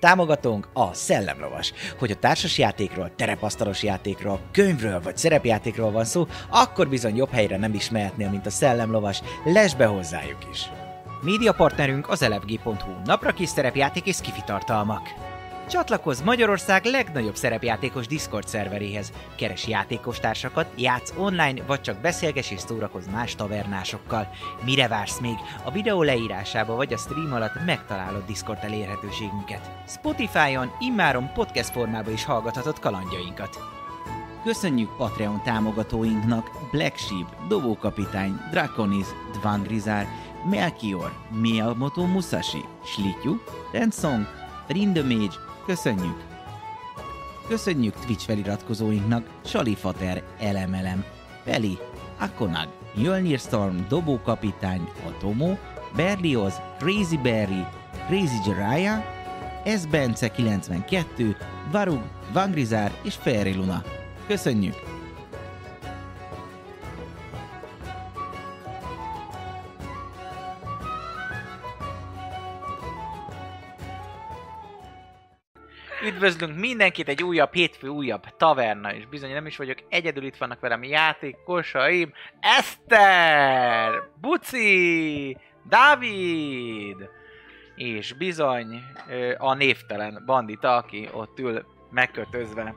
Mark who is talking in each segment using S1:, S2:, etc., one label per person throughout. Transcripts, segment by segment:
S1: Támogatónk a Szellemlovas. Hogy a társas játékról, terepasztalos játékról, könyvről vagy szerepjátékról van szó, akkor bizony jobb helyre nem is mehetnél, mint a Szellemlovas. Lesz be hozzájuk is! Média partnerünk az elefg.hu, napra kis szerepjáték és kifitartalmak. Csatlakozz Magyarország legnagyobb szerepjátékos Discord szerveréhez. Keres játékostársakat, játsz online, vagy csak beszélges és szórakozz más tavernásokkal. Mire vársz még? A videó leírásába vagy a stream alatt megtalálod Discord elérhetőségünket. Spotify-on immáron podcast formában is hallgathatod kalandjainkat. Köszönjük Patreon támogatóinknak Black Sheep, Dovókapitány, Draconis, Dvangrizár, Melchior, Miyamoto Musashi, Slityu, Rensong, Rindemage, köszönjük! Köszönjük Twitch feliratkozóinknak Salifater, Elemelem, Peli, Akonag, Jölnir Storm, Dobókapitány, Atomo, Berlioz, Crazy Berry, Crazy Jiraiya, S. Bence 92, Varug, Vangrizár és Fairy Luna. Köszönjük!
S2: Üdvözlünk mindenkit egy újabb hétfő, újabb taverna, és bizony nem is vagyok egyedül, itt vannak velem játékosaim, Eszter, Buci, Dávid, és bizony ö, a névtelen bandita, aki ott ül megkötözve,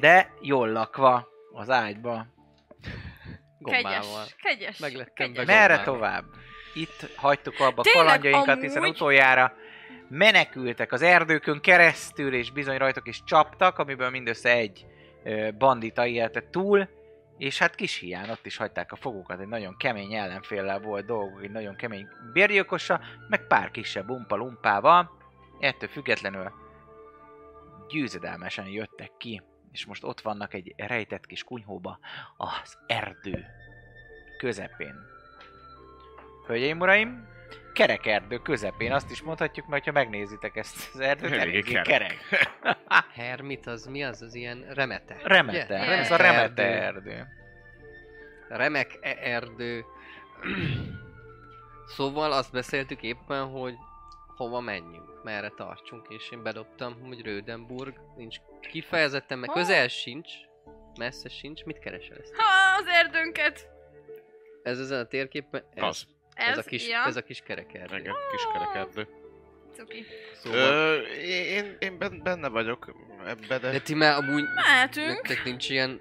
S2: de jól lakva az ágyba.
S3: Gombával.
S4: Kegyes, kegyes.
S3: Meglettem
S4: kegyes.
S3: meg-
S2: Merre
S3: gondolnám.
S2: tovább? Itt hagytuk abba a
S4: Tényleg,
S2: kalandjainkat, hiszen
S4: amúgy?
S2: utoljára menekültek az erdőkön keresztül, és bizony rajtok is csaptak, amiből mindössze egy ö, bandita élte túl, és hát kis hián ott is hagyták a fogukat, egy nagyon kemény ellenféllel volt dolgok, egy nagyon kemény bérgyilkossal, meg pár kisebb umpa-lumpával, ettől függetlenül győzedelmesen jöttek ki, és most ott vannak egy rejtett kis kunyhóba az erdő közepén. Hölgyeim, uraim, kerek erdő közepén, azt is mondhatjuk, mert ha megnézitek ezt az erdőt,
S5: Eléggé
S2: eléggé kerek.
S5: kerek.
S2: kerek.
S3: Hermit az mi az? Az ilyen remete.
S2: Remete,
S3: Ugye?
S2: yeah. ez a remete erdő.
S3: Remek e- erdő. szóval azt beszéltük éppen, hogy hova menjünk, merre tartsunk, és én bedobtam, hogy Rödenburg nincs kifejezetten, mert
S4: Hol?
S3: közel sincs, messze sincs, mit keresel ezt?
S4: Ha, az erdőnket.
S3: Ez ezen a térképen, ez,
S5: Az.
S4: Ez,
S3: ez, a kis,
S4: ja.
S3: ez a kis kerek erdő.
S5: Igen, kis kerekerdő.
S4: Cuki.
S3: Szóval,
S5: Ö, én, én ben- benne vagyok ebbe, de...
S3: de ti már amúgy
S4: Mehetünk.
S3: Nektek nincs ilyen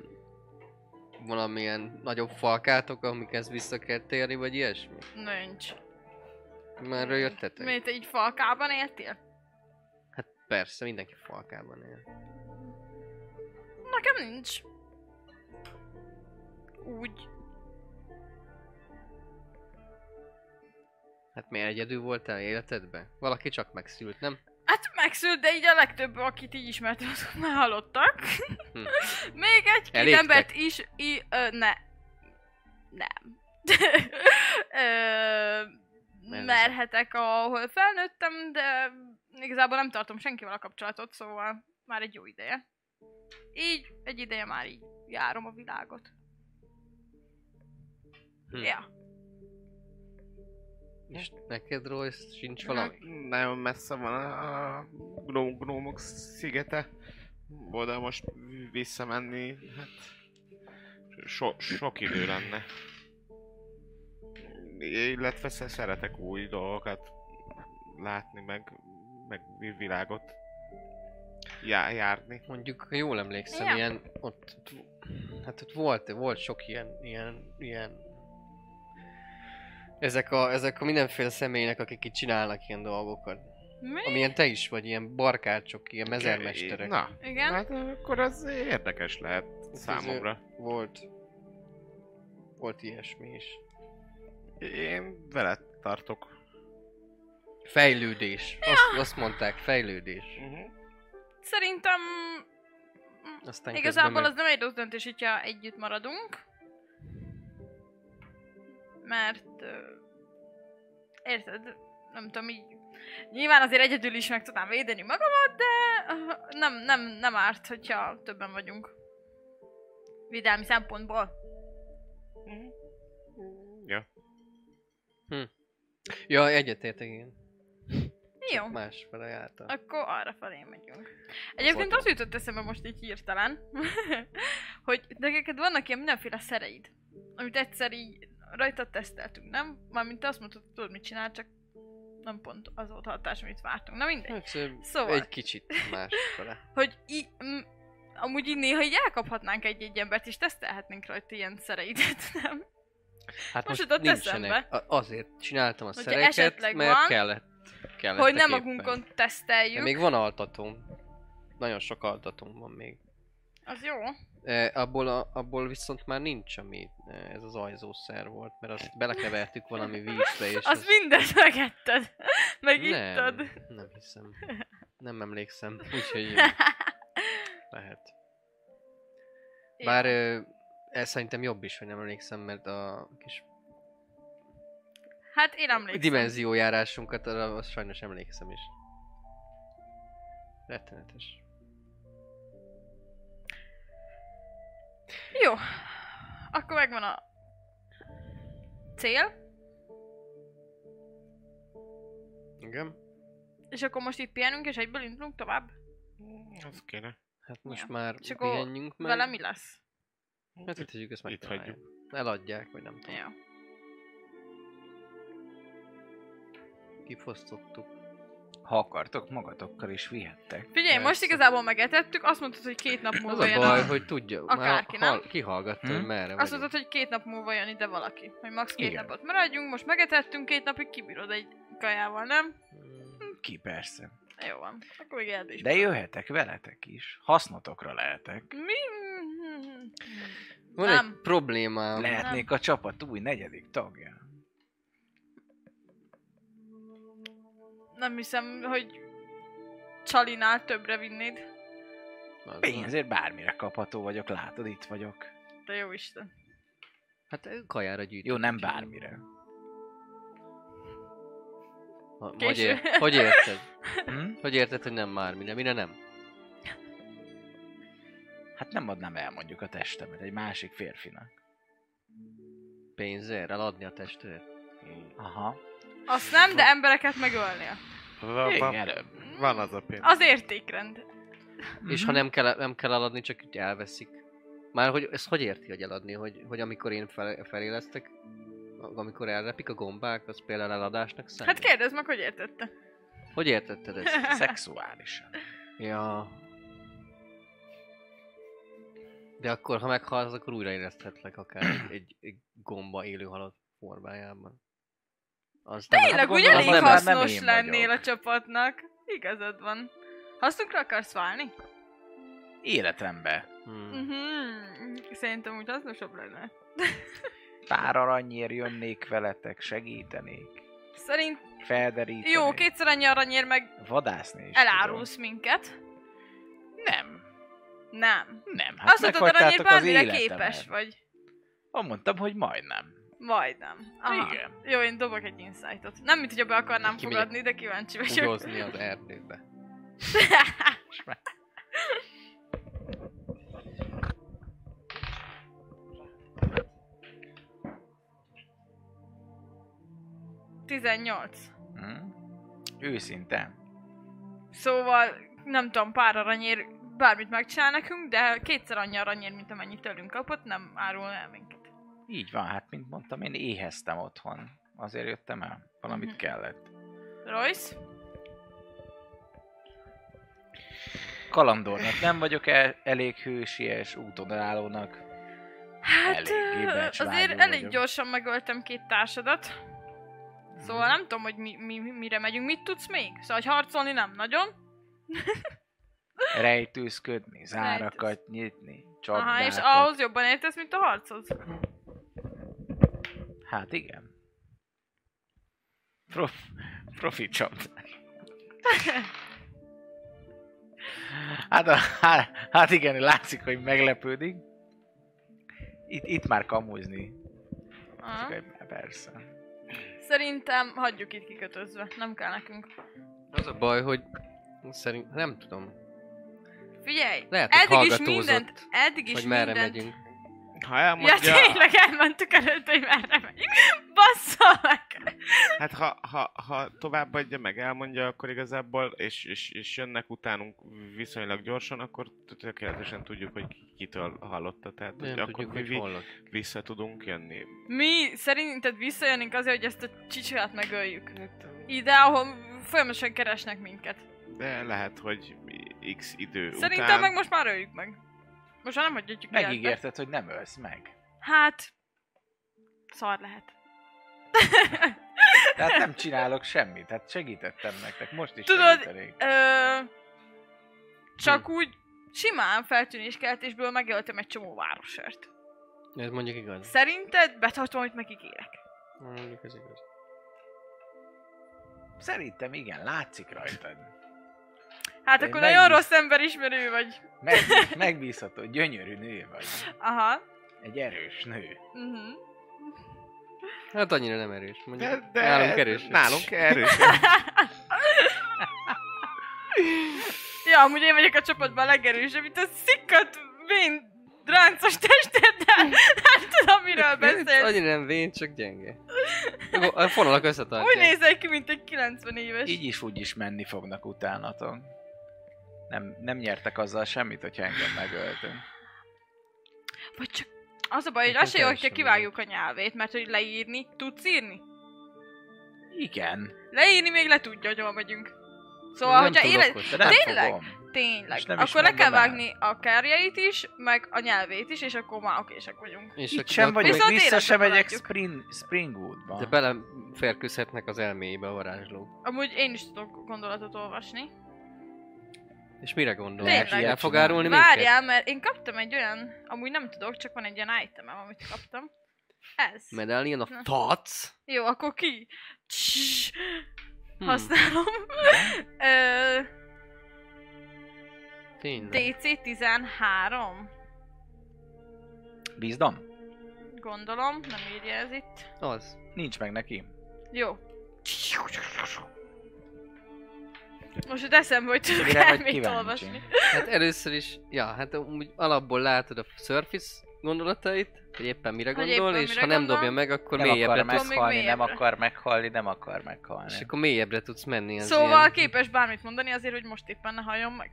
S3: valamilyen nagyobb falkátok, amikhez vissza kell térni, vagy ilyesmi?
S4: Nincs.
S3: Már erről jöttetek?
S4: Mert te így falkában éltél?
S3: Hát persze, mindenki falkában él.
S4: Nekem nincs. Úgy.
S3: Hát miért egyedül voltál életedben? Valaki csak megszült, nem?
S4: Hát megszült, de így a legtöbb, akit így ismertem, azok már halottak.
S3: Hm.
S4: Még egy-két
S3: Elégtek?
S4: embert is, i, ö, ne. Nem. ö, merhetek, ahol felnőttem, de igazából nem tartom senkivel a kapcsolatot, szóval már egy jó ideje. Így, egy ideje már így járom a világot.
S3: Hm.
S4: Ja.
S3: És neked, Royce, sincs valami?
S5: Hát, Nagyon messze van a gnó- gnómok szigete. Oda most visszamenni, hát... So- sok idő lenne. Illetve sze- szeretek új dolgokat látni, meg, meg vi- világot já- járni.
S3: Mondjuk, ha jól emlékszem,
S4: Ja.
S3: ilyen ott... Hát ott volt, volt sok ilyen, ilyen, ilyen... Ezek a, ezek a mindenféle személynek, akik itt csinálnak ilyen dolgokat.
S4: Mi?
S3: Amilyen te is vagy, ilyen barkácsok, ilyen mezermesterek.
S5: Na,
S4: Igen?
S5: hát akkor az érdekes lehet számomra.
S3: Volt. Volt ilyesmi is.
S5: Én veled tartok.
S3: Fejlődés. Azt, azt mondták, fejlődés.
S5: Uh-huh.
S4: Szerintem
S3: Aztán
S4: igazából
S3: közben
S4: az nem egy rossz döntés, hogyha együtt maradunk. Mert... ö, Érted? Nem tudom, így... Nyilván azért egyedül is meg tudnám védeni magamat, de ö, nem, nem, nem árt, hogyha többen vagyunk. Védelmi szempontból.
S5: Ja.
S3: meg... Ja, egyetértek, igen.
S4: Jó.
S3: Csak másfele jártam.
S4: Akkor arra felé megyünk. Egyébként az jutott eszembe most így hirtelen, hogy neked vannak ilyen mindenféle szereid, amit egyszer így rajta teszteltünk, nem? Mármint te azt mondtad, hogy tudod mit csinál, csak nem pont az volt a hatás, amit vártunk. Na mindegy.
S3: Hát, ö,
S4: Szóval.
S3: Egy kicsit másfele.
S4: Hogy így, m- amúgy így néha így elkaphatnánk egy-egy embert, és tesztelhetnénk rajta ilyen szereidet, nem?
S3: Hát
S4: Most jutott eszembe.
S3: A- Azért csináltam a
S4: Hogyha
S3: szereket,
S4: esetleg
S3: mert
S4: van,
S3: kellett. kellett
S4: Hogy
S3: a
S4: nem
S3: képen.
S4: magunkon
S3: De
S4: teszteljük.
S3: még van altatóm. Nagyon sok altatóm van még.
S4: Az jó.
S3: E, abból, a, abból viszont már nincs, ami e, ez az ajzószer volt, mert azt belekevertük valami vízbe, és
S4: Azt mindent megetted. Meg
S3: nem,
S4: ittad.
S3: nem hiszem. Nem emlékszem, úgyhogy ö, lehet. Bár ö, ez szerintem jobb is, hogy nem emlékszem, mert a kis
S4: Hát én emlékszem.
S3: dimenziójárásunkat arra azt sajnos emlékszem is. Rettenetes.
S4: Jó. Akkor megvan a cél,
S3: Igen?
S4: és akkor most itt pihenünk, és egyből indulunk tovább.
S5: Az kéne.
S3: Hát most
S4: Ja.
S3: már
S4: És akkor
S3: pihenjünk meg.
S4: Vele mi lesz?
S3: Hát itt tegyük, ezt
S5: Itt
S3: megtaláljuk. Eladják, vagy nem tudom.
S4: Jó.
S3: Kifosztottuk.
S2: Ha akartok, magatokkal is vihettek.
S4: Figyelj, most
S3: Persze.
S4: igazából megetettük, azt mondtad, hogy két nap
S3: Az
S4: múlva
S3: a
S4: jön
S3: baj, hogy tudja,
S4: Akárki,
S3: már
S4: nem?
S3: hal, kihallgatta,
S2: Hm?
S3: hogy merre
S4: Azt
S3: vagyunk.
S4: mondtad, hogy két nap múlva jön ide valaki. Hogy max. két
S2: Igen.
S4: napot maradjunk, most megetettünk, két napig kibírod egy kajával, nem?
S3: Mm,
S2: Ki persze.
S4: Jó van. Akkor még erdés.
S2: De jöhetek veletek is. Hasznotokra lehetek.
S4: Mi?
S3: Van
S4: Nem.
S3: egy problémám.
S2: Lehetnék a csapat új negyedik tagja.
S4: Nem hiszem, hogy Csalinál többre vinnéd.
S3: Az-
S2: Pénzért bármire kapható vagyok, látod, itt vagyok.
S4: De jó Isten.
S3: Hát ő kajára gyűjt.
S2: Jó, nem bármire.
S3: Ha- Hogy,
S4: Késő.
S3: ér, hogy érted?
S2: Hm?
S3: Hogy érted, hogy nem bármire? Mire nem?
S2: Hát nem adnám el mondjuk a testemet egy másik férfinak.
S3: Pénzért? Eladni a testőt?
S2: Aha.
S4: Azt nem, de embereket megölnél.
S5: Va-
S2: Még
S5: va-
S2: előbb.
S5: Van az a pénz.
S4: Az értékrend. Mhm.
S3: És ha nem kell, nem kell eladni, csak így elveszik. Már hogy ezt hogy érti, hogy eladni? Hogy, hogy amikor én fel, felélesztek, amikor elrepik a gombák, az például eladásnak számít?
S4: Hát kérdezd meg, hogy értette.
S2: Hát
S3: Hogy értetted ezt?
S2: Szexuálisan.
S3: Ja. De akkor, ha meghalsz, akkor újraéleszthetlek akár egy, egy, egy gomba élő halott formájában. Az nem-
S4: Tényleg, úgy
S2: gondolom,
S4: elég
S2: az nem- nem
S4: hasznos
S2: én
S4: lennél
S2: vagyok.
S4: a csapatnak. Igazad van. Hasznunkra akarsz válni?
S2: Életembe
S3: Hmm.
S4: Mhm. Szerintem úgy hasznosabb lenne.
S2: pár aranyért jönnék veletek, segítenék,
S4: Szerint
S2: felderítenék.
S4: jó, kétszer annyi aranyér meg
S2: Vadászni is
S4: elárulsz minket.
S2: Tudom. Nem,
S4: Nem.
S2: nem. Hát
S4: Azt mondtad, aranyér
S2: meghagytátok az
S4: bármire
S2: életemet.
S4: képes vagy.
S2: Azt mondtam, hogy majdnem.
S4: Majdnem. Aha.
S2: Igen.
S4: Jó, én dobok egy insightot. Nem, mint hogyha be akarnám
S3: Kimegyek
S4: fogadni, de kíváncsi vagyok.
S3: Udozni az erdőbe.
S4: Tizennyolc.
S2: Hm? Őszinte.
S4: Szóval, nem tudom, pár aranyér bármit megcsinál nekünk, de kétszer annyi aranyér, mint amennyit tőlünk kapott, nem árul el minket.
S2: Így van, hát mint mondtam, én éheztem otthon. Azért jöttem el. Valamit
S4: Mhm.
S2: kellett.
S4: Royce?
S2: Kalandornak nem vagyok el- elég hősies, útodalálónak.
S4: Hát,
S2: Eléggé
S4: ö,
S2: becsvágyó
S4: azért elég
S2: vagyok.
S4: gyorsan megöltem két társadat.
S3: Mhm.
S4: Szóval nem tudom, hogy mi, mi, mi- mire megyünk. Mit tudsz még? Szóval, hogy harcolni nem nagyon.
S2: Rejtőzködni, zárakat nyitni, csapdákat.
S4: Aha, és ahhoz jobban értesz, mint a harchoz.
S2: Hát igen. Prof... Profi csapdák. Hát, a, há- hát igen, látszik, hogy meglepődik. Itt, itt már kamuzni.
S4: Aha.
S2: Csak, persze.
S4: Szerintem hagyjuk itt kikötözve. Nem kell nekünk.
S3: Az a baj, hogy szerint nem tudom,
S4: Figyelj!
S3: Lehet, hogy
S4: eddig is
S3: hallgatózott,
S4: mindent, eddig is
S3: hogy merre
S4: mindent.
S3: megyünk.
S5: Ha
S4: Ja,
S5: elmondja...
S4: tényleg elmentük előtt, hogy merre megyünk. Bassza meg!
S5: Hát ha, ha, ha továbbadja, meg elmondja, akkor igazából, és, és, és jönnek utánunk viszonylag gyorsan, akkor tökéletesen tudjuk, hogy kitől hallotta. Tehát,
S3: Nem
S5: hogy akkor
S3: tudjuk,
S5: mi
S3: hogy
S5: vi-
S3: hol lak.
S5: vissza tudunk jönni.
S4: Mi szerinted visszajönnénk azért, hogy ezt a csicsirát megöljük?
S2: Hát,
S4: Ide, ahol folyamatosan keresnek minket.
S5: De lehet, hogy x idő
S4: Szerintem
S5: után...
S4: meg most már öljük meg. Most már nem hagyjuk életbe.
S2: Megígérted, hogy nem ölsz meg.
S4: Hát... Szar lehet.
S2: Tehát nem csinálok semmit, hát segítettem nektek, most is
S4: Tudod-
S2: segítenék.
S4: Ö, csak úgy simán feltűnéskeltésből megöltem egy csomó városért.
S3: Ez mondjuk igaz.
S4: Szerinted betartom, amit megígérek?
S3: Mondjuk ez igaz.
S2: Szerintem igen, látszik rajtad.
S4: Hát
S2: Én
S4: akkor
S2: meg-
S4: nagyon rossz emberismerő vagy.
S2: Meg, megbízható, gyönyörű nő vagy.
S4: Aha.
S2: Egy erős nő.
S4: Uh-huh.
S3: Hát annyira nem erős. Mondjuk
S5: De, de
S3: nálunk erős.
S5: Nálunk erős.
S4: Ja, amúgy én vagyok a csapatban a legerősebb, itt a szikkat vén ráncos testeddel. Nem tudom, miről beszélsz.
S3: Annyira nem vén, csak gyenge. A fonalak összetartják.
S4: Úgy nézel ki, mint egy 90 éves.
S2: Így is úgy is menni fognak utánatok. Nem, nem nyertek azzal semmit, hogyha engem megöltünk.
S4: Vagy csak az a baj, hogy
S3: Nekem
S4: az se jó, hogyha
S3: teljesen
S4: kivágjuk a nyelvét, mert hogy leírni, tudsz írni?
S2: Igen,
S4: Leírni még le tudja, hogy hol megyünk. Szóval,
S3: Nem
S4: hogyha
S3: tudok
S4: élet...
S3: ott.
S2: de nem
S4: Tényleg?
S2: fogom.
S4: Tényleg.
S2: És nem is
S4: akkor le kell
S2: mondom el.
S4: vágni a kárjait is, meg a nyelvét is, és akkor már okések vagyunk.
S3: És
S2: Itt
S3: akkor-
S2: sem vagyok,
S4: Viszont
S2: vissza
S4: életben
S2: sem megyek
S4: maradjuk.
S2: Spring, Springwoodba.
S3: De beleférkőzhetnek az elméjébe a varázslók.
S4: Amúgy én is tudok gondolatot olvasni.
S3: És mire gondol?
S4: Tényleg.
S3: El fog árulni minket?
S4: Várjál, mert én kaptam egy olyan, amúgy nem tudok, csak van egy ilyen itemem, amit kaptam. Ez.
S3: Medallion
S4: Na.
S3: a fac?
S4: Jó, akkor ki? Css,
S2: Hmm.
S3: Hm,
S4: Használom. Ö,
S3: Tényleg.
S4: DC 13.
S2: Bízdom?
S4: Gondolom, nem írja ez itt.
S3: Az.
S2: Nincs meg neki.
S4: Jó. Most itt eszembe, hogy tudok
S2: Mire Szóval vagy
S4: elmét
S2: kíváncsi?
S4: olvasni.
S3: Hát először is, ja, hát úgy alapból látod a Surface gondolatait, hogy éppen mire
S4: Hogy
S3: gondol,
S4: éppen
S3: és
S4: mire
S3: ha nem
S4: gondol.
S3: dobja meg, akkor
S2: Nem akar
S3: mélyebbre tudsz,
S4: meg-
S2: meghalni, nem
S4: mélyebbre.
S2: akar meghalni, nem akar
S3: és
S2: meghalni.
S3: akkor mélyebbre tudsz menni. Az
S4: Szóval
S3: ilyen...
S4: képes bármit mondani azért, hogy most éppen ne halljon meg.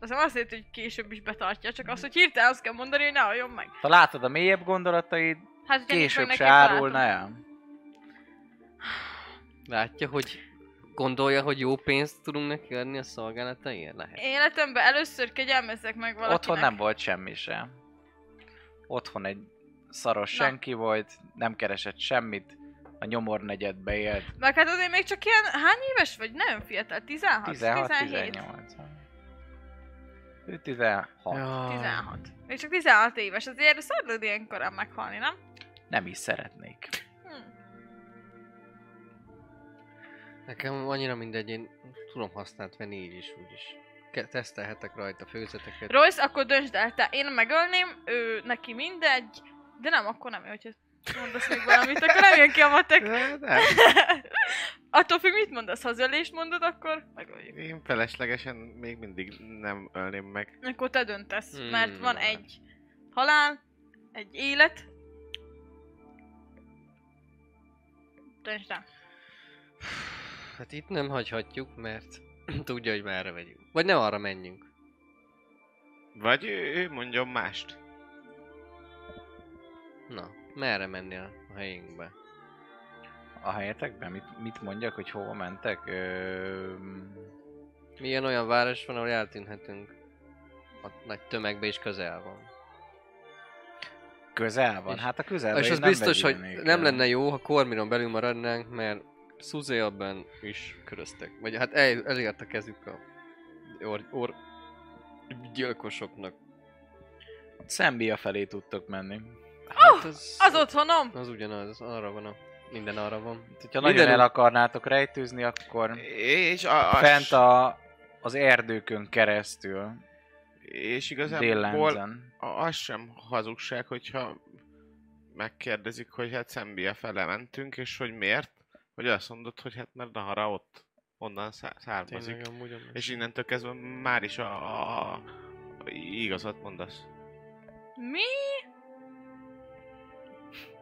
S4: Az nem azért, hogy később is betartja, csak az, hogy hirtelen azt kell mondani, hogy ne halljon meg.
S2: Ha látod a mélyebb gondolataid,
S4: Hát ugye nincs
S2: később
S4: meg neki
S2: se
S4: barátom.
S2: árulna el.
S3: Látja, hogy gondolja, hogy jó pénzt tudunk neki adni a szolgálataért? Lehet.
S4: Életemben először kegyelmezzek meg valakinek.
S2: Otthon nem volt semmi sem. Otthon egy szaros
S4: Na.
S2: senki volt, nem keresett semmit, a nyomor negyedbe élt.
S4: Meg hát azért még csak ilyen, hány éves vagy? Nagyon fiatal, 16, 16 17.
S2: 16-18. Ő 16.
S3: Ja.
S4: 16. Még csak 16 éves, azért szarlod ilyen korán meghalni, nem?
S2: Nem is szeretnék.
S4: Hm.
S3: Nekem annyira mindegy, én tudom használt venni így is, úgy is. Ke- tesztelhetek rajta főzeteket.
S4: Royce, akkor döntsd el, te én megölném, ő neki mindegy, de nem, akkor nem, jó, hogyha mondasz még valamit, akkor nem jön ki a matek.
S5: De, de,
S4: Attól függ, mit mondasz, ha az ölést mondod, akkor megöljük.
S5: én feleslegesen még mindig nem ölném meg.
S4: Akkor te döntesz,
S3: Hmm.
S4: mert van egy halál, egy élet. Döntsd el.
S3: Hát itt nem hagyhatjuk, mert tudja, hogy merre megyünk. Vagy ne arra menjünk.
S5: Vagy ő, ő mondjon mást.
S3: Na, merre mennél a helyünkbe?
S2: A helyetekben mit, mit mondjak, hogy hova mentek? Ö...
S3: Milyen olyan város van, ahol eltűnhetünk? A nagy tömegbe is közel van.
S2: Közel van,
S3: És-
S2: hát a közelben
S3: És
S2: én
S3: az
S2: nem
S3: biztos, hogy
S2: vegyülnék
S3: nem
S2: el.
S3: lenne jó, ha Kormiron belül maradnánk, mert Szuzéabban is köröztek. Vagy hát el, elért a kezük a or, or gyilkosoknak.
S2: Szembia felé tudtok menni.
S3: Hát az,
S4: Az otthonom!
S3: az ugyanaz, arra van a... Minden arra van.
S2: Hát, hogyha nagyon
S3: Mindenütt-
S2: el akarnátok rejtőzni, akkor
S5: És, a, a,
S2: fent a, az erdőkön keresztül,
S5: és igazából
S2: déllenzen.
S5: a, az sem hazugság, hogyha megkérdezik, hogy hát Szembia fele mentünk, és hogy miért, hogy azt mondod, hogy hát mert Nahara ott, onnan szá- származik.
S3: Tényleg amúgy amúgy.
S5: És innentől kezdve már is a, a, a igazat mondasz.
S4: Mi?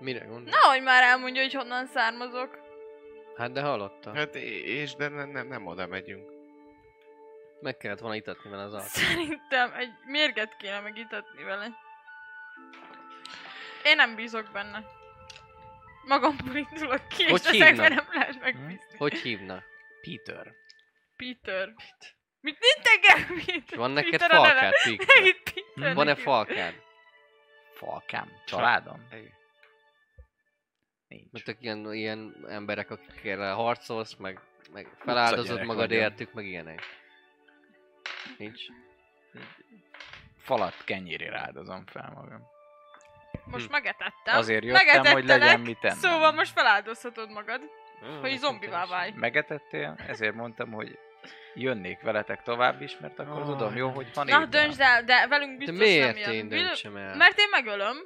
S3: Mire gondol?
S4: Nehogy már elmondja, hogy honnan származok.
S3: Hát de hallotta.
S5: Hát é- és de nem, nem, nem oda megyünk.
S3: Meg kellett volna itatni vele az arcát.
S4: Szerintem egy mérget kéne megitatni vele. Én nem bízok benne. Magamból indulok ki,
S3: Hogy
S4: és ezekben
S3: hívnak? Hm?
S4: nem lehet megbízni.
S3: Hogy hívna?
S2: Peter.
S4: Peter. Mit nincs engem? Mit?
S3: Van neked
S4: Peter a neve.
S3: falkád, Viktor?
S4: Itt Peter
S3: Van-e
S4: neki.
S3: falkád?
S2: Falkám.
S5: Hát,
S2: Családom?
S5: Egy.
S2: Nincs.
S3: Mert ők ilyen, ilyen emberek, akikkel harcolsz, meg, meg feláldozod
S1: gyerek
S3: magad
S1: vagyok.
S3: értük, meg ilyenek. Nincs.
S2: Falat kenyérére áldozom fel magam.
S4: Most
S3: Hm.
S4: megetettem.
S2: Azért jöttem, hogy legyen mit ennem.
S4: Szóval most feláldozhatod magad, hogy zombivá válj.
S2: Megetettél, ezért mondtam, hogy jönnék veletek tovább is, mert akkor
S5: Aj.
S2: tudom, jó, hogy van
S4: Na,
S2: így.
S4: döntsd el, de velünk
S3: De
S4: biztos
S3: miért
S4: nem jön.
S3: én döntsem el?
S4: Mert én megölöm,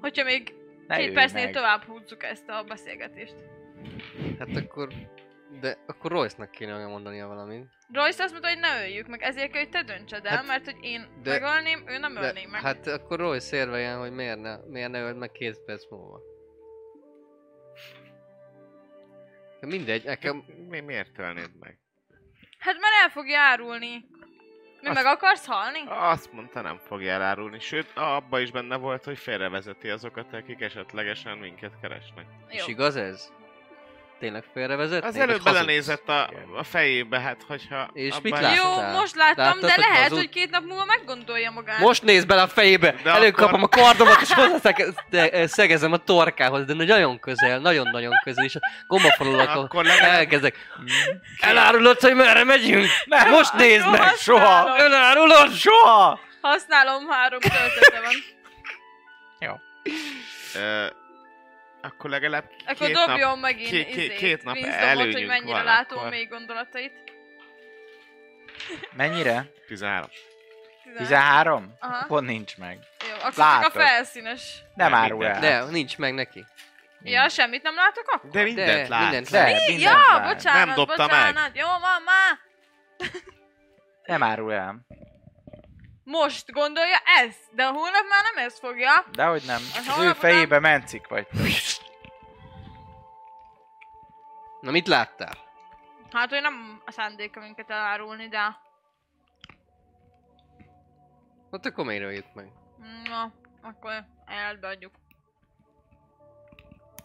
S4: hogyha még
S2: Ne
S4: két
S2: ülj
S4: percnél
S2: meg.
S4: tovább húzzuk ezt a beszélgetést.
S3: Hát akkor... De akkor Royce-nak kéne mondania valamit.
S4: Royce azt mondta, hogy ne öljük meg, ezért kell, hogy te döntsed el,
S3: Hát,
S4: mert hogy én
S3: de-
S4: megölném, ő nem
S3: De,
S4: ölné meg.
S3: hát akkor Royce érveljen, hogy miért ne, miért ne öld meg két perc múlva. De Mindegy, nekem...
S5: Mi, miért ölnéd meg?
S4: Hát mert el fog járulni. Mi
S5: Azt-
S4: meg akarsz halni?
S5: Azt mondta, nem fogja elárulni, sőt, abba is benne volt, hogy félrevezeti azokat, akik esetlegesen minket keresnek.
S4: Jó.
S3: És igaz ez? Tényleg félrevezetnék?
S5: Az
S3: vagy
S5: előbb
S3: hazudsz?
S5: belenézett a, a fejébe, hát hogyha...
S3: És
S5: abban-
S3: mit
S5: Jó,
S3: láttál?
S4: Jó, most láttam,
S3: Láttad,
S4: de
S3: hogy
S4: lehet,
S3: hazud?
S4: hogy két nap múlva meggondolja magát.
S3: Most nézd bele a fejébe!
S5: De
S3: Előkapom a kardomat, és hozzászegezem a torkához, de nagyon közel, nagyon-nagyon közel, és a gombafalulakkal
S5: Akkor legalább
S3: elkezdek.
S2: Mhm.
S3: Elárulod, hogy merre megyünk?
S2: Nem,
S3: Most nézd
S4: jó,
S3: meg!
S4: azt Soha!
S3: Elárulod?
S2: Soha!
S4: Használom, három töltete van.
S5: Ö, akkor legalább
S4: Akkor
S5: két nap
S4: dobjon meg én
S5: ké- ké-
S4: izét,
S5: két nap
S4: Winsdomot, hogy
S5: előnyünk
S4: mennyire
S5: van
S4: látom
S5: akkor.
S4: még gondolatait.
S2: Mennyire?
S5: 13.
S2: 13?
S4: Aha.
S2: Pont nincs meg.
S4: Jó, akkor csak
S2: Látod.
S4: a felszínes.
S2: Nem
S5: Nem,
S2: árul el.
S5: minden.
S3: De, nincs meg neki.
S4: Ja, semmit nem látok akkor?
S5: De mindent
S3: De,
S5: lát.
S3: mindent
S2: De,
S3: lát.
S2: mindent
S4: ja,
S2: lát.
S4: bocsánat,
S5: Nem dobta meg.
S4: bocsánat. Jó van már.
S2: Nem árul el.
S4: Most gondolja ez, de a hónap már nem ezt fogja.
S2: Dehogy nem. Az ő
S4: holnapodán-
S2: fejébe mencik vagy.
S3: Na mit láttál?
S4: Hát, hogy nem a szándéka minket elárulni, de...
S3: Hát akkor miért öljük meg?
S4: Na, akkor elbeadjuk.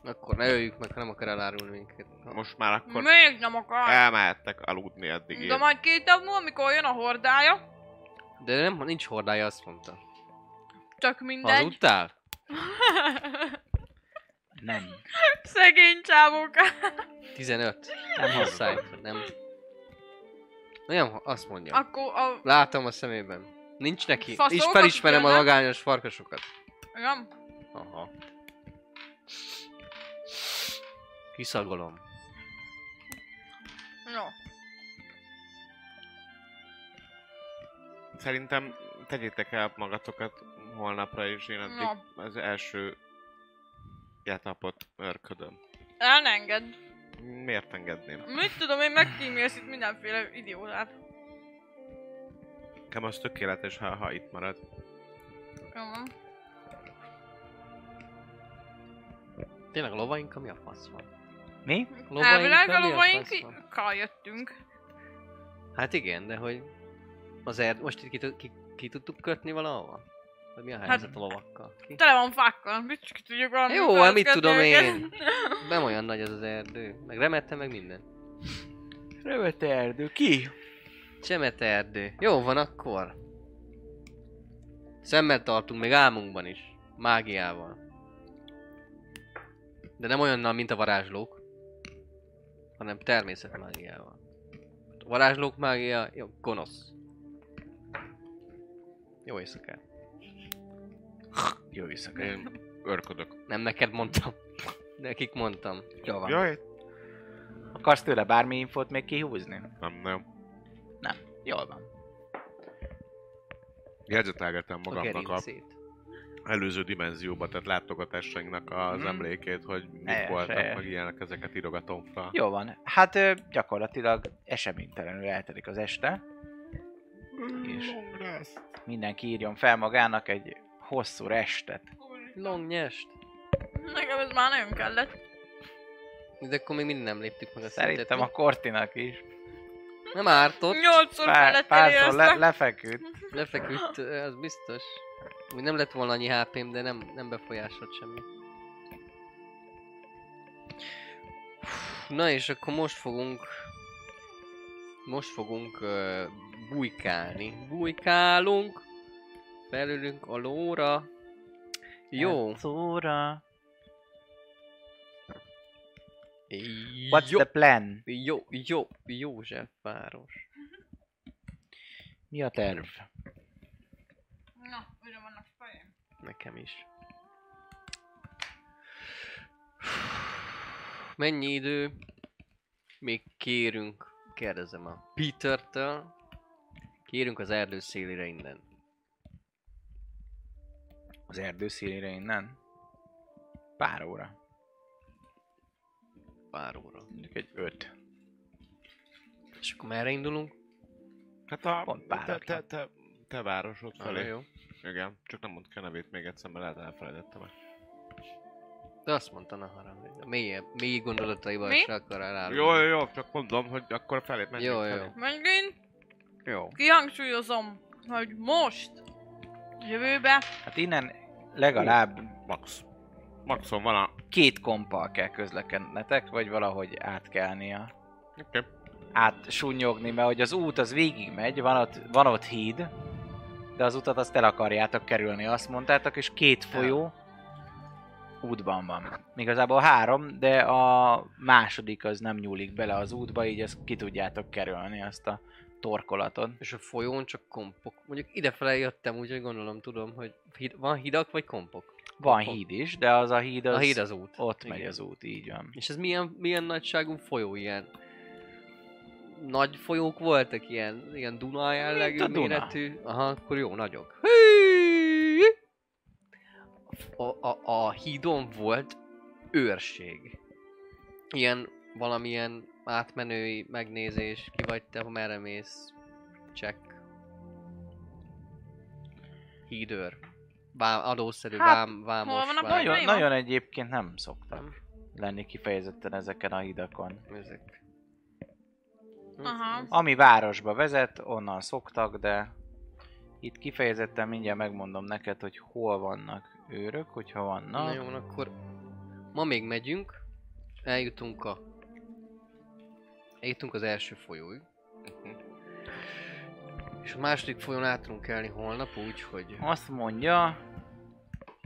S3: Akkor ne öljük meg, ha nem akar elárulni minket.
S5: Most már akkor
S4: Még nem akar.
S5: elmehettek aludni addig.
S4: De
S5: én.
S4: majd két nap múlva, mikor jön a hordája,
S3: De nem, nincs hordája, azt mondta.
S4: csak mindegy.
S3: Hazudtál?
S2: Nem.
S4: Szegény csávóka.
S3: 15.
S2: Nem hozzá.
S3: Hosszájt, nem. Nem, azt mondja.
S4: Akkor a...
S3: Látom a szemében. Nincs neki.
S4: Faszok,
S3: És felismerem a
S4: akik jönnek.
S3: magányos farkasokat.
S4: Igen?
S3: Aha. Kiszagolom.
S4: Jó.
S5: Szerintem tegyétek el magatokat holnapra, és én addig
S4: Na.
S5: az első játnapot örködöm.
S4: El ne engedd.
S5: Miért engedném?
S4: Mit tudom én, megkímélsz itt mindenféle idiótát.
S5: Nekem az tökéletes, ha, ha itt marad.
S4: Jó van.
S3: Tényleg a lovaink, ami a fasz van.
S2: Mi?
S4: Elvileg a
S3: ami
S4: lovaink
S3: fasz van?
S4: kal jöttünk.
S3: Hát igen, de hogy... Azért most itt ki, tud- ki, ki tudtuk kötni valahova? Hogy mi
S4: Hát
S3: a helyzet a lovakkal? Ki?
S4: Tele van fákkal, mit csak tudjuk valami.
S3: Jó, hát mit tudom én. Nem olyan nagy az az erdő. Meg remette, meg minden.
S2: Rövete erdő. Ki?
S3: Csemete erdő. Jó van akkor. Szemmel tartunk még álmunkban is. Mágiával. De nem olyannal, mint a varázslók. Hanem természet mágiával. Hát A varázslók mágia jó, gonosz. Jó éjszakát.
S2: Jó éjszaka.
S5: Én örködök.
S3: Nem neked mondtam. Nekik mondtam.
S2: Jó van.
S5: Jaj,
S2: Akarsz tőle bármi infót még kihúzni?
S5: nem, nem.
S2: Jól van.
S5: Jegyzetelgetem
S3: A
S5: magamnak a
S3: gerincét.
S5: előző dimenzióba, tehát látogatásainknak az
S2: Mhm.
S5: emlékét, hogy mik
S2: Helyes,
S5: voltak,
S2: helyes.
S5: meg ilyenek, ezeket írogatom fel.
S2: Jó van. Hát ö, gyakorlatilag eseménytelenül eltelik az este. És mindenki írjon fel magának egy hosszú restet.
S3: Long nyest.
S4: Nekem ez már nagyon kellett.
S3: De akkor még mindig nem léptük meg a szintet.
S2: Szerintem a Kortinak is.
S3: Nem ártott,
S4: Nyolcszor
S2: Pár,
S4: kellett
S2: párszor le,
S4: eléreztem.
S2: lefeküdt.
S3: lefeküdt, az biztos. Úgy nem lett volna annyi HP-m, de nem, nem befolyásolt semmi. Na és akkor most fogunk... Most fogunk uh, bujkálni. Bujkálunk. Felülünk a lóra. Jó.
S2: Szóra. What's
S3: Jó.
S2: the plan?
S3: Jó, jó, Józsefváros.
S2: Mi a terv?
S4: Na, újra vannak fejem.
S3: Nekem is. Mennyi idő? Még kérünk, kérdezem a Peter-től. Kérünk az erdő szélére innen.
S2: Az erdő szélére innen? Pár óra.
S3: Pár óra.
S2: Mondjuk egy öt.
S3: És akkor merre indulunk?
S5: Hát a...
S2: Pont
S5: te,
S2: páratlan.
S5: te, te, te városod
S3: Arra
S5: felé.
S3: jó.
S5: Igen, csak nem mondd ki a nevét még egyszer, mert lehet elfelejtettem el.
S3: De azt mondta Naharam, hogy a mélyebb, mély gondolataival
S4: Mi?
S3: se akar elárulni.
S5: Jó, jó, jó, csak mondom, hogy akkor felé menjünk
S3: Jó, jó.
S5: felé.
S4: Megint
S2: Jó.
S4: kihangsúlyozom, hogy most, jövőbe,
S2: Hát innen legalább
S5: Max. Maxon van a...
S2: két kompal kell közlekednetek, vagy valahogy át kellnia.
S5: Oké.
S2: átsunyogni, mert hogy az út az végigmegy, van ott, van ott híd, de az utat azt el akarjátok kerülni, azt mondtátok, és két folyó útban van. Igazából három, de a második az nem nyúlik bele az útba, így ezt ki tudjátok kerülni, azt a torkolatot.
S3: És a folyón csak kompok. Mondjuk idefele jöttem, úgyhogy gondolom tudom, hogy hid- van hidak vagy kompok?
S2: Van híd is, de az a híd az,
S3: a híd az út.
S2: ott
S3: Igen.
S2: megy az út, így van.
S3: És ez milyen, milyen nagyságú folyó ilyen? Nagy folyók voltak ilyen, ilyen Duna jellegű
S2: Duna.
S3: méretű? Aha, akkor jó, nagyok. Hí! A, a, a hídon volt őrség. Ilyen valamilyen átmenői megnézés, ki vagy te, merre mész, check. Hídőr. Vám, adószerű,
S4: Hát,
S3: vám, vámos,
S4: hol van a
S3: vám-
S4: baj?
S2: Nagyon,
S4: Jó.
S2: nagyon egyébként nem szoktam
S3: Nem.
S2: lenni kifejezetten ezeken a hidakon.
S3: Ezek.
S4: Aha.
S2: Ami városba vezet, onnan szoktak, de itt kifejezetten mindjárt megmondom neked, hogy hol vannak őrök, hogyha
S3: Na.
S2: vannak.
S3: Na jó, van, akkor ma még megyünk, eljutunk a... Eljutunk az első folyóig. És a második folyón át tudunk elni holnap, úgyhogy...
S2: Azt mondja,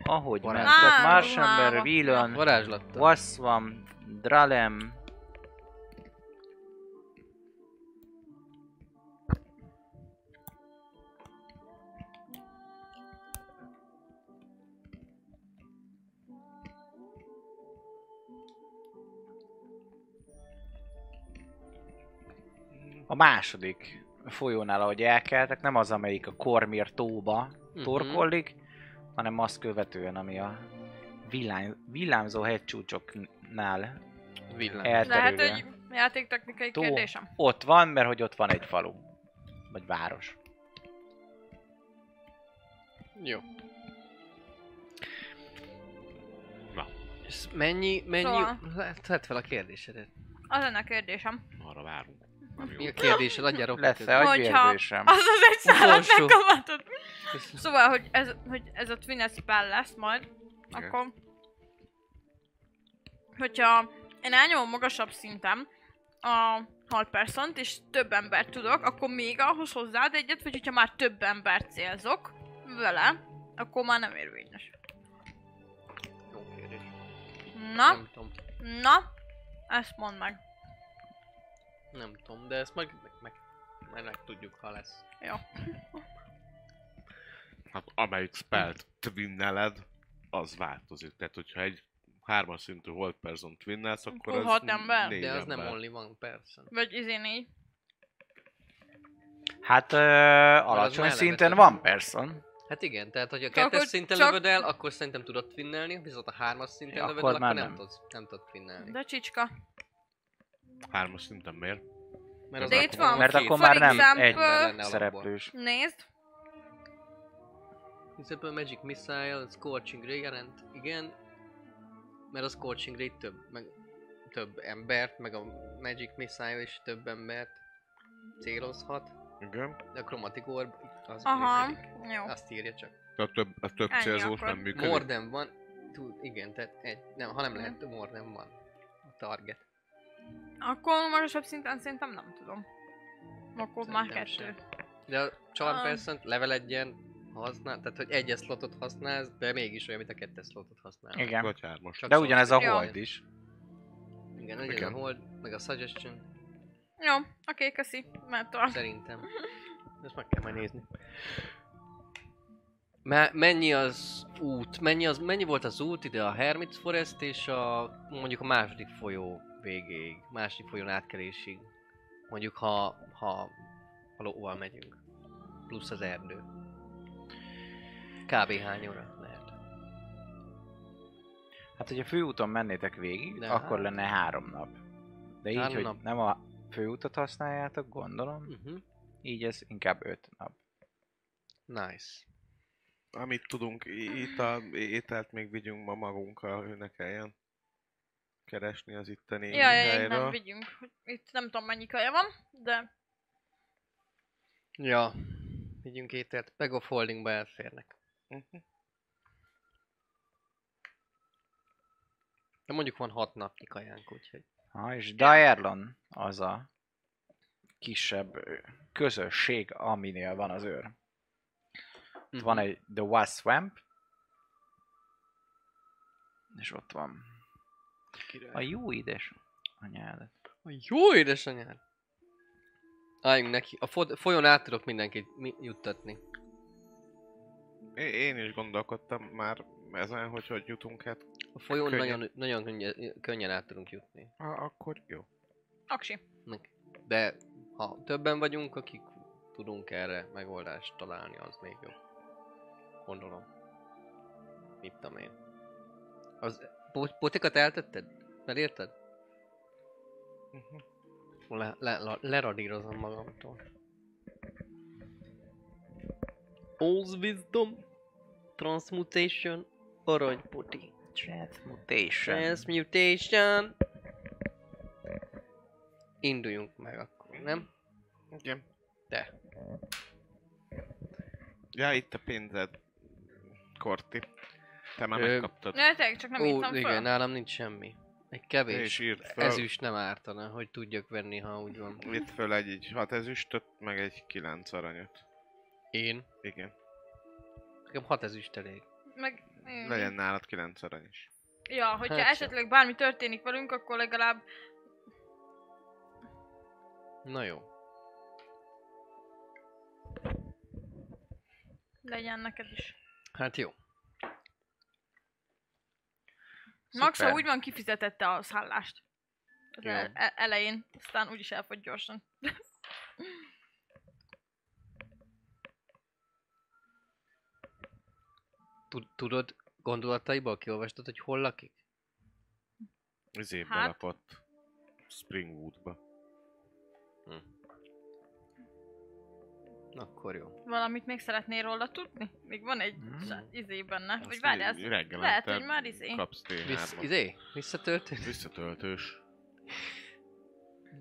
S2: ahogy ment
S3: Varázs-
S2: ott
S4: Á,
S2: Marsember,
S4: ruhába.
S2: Villan,
S3: Varázslattal.
S2: Vasszvam, Dralem, A második folyónál, ahogy elkeltek, nem az, amelyik a Kormir tóba
S3: Mhm.
S2: torkollik, hanem azt követően, ami a villám, villámzó hegycsúcsoknál
S3: Villám.
S2: elterülve.
S4: lehet, hogy játéktechnikai
S2: Tó.
S4: kérdésem.
S2: Ott van, mert hogy ott van egy falu. Vagy város.
S3: Jó.
S5: Na.
S3: És mennyi, mennyi...
S4: Szóval.
S3: Szóval. Tedd fel a kérdésedet.
S4: Az lenne a kérdésem.
S5: Arra várunk. Nem jó.
S3: Mi a kérdésed? Adjál roppant
S2: Lesz-e
S4: Hogyha-
S2: agyvérzésem?
S4: Az az egy szállat hát
S3: Utolsó.
S4: megkamatod.
S3: között.
S4: Szóval, hogy ez, hogy ez a Twin Spell lesz majd, akkor... Hogyha én elnyomom magasabb szinten a halperszont és több embert tudok, akkor még ahhoz hozzád egyet, vagy hogyha már több embert célzok vele, akkor már nem érvényes.
S3: Jó kérdés.
S4: Na,
S3: Nem tudom.
S4: na, ezt mondd meg.
S3: Nem tudom, de ezt meg, meg, meg, meg, meg tudjuk, ha lesz.
S5: Hát amelyik spelt twinneled, az változik. Tehát, hogyha egy hármas szintű Hold Person twinnelsz, akkor
S4: Akkor
S5: az
S4: hat ember?
S5: négy
S3: De az Hát, nem
S5: ember.
S3: only one person.
S4: Vagy izé izén így.
S2: Hát ö, alacsony
S3: már
S2: szinten
S3: levetett.
S2: van person.
S3: Hát igen, tehát hogy a
S4: Csak
S3: kettes
S4: hogy
S3: szinten
S4: csak-
S3: lövöd el, akkor szerintem tudod finnelni, viszont a hármas szinten
S2: Ja,
S3: lövöd
S2: akkor
S3: el,
S2: már
S3: akkor nem,
S2: nem.
S3: tudsz, nem tudod finnelni.
S4: De csicska.
S5: Hármas szinten miért?
S3: Mert
S5: De itt van.
S2: Mert
S5: Oké.
S2: akkor
S4: For
S2: már nem
S4: example-
S2: egy
S3: Lenne alapból.
S2: szereplős.
S4: Nézd.
S3: Example Magic Missile, Scorching Ray jelent, igen. Mert a Scorching Ray több, meg több embert, meg a Magic Missile is több embert célozhat,
S5: Igen.
S3: de a Chromatic Orb az
S4: Aha,
S3: működik.
S4: jó.
S3: Azt írja csak.
S5: Tehát több, a több
S4: Ennyi
S5: célzós
S4: akkor.
S5: nem működik.
S3: Morden van, tud, igen, tehát egy, nem, ha nem lehet, Morden van a target.
S4: Akkor magasabb szinten szerintem nem tudom. Akkor már
S3: Szerintem
S4: kettő.
S3: sem. De a Charm
S4: Ah.
S3: Person level egyen használ, tehát hogy egyes slotot használsz, de mégis olyan, mint a kettes slotot használ.
S2: Igen.
S5: Vagy hármas.
S3: Csak
S2: De
S3: szó-
S2: ugyanez a
S4: Ja.
S2: hold is.
S3: Igen, ugyanez a
S5: Igen.
S3: hold, meg a suggestion,
S4: Jó, oké, köszi. Mert tovább.
S3: Szerintem. Ezt meg kell majd nézni. Me- mennyi az út? Mennyi, az, mennyi volt az út ide a Hermit Forest és a mondjuk a második folyó végéig, második folyón átkelésig? Mondjuk ha, ha a lóval megyünk. Plusz az erdő. Kb. hány óra lehet?
S2: Hát, hogyha főúton mennétek végig,
S3: De
S2: akkor
S3: hát-
S2: lenne három nap. De így,
S3: Három
S2: hogy
S3: nap.
S2: nem a főutat használjátok, gondolom,
S3: Uh-huh.
S2: így ez inkább öt nap.
S3: Nice.
S5: Amit tudunk, í- itt a ételt még vigyünk ma magunkkal, hogy ne kelljen keresni az itteni
S4: Ja, ja,
S5: helyről.
S4: innen vigyünk. Itt nem tudom mennyi kaja van, de
S3: Ja. Vigyünk ételt. Bag of holdingba elférnek.
S5: Mhm.
S3: De mondjuk van hat napnyi kajánk, úgyhogy.
S2: Ha, és Dyerlon az a kisebb ö, közösség, aminél van az őr. Ott van egy The West Swamp, és ott van a jó édes anyádat.
S3: A jó édesanyád! Álljunk neki. A fo- folyón át tudok mindenkit mi- juttatni.
S5: É- Én is gondolkodtam már ezen, hogy hogy jutunk hát.
S3: A folyón
S5: Könnyen.
S3: nagyon, nagyon könnyen, könnyen át tudunk jutni.
S5: Ha, akkor jó.
S4: aksi.
S3: Meg- De ha többen vagyunk, akik tudunk erre megoldást találni, az még jobb. Gondolom. Mit tudom én. Az bo- botikat eltetted? Felírtad?
S5: Mhm.
S3: Le, le, le, leradírozom magamtól. All's wisdom, transmutation, aranypoti.
S2: Transmutation.
S3: Transmutation. Induljunk meg akkor, nem?
S5: Igen.
S3: De.
S5: Ja, itt a pénzed, Korti. Te már
S3: Ö,
S5: megkaptad.
S4: Ja, tényleg csak nem
S3: Ó,
S4: írtam
S3: igen,
S4: föl.
S3: nálam nincs semmi. Egy
S5: Ő is
S3: kevés
S5: írt föl,
S3: ezüst nem ártana, hogy tudjak venni, ha úgy van.
S5: írt föl egy, egy hat ezüstöt, meg egy kilenc aranyat.
S3: Én?
S5: Igen,
S3: Nekem hat ezüst elég.
S4: Meg... mm.
S5: legyen nálad kilenc arany is.
S4: Ja, hogyha
S3: Hát jó.
S4: esetleg bármi történik velünk, akkor legalább...
S3: Na jó.
S4: Legyen neked is.
S3: Hát jó.
S4: Maxa
S2: Szuper.
S4: úgy van kifizetette a szállást. Az
S5: Jó.
S4: el- e- elején, aztán úgyis elfogy gyorsan.
S3: Tud- Tudod, gondolataiból kiolvastad, hogy hol lakik?
S5: Izébe
S4: Hát.
S5: hát. lakott. Springwoodba.
S3: Akkor jó.
S4: Valamit még szeretnél róla tudni? Még van egy
S2: Mhm.
S4: sa- izé benne. Vagy
S5: Hmm. Azt
S4: várjál,
S5: így
S4: ezt-
S5: reggelente
S4: lehet, hogy már izé.
S5: Kapsz
S3: Visz,
S5: T3-at.
S3: izé, visszatört?
S5: Visszatöltős.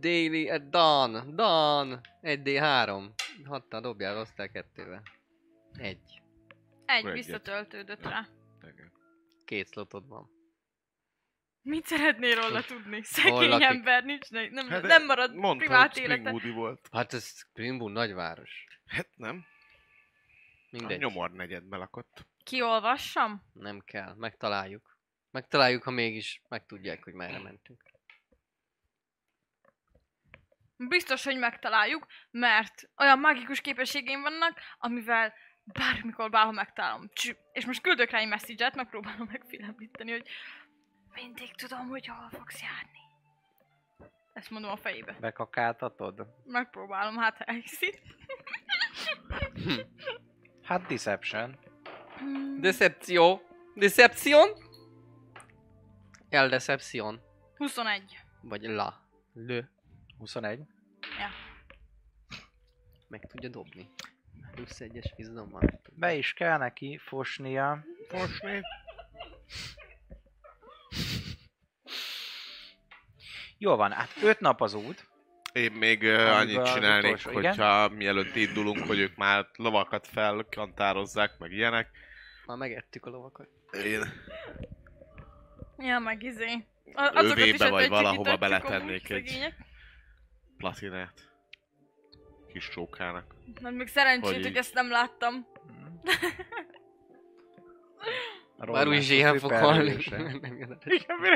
S3: Daily, eh, Dan, Dan, 1D3. Hatta dobjál, osztál kettővel. Egy.
S4: Egy
S5: egyet.
S4: visszatöltődött rá.
S5: Igen.
S3: Két slotod van.
S4: Mit szeretnél róla tudni? Szegény
S3: lakik?
S4: ember, nincs, ne- nem,
S5: Hát,
S4: nem marad
S5: Mondta,
S4: privát
S5: hogy
S4: élete.
S5: Springwoodi volt.
S3: Hát ez Springboon nagyváros.
S5: Hát nem.
S3: Mindegy.
S5: A nyomor negyedbe lakott.
S4: Kiolvassam?
S3: Nem kell, megtaláljuk. Megtaláljuk, ha mégis megtudják, hogy merre mentünk.
S4: Biztos, hogy megtaláljuk, mert olyan mágikus képességeim vannak, amivel bármikor bárhol megtalálom. Csü. És most küldök rá egy message-et, megpróbálom megfélemlíteni, hogy mindig tudom, hogy hol fogsz járni. Ezt mondom a fejébe.
S2: Bekakáltatod?
S4: Megpróbálom, hát ha elhiszi.
S2: Hát Deception.
S4: Hmm,
S3: Decepció. Decepción? El decepción.
S4: 21.
S3: Vagy la. Lő.
S2: 21.
S3: Meg tudja dobni. Plusz egyes vízdom van.
S2: Be is kell neki fosnia.
S5: Fosni.
S2: Jól van, hát öt nap az út.
S5: Én még ö,
S2: Amiben
S5: annyit
S2: az
S5: csinálnék,
S2: utolsó, igen.
S5: hogyha mielőtt indulunk, hogy ők már lovakat felkantározzák, meg ilyenek.
S3: Már megettük a lovakat.
S5: Én
S4: Ja, meg izé. A- azokat
S5: Övébe
S4: is
S5: vagy
S4: ötletjük,
S5: valahova
S4: itatjuk
S5: beletennék
S4: amúgy,
S5: egy-
S4: szegények.
S5: platinát. Kis csókának.
S4: Na, még szerencsét,
S5: Hogy
S4: hogy,
S5: így.
S4: ezt nem láttam.
S3: Már úgy is ilyen fog halni. Nem jön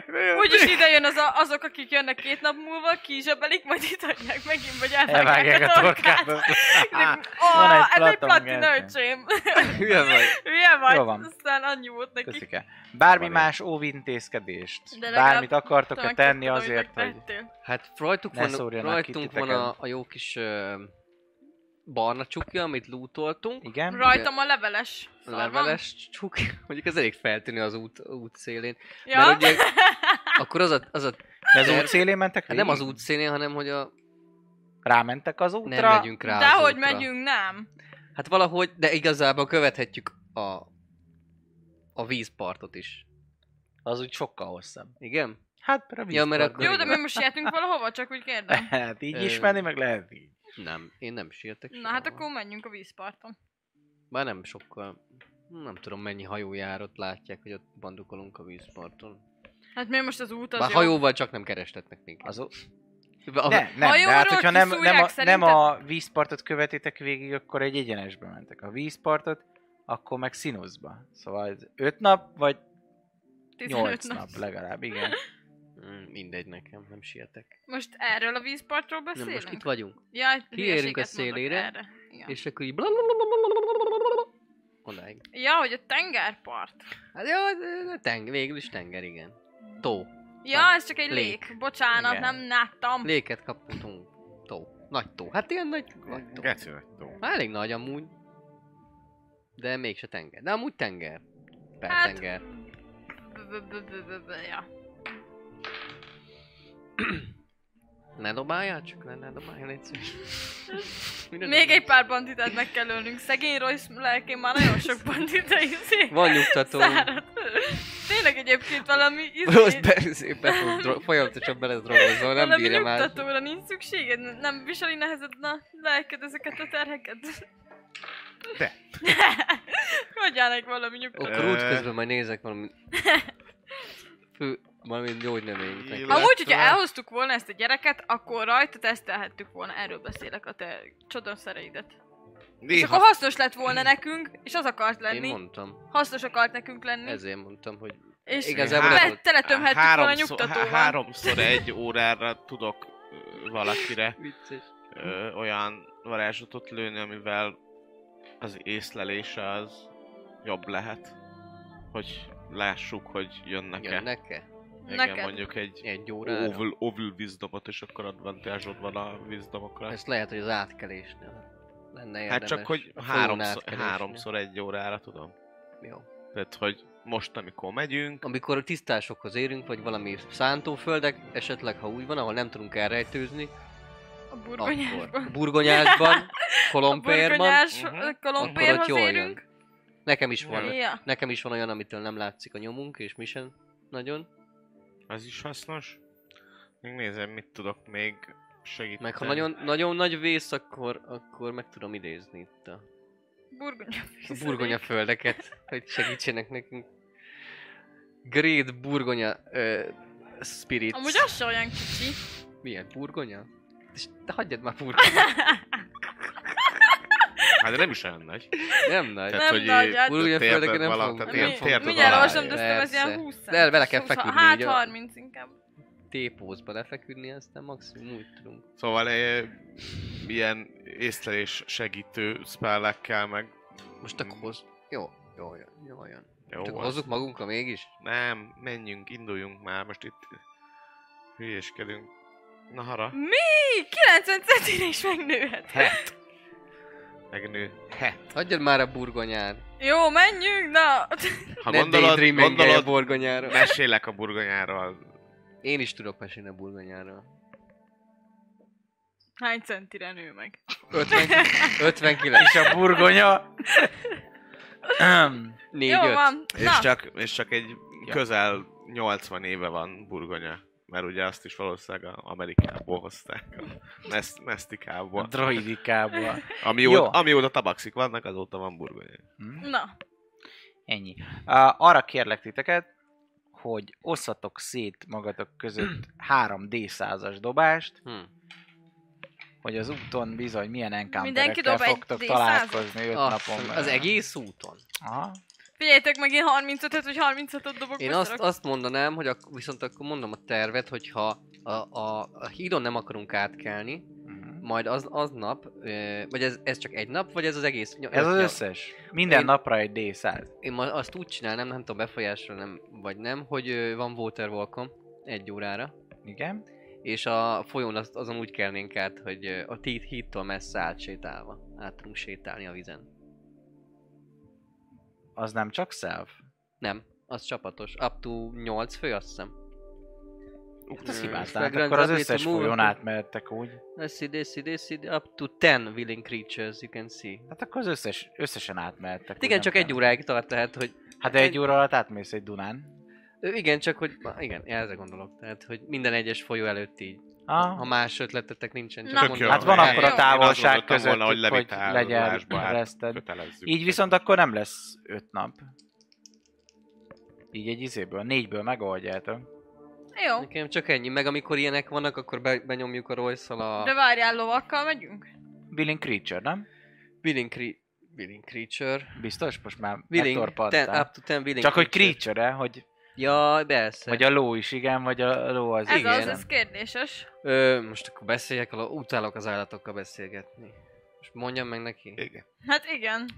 S3: el.
S4: Úgyis ide jön az a, azok, akik jönnek két nap múlva, kizsebelik, majd itt adják megint, vagy elvágják a torkát. De- Ó,
S2: Van egy
S4: ez
S2: platon
S4: egy platina
S2: gerte.
S4: öcsém.
S3: Hülye vagy.
S4: Hülye
S2: Jó
S4: vagy,
S2: van.
S4: aztán annyi volt neki.
S2: Teszike. Bármi
S5: Van
S2: más óvintézkedést,
S4: De legalább
S2: bármit akartok-e
S4: Tudom,
S2: tenni
S4: tudom,
S2: azért, hogy...
S4: megtettél.
S3: Hát rajtuk
S2: Ne
S3: van,
S2: szórjanak
S3: rajtunk
S2: ki
S3: van
S2: titeken.
S3: a, a jó kis ö, barna csukja, amit lootoltunk.
S2: Igen?
S4: Rajtam a leveles. Szar van.
S3: leveles csukja. Mondjuk ez elég feltűnő az út, út szélén.
S4: Ja?
S3: Mert ugye, akkor az a, az a
S2: De az út szélén mentek
S3: hát nem az
S2: végig?
S3: út szélén, hanem hogy a,
S2: Rámentek az útra?
S3: nem megyünk rá az
S4: Dehogy
S3: útra.
S4: megyünk, nem.
S3: Hát valahogy, de igazából követhetjük a, a vízpartot is.
S2: Az úgy sokkal hosszabb.
S3: Igen?
S2: Hát, rövid.
S3: Ja, mert
S2: volt,
S3: akkor-
S4: Jó, de
S2: igen.
S4: mi most játünk valahova, csak úgy kérdem.
S2: Hát így
S3: Ö,
S2: is menni, meg lehet így.
S3: Nem, én nem sietek.
S4: Na hát
S3: sehova.
S4: akkor menjünk a vízparton.
S3: Bár nem sokkal... Nem tudom mennyi hajójárat látják, hogy ott bandukolunk a vízparton.
S4: Hát miért most az út az
S3: Bár
S4: jó?
S3: hajóval csak nem kerestetnek minket.
S2: Az, ú-
S3: Bár-
S2: Ne, nem, de
S4: hajóról
S2: hát hogyha nem, nem, a,
S4: kiszúrják
S2: nem a vízpartot követitek végig, akkor egy egyenesbe mentek. A vízpartot, akkor meg színuszba. Szóval ez öt nap, vagy
S4: 15
S2: nyolc nap. nap legalább, igen.
S3: Mm, Mindegy nekem, nem sietek.
S4: Most erről a vízpartról
S3: Nem,
S4: beszélünk?
S3: most itt vagyunk.
S4: Ja, itt
S3: Kiérünk
S4: hülyeséget
S3: a
S4: mondok
S3: szélére.
S4: erre. Ja.
S3: És akkor így... blablablablablablablablabla. Odáig.
S4: ja, hogy a tengerpart.
S3: Hát jó, de- de teng, végül is tenger, igen. Tó.
S4: Ja,
S3: Na,
S4: ez csak egy lék.
S3: lék.
S4: Bocsánat,
S2: Igen.
S4: nem láttam.
S3: Léket kaptunk. tó. Tó. Nagy tó. Hát ilyen nagy, nagy tó.
S5: Geci nagy tó.
S3: Hát elég nagy amúgy. De mégse tenger. De amúgy tenger. Per
S4: Hát-
S3: tenger.
S4: B-b-b-b-b-b, Ja.
S3: Ne dobáljál, csak ne, ne dobáljál légy szíves. Minden
S4: Még
S3: dobál.
S4: egy pár banditát meg kell ölnünk. Szegény Royce lelkén már nagyon sok bandita izé.
S3: Van nyugtató.
S4: Szárad. Tényleg egyébként valami izé,
S3: Most be, szépen fog dro- folyamatosan beledrogozol, nem
S4: valami
S3: bírja már.
S4: nyugtatóra nincs szükséged. Nem viseli nehezed a lelked ezeket a terheket.
S5: De.
S4: Hogy állnak valami nyugtató?
S3: Akkor út
S5: Ö.
S3: közben majd nézek valami... Fő, valami gyógynövényt. neki.
S5: Illetve-
S4: Amúgy, hogyha elhoztuk volna ezt a gyereket, akkor rajta tesztelhettük volna, erről beszélek a te csodaszereidet. És akkor
S5: Néha
S4: hasznos lett volna nekünk, és az akart
S3: Én
S4: lenni.
S3: mondtam.
S4: Hasznos akart nekünk lenni.
S3: Ezért mondtam, hogy
S4: és
S3: igazából
S4: be-
S3: ez volt.
S4: teletömhettük volna
S5: háromszor, há-
S4: nyugtatóval.
S5: háromszor egy órára tudok ö, valakire
S3: vicces.
S5: ö, olyan varázslatot lőni, amivel az észlelése az jobb lehet. Hogy lássuk, hogy jönnek-e.
S3: Jönnek-e?
S5: Igen,
S4: Neked.
S5: mondjuk egy
S3: Egy órára?
S5: ovul, ovul vízdomot, és akkor advantage van a vízdomokra.
S3: Ezt lehet, hogy az átkelésnél lenne érdemes.
S5: hát csak, hogy
S3: A falon
S5: háromszor,
S3: átkelésnél.
S5: háromszor egy órára tudom.
S3: Jó.
S5: Tehát, hogy most, amikor megyünk,
S3: Amikor a tisztásokhoz érünk, vagy valami szántóföldek, esetleg ha úgy van, ahol nem tudunk elrejtőzni,
S4: A
S3: akkor
S4: burgonyásban.
S3: burgonyásban,
S4: A
S3: kolompérban,
S4: burgonyás
S5: Mhm.
S4: ö,
S3: akkor ott
S4: kolompérhoz
S3: jól
S4: érünk.
S3: jön. Nekem is van.
S4: Ja.
S3: Nekem is van olyan, amitől nem látszik a nyomunk, és mi sem nagyon.
S5: az is hasznos. Még nézem, mit tudok még segíteni.
S3: Meg ha nagyon, nagyon nagy vész, akkor, akkor meg tudom idézni itt a,
S4: Burgonya.
S3: a burgonya földeket, hogy segítsenek nekünk. Great burgonya ö, spirits.
S4: Amúgy az se olyan kicsi.
S3: Milyen burgonya? És te hagyjad már burgonya.
S5: Hát de nem is olyan nagy.
S3: Nem nagy.
S5: Tehát,
S4: Nem
S5: hogy
S4: nagy,
S5: így
S4: hát-
S3: Burgonya
S5: térted
S3: földeken nem
S5: vala-
S3: fogunk.
S5: tehát
S3: Nem
S5: ilyen
S3: fogunk.
S5: térted
S4: Mindjárt
S5: alá.
S4: olvasom, de azt hiszem, ez ilyen
S3: Persze.
S4: 20
S3: De bele kell
S4: 20,
S3: feküdni,
S4: Hát
S3: ugye?
S4: 30 inkább.
S3: T-pózba lefeküdni, aztán maximum úgy tudunk.
S5: Szóval eh, ilyen észlelés segítő spellekkel meg...
S3: Most akkor hoz... Mm. Jó, jó, jó, jó, jó.
S5: Jó,
S3: Csak
S5: az-
S3: hozzuk magunkra mégis?
S5: Nem, menjünk, induljunk már, most itt hülyéskedünk. Na hara,
S4: Mi? 90 centire is megnőhet.
S5: het! Megnő, het!
S3: Hagyjad már a burgonyát.
S4: Jó, menjünk, na!
S5: Ha
S3: ne
S5: gondolod,
S3: daydreamingelj
S5: gondolod,
S3: a burgonyáról.
S5: mesélek a burgonyáról.
S3: Én is tudok mesélni a burgonyáról.
S4: Hány centire nő meg?
S3: 50,
S2: És
S3: 59.
S2: a burgonya...
S3: Négy,
S4: Jó
S3: öt.
S4: van,
S5: És
S4: na!
S5: csak, és csak egy közel 80 éve van burgonya. mert ugye azt is valószínűleg a- Amerikából hozták, a meszt, mesztikából.
S2: Droidikából. Jó.
S5: Amióta, amióta tabaxik vannak, azóta van burgonya.
S2: Hm?
S4: Na,
S2: Ennyi. Uh, arra kérlek titeket, hogy osszatok szét magatok között 3 D100-as dobást,
S3: Hm.
S2: hogy az úton bizony milyen
S4: Mindenki
S2: encounterekkel
S4: dob egy
S2: fogtok
S4: D100-at?
S2: találkozni 5
S3: Azt,
S2: napon belül.
S3: Ah, az egész úton.
S2: Aha.
S4: figyeljétek meg, én 35-öt vagy 36-ot dobok.
S3: Én azt,
S4: beszarok.
S3: azt mondanám, hogy ak- viszont akkor mondom a tervet, hogyha a, a, a hídon nem akarunk átkelni,
S2: Mhm.
S3: majd az, az nap, ö, vagy ez, ez csak egy nap, vagy ez az egész? ny-
S2: Ez
S3: öt
S2: az
S3: nap?
S2: összes. Minden
S3: Én-
S2: napra egy D100.
S3: Én ma azt úgy csinálnám, nem tudom befolyásra nem, vagy nem, hogy ö, van waterwalkom egy órára,
S2: Igen.
S3: és a folyón azt, azon úgy kelnénk át, hogy ö, a tít hídtól messze átsétálva, át tudunk sétálni a vizen.
S2: Az nem csak self?
S3: Nem, az csapatos. Up to 8 fő, azt hiszem.
S2: Hát az
S3: Ö,
S2: hibát
S3: Fragrance
S2: Akkor az
S3: Ability
S2: összes
S3: Move,
S2: folyón
S3: akkor-
S2: átmehettek úgy.
S3: Let's see, this, see, this, see, up to 10 willing creatures you can see.
S2: Hát akkor az összes, összesen átmehettek.
S3: Hát
S2: úgy,
S3: igen,
S2: nem
S3: csak
S2: kell.
S3: egy óráig tart, tehát, hogy
S2: Hát de egy óra alatt átmész egy Dunán.
S3: Ö, igen, csak hogy, Á, igen, ezzel gondolok, tehát, hogy minden egyes folyó előtt így,
S2: Ah.
S3: ha más ötletetek nincsen, csak
S4: Na.
S3: mondom.
S5: jó.
S2: Hát van
S5: Én-
S2: akkor a
S5: én azt
S2: távolság
S5: gondoltam
S2: között,
S5: volna,
S2: hogy, hogy
S5: levitálozásba
S2: legyen
S5: hát
S2: reszted.
S5: kötelezzük.
S2: Így viszont akkor nem lesz öt nap. Így egy izéből, négyből megoldjátok.
S4: Jó,
S3: Nekem csak ennyi, meg amikor ilyenek vannak, akkor be, benyomjuk a royce a
S4: de várjál, lovakkal megyünk?
S2: Willing Creature, nem?
S3: willing, cre- willing creature.
S2: Biztos? Most már
S3: Willing, ten,
S2: megtorpadtál.
S3: up to ten willing
S2: Csak hogy
S3: creature.
S2: creature hogy
S3: Ja, persze.
S2: vagy a ló is, igen, vagy a ló az
S4: Ez
S2: igen.
S4: az, ez kérdéses.
S3: Ö, most akkor beszéljek, alá, utálok az állatokkal beszélgetni. Most mondjam meg neki.
S5: Igen.
S4: Hát igen.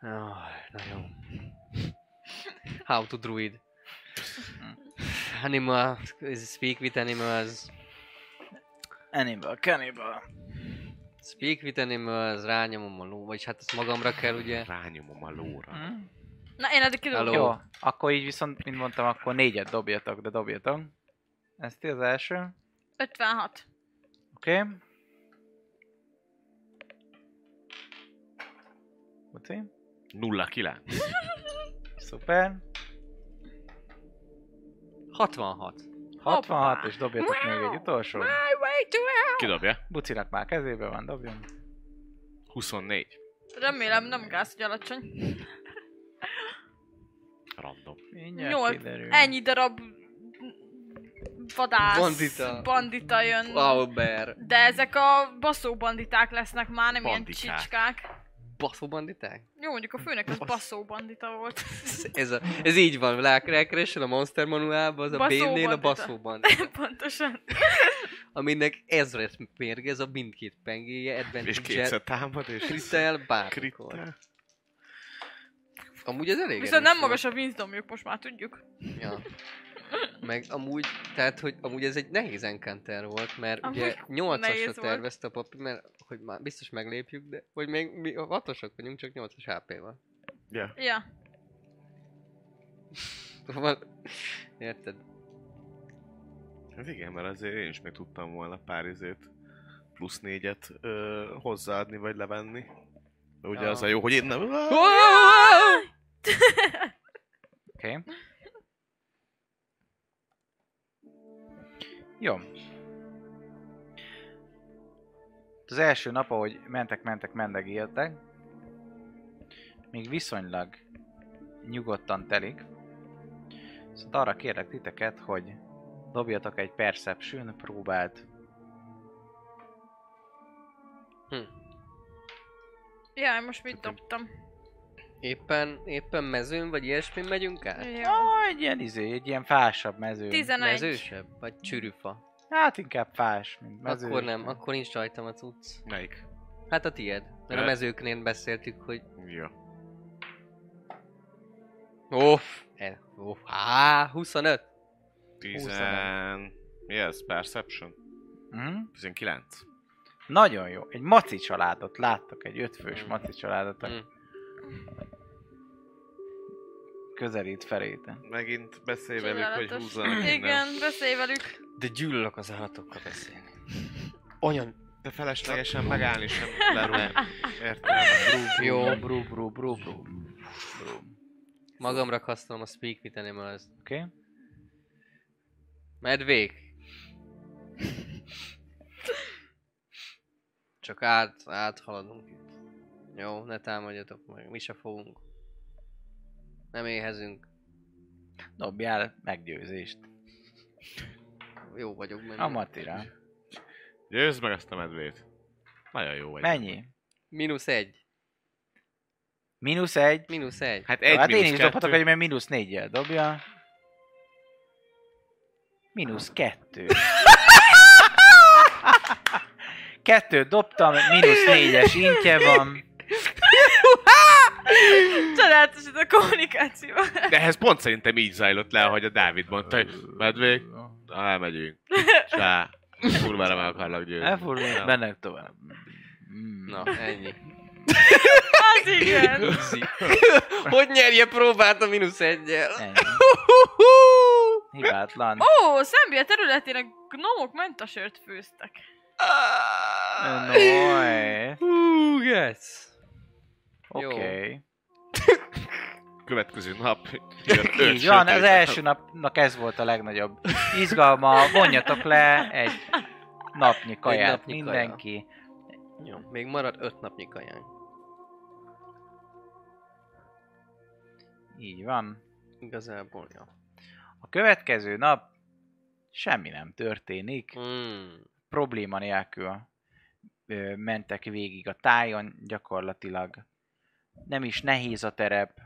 S3: Jaj, na jó. How to druid. Animal, speak with animals.
S2: Animal, cannibal.
S3: Speak with animals, rányomom a ló, vagyis hát ezt magamra kell, ugye?
S5: Rányomom a lóra.
S2: Hm?
S4: Na, én eddig kidobom.
S3: Hello.
S2: Jó, akkor így viszont, mint mondtam, akkor négyet dobjatok, de dobjatok. Ez ti az első.
S4: 56.
S2: Oké. Okay. Buci.
S5: 0-9.
S2: Szuper.
S3: 66.
S2: 66, és dobjatok még egy utolsó.
S4: My way to hell!
S5: Kidobja.
S2: Bucinak már kezébe van, dobjon.
S5: 24.
S4: Remélem nem gáz, hogy alacsony.
S5: Random.
S2: Mindjárt
S4: Nyolc.
S2: kiderül.
S4: Ennyi darab vadász,
S3: Bandita.
S4: bandita jön.
S3: Wow, bear.
S4: De ezek a baszó banditák lesznek már, nem ilyen
S5: Bandikák.
S4: csicskák.
S3: Baszó banditák?
S4: Jó, mondjuk a főnök az baszó bandita volt.
S3: Ez, ez, a, ez így van, lá- rákeresel a Monster manuálba, az a
S4: Baszó
S3: bénnél
S4: bandita.
S3: a baszó bandita.
S4: Pontosan.
S3: Aminek ezret mérge, ez a mindkét pengéje,
S5: És
S3: advantage
S5: kétszer
S3: jet,
S5: támad, és
S3: kritel, bármikor.
S5: Kritel.
S3: Amúgy ez elég
S4: Viszont nem
S3: erős
S4: magas a vízdomjuk, most már tudjuk.
S3: volt. Ja. Meg amúgy, tehát, hogy amúgy ez egy nehéz encounter volt, mert
S4: Amúgy
S3: ugye 8-asra
S4: nehéz volt.
S3: tervezte a papi, mert hogy már biztos meglépjük, de hogy még mi a 6-osok vagyunk, csak 8-as HP-val.
S5: Ja.
S4: Ja.
S3: Van... Szóval, Érted?
S5: Hát igen, mert azért én is meg tudtam volna pár izét plusz négyet ö, hozzáadni, vagy levenni. De Ugye
S3: Ja.
S5: az a jó, hogy én nem...
S2: Oké. Okay. Jó. Az első nap, ahogy mentek, mentek, mendegéltek, még viszonylag nyugodtan telik. Szóval arra kérlek titeket, hogy dobjatok egy Perception próbált.
S4: Ja, én most mit dobtam?
S3: Éppen, éppen mezőn vagy ilyesmin megyünk át?
S4: Ja.
S2: Ah, egy ilyen izé, egy ilyen fásabb mező.
S4: 11.
S3: Mezősebb? Vagy csűrűfa?
S2: Hát inkább fás, mint mező.
S3: Akkor nem, akkor nincs rajtam a cucc.
S5: Melyik?
S3: Hát a tied. Mert a
S5: Hát.
S3: mezőknél beszéltük, hogy...
S5: Ja.
S3: Off! El, off. E, Á, 25!
S5: Tizen... Mi ez? Perception?
S2: Mhm.
S5: 19.
S2: Nagyon jó. Egy maci családot láttok, egy ötfős
S3: Mm.
S2: maci családot, aki
S3: Mm.
S2: közelít felétek.
S5: Megint beszélj velük, hogy
S4: Csodálatos.
S5: húzzanak innen.
S4: Igen, beszélj velük.
S3: De gyűlölök az állatokkal beszélni. Olyan...
S5: De feleslegesen megállni sem lerúgni. Értem.
S3: Jó.
S2: Brú, brú, brú, brú. brú.
S3: Magamra kasztolom a speak with animals.
S2: Oké. Okay.
S3: Medvék! Csak át, áthaladunk itt. Jó, ne támadjatok meg, mi se fogunk. Nem éhezünk.
S2: Dobjál meggyőzést.
S3: Jó vagyok benne.
S2: A Matira.
S5: Győzd meg azt a medvét. Nagyon jó vagy.
S2: Mennyi?
S3: Mínusz egy.
S2: Mínusz egy.
S3: Mínusz egy.
S5: Hát
S2: Egy
S5: egy
S2: hát én
S5: mínusz
S2: is dobhatok,
S5: kettő.
S2: hogy mert mínusz négyel dobja. Mínusz kettő. Kettőt dobtam, mínusz négyes intje van.
S4: Csodálatos ez a kommunikáció.
S5: De ez pont szerintem így zajlott le, ahogy a Dávid mondta, hogy medvék, na, elmegyünk. Csá, kurvára meg akarlak győzni.
S2: Elfordulunk, mennek tovább. Mm.
S3: Na, ennyi.
S4: Az igen.
S3: Upsi. Hogy nyerje próbát a mínusz egyel?
S2: Ennyi. Hibátlan.
S4: Ó, Szembia területének gnomok mentasört főztek.
S2: Noé.
S3: Hú, yes.
S2: Oké.
S3: Jó.
S2: Okay.
S5: Következő nap jön öt
S2: Így van, az
S5: sötét.
S2: első napnak ez volt a legnagyobb izgalma. Vonjatok le egy napnyi kaját
S3: napnyi kaja.
S2: mindenki.
S3: Jó, még marad öt napnyi kajánk.
S2: Így van.
S3: Igazából, ja.
S2: A következő nap semmi nem történik.
S3: Mm.
S2: Probléma nélkül ö, mentek végig a tájon gyakorlatilag. Nem is nehéz a terep,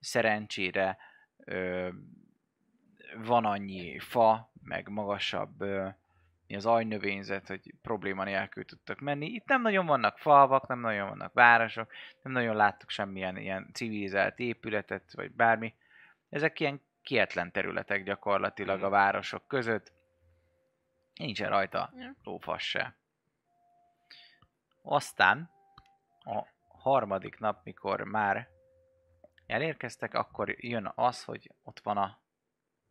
S2: szerencsére ö, van annyi fa, meg magasabb ö, az ajnövényzet, hogy probléma nélkül tudtak menni. Itt nem nagyon vannak falvak, nem nagyon vannak városok, nem nagyon láttuk semmilyen ilyen civilizált épületet, vagy bármi. Ezek ilyen kietlen területek gyakorlatilag a városok között. Nincsen rajta
S4: Ja.
S2: lófas se. Aztán a harmadik nap, mikor már elérkeztek, akkor jön az, hogy ott van a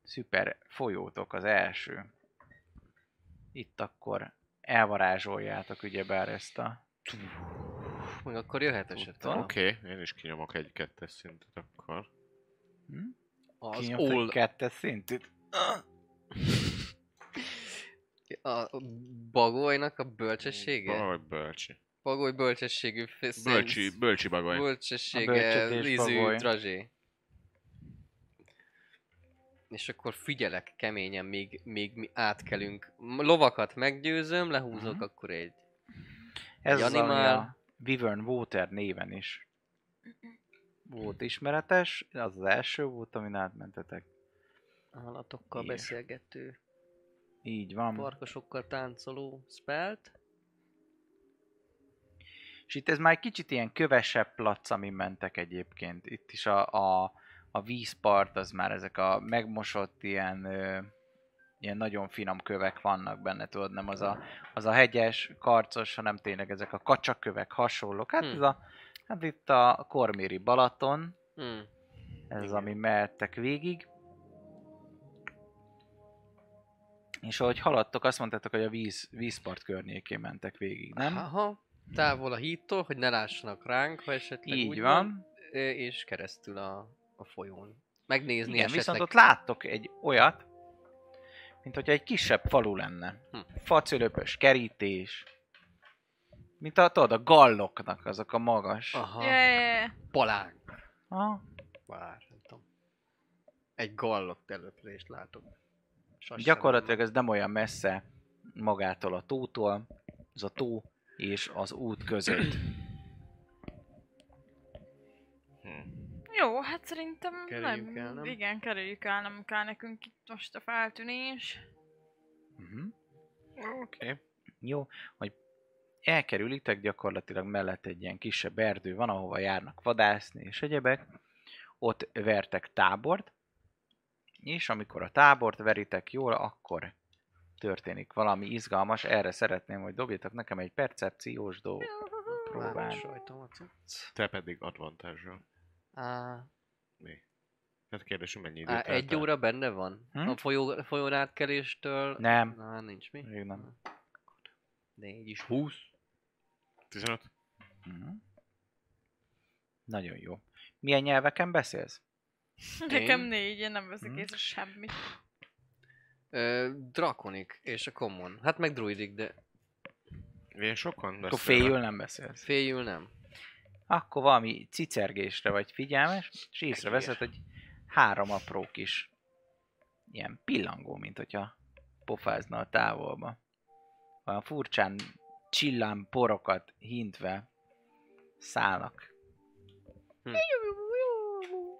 S2: szuper folyótok az első. Itt akkor elvarázsoljátok ugyebár ezt a...
S3: Meg akkor jöhet esetleg. a-
S5: Oké, okay, én is kinyomok egy kettes szintet akkor.
S2: Hm?
S3: Az
S2: Kinyomtak
S3: all...
S2: kettes szintűt.
S3: A bagolynak a bölcsessége?
S5: Valahogy bölcsi.
S3: Bagoly bölcsességű f- szint.
S5: Bölcsi, bölcsi bagoly.
S2: A
S3: Bölcsessége,
S2: bölcsödés
S3: ízű
S2: bagoly.
S3: drazsé. És akkor figyelek keményen, míg, míg mi átkelünk. M- Lovakat meggyőzöm, lehúzok
S2: Mhm.
S3: akkor egy.
S2: Ez az, ami
S3: Animal.
S2: a Wyvern Water néven is volt ismeretes. Az az első volt, amin átmentetek.
S3: Állatokkal
S2: És-
S3: beszélgető,
S2: Így van.
S3: farkasokkal táncoló spelt.
S2: És itt ez már egy kicsit ilyen kövesebb plac, amin mentek egyébként. Itt is a, a, a vízpart, az már ezek a megmosott ilyen, ö, ilyen nagyon finom kövek vannak benne, tudod, nem az a, az a hegyes, karcos, hanem tényleg ezek a kacsakövek hasonlók. Hát,
S3: Hmm.
S2: ez a, hát itt a Korméri Balaton,
S3: Hmm.
S2: ez az,
S3: Igen.
S2: ami mehettek végig. És ahogy haladtok, azt mondtátok, hogy a víz, vízpart környékén mentek végig, nem?
S3: Aha, távol a hídtól, hogy ne lássanak ránk, ha esetleg
S2: Így
S3: úgy
S2: van.
S3: ö, és keresztül a, a folyón. Megnézni
S2: Igen,
S3: esetleg.
S2: viszont ott láttok egy olyat, mint hogyha egy kisebb falu lenne.
S3: Hm.
S2: Hm. Facölöpös kerítés, mint a, tudod, a galloknak azok a magas.
S3: Aha, yeah.
S4: Yeah.
S3: palánk.
S2: Ha?
S3: Vár, nem tudom. Egy gallok települést látok. Sas
S2: Gyakorlatilag ez nem olyan messze magától a tótól, ez a tó és az út között.
S4: Jó, hát szerintem
S3: Kerüljük
S4: nem,
S3: el, nem?
S4: igen, kerüljük el, nem kell nekünk itt most a feltűnés.
S2: uh-huh.
S5: Oké. Okay.
S2: Jó, hogy elkerülitek, gyakorlatilag mellett egy ilyen kisebb erdő van, ahova járnak vadászni és egyebek. Ott vertek tábort, és amikor a tábort veritek jól, akkor történik valami izgalmas. Erre szeretném, hogy dobjatok nekem egy percepciós dolgot.
S3: nem
S2: Próbál.
S3: Várom sajtomat.
S5: Te pedig advantage
S3: Á,
S5: Tehát kérdésünk Hát mennyi időt
S3: á, egy
S5: eltelt?
S3: óra benne van?
S2: Hm?
S3: A folyó, folyón átkeléstől?
S2: Nem,
S3: Na, nincs mi?
S2: még nem.
S3: Négy is húsz.
S5: 15?
S2: Mhm. Nagyon jó. Milyen nyelveken beszélsz?
S4: Nekem
S3: Én?
S4: négy, én nem veszek
S2: Hm.
S4: észre semmit.
S3: Ö, drakonik és a common. Hát meg druidik, de
S5: Ilyen sokan
S2: Akkor
S5: beszélnek.
S2: féljül nem beszélsz.
S3: féljül nem.
S2: Akkor valami cicergésre vagy figyelmes, és észreveszed, hogy három apró kis ilyen pillangó, mint hogyha pofázna a távolba. Olyan furcsán csillám porokat hintve szállnak.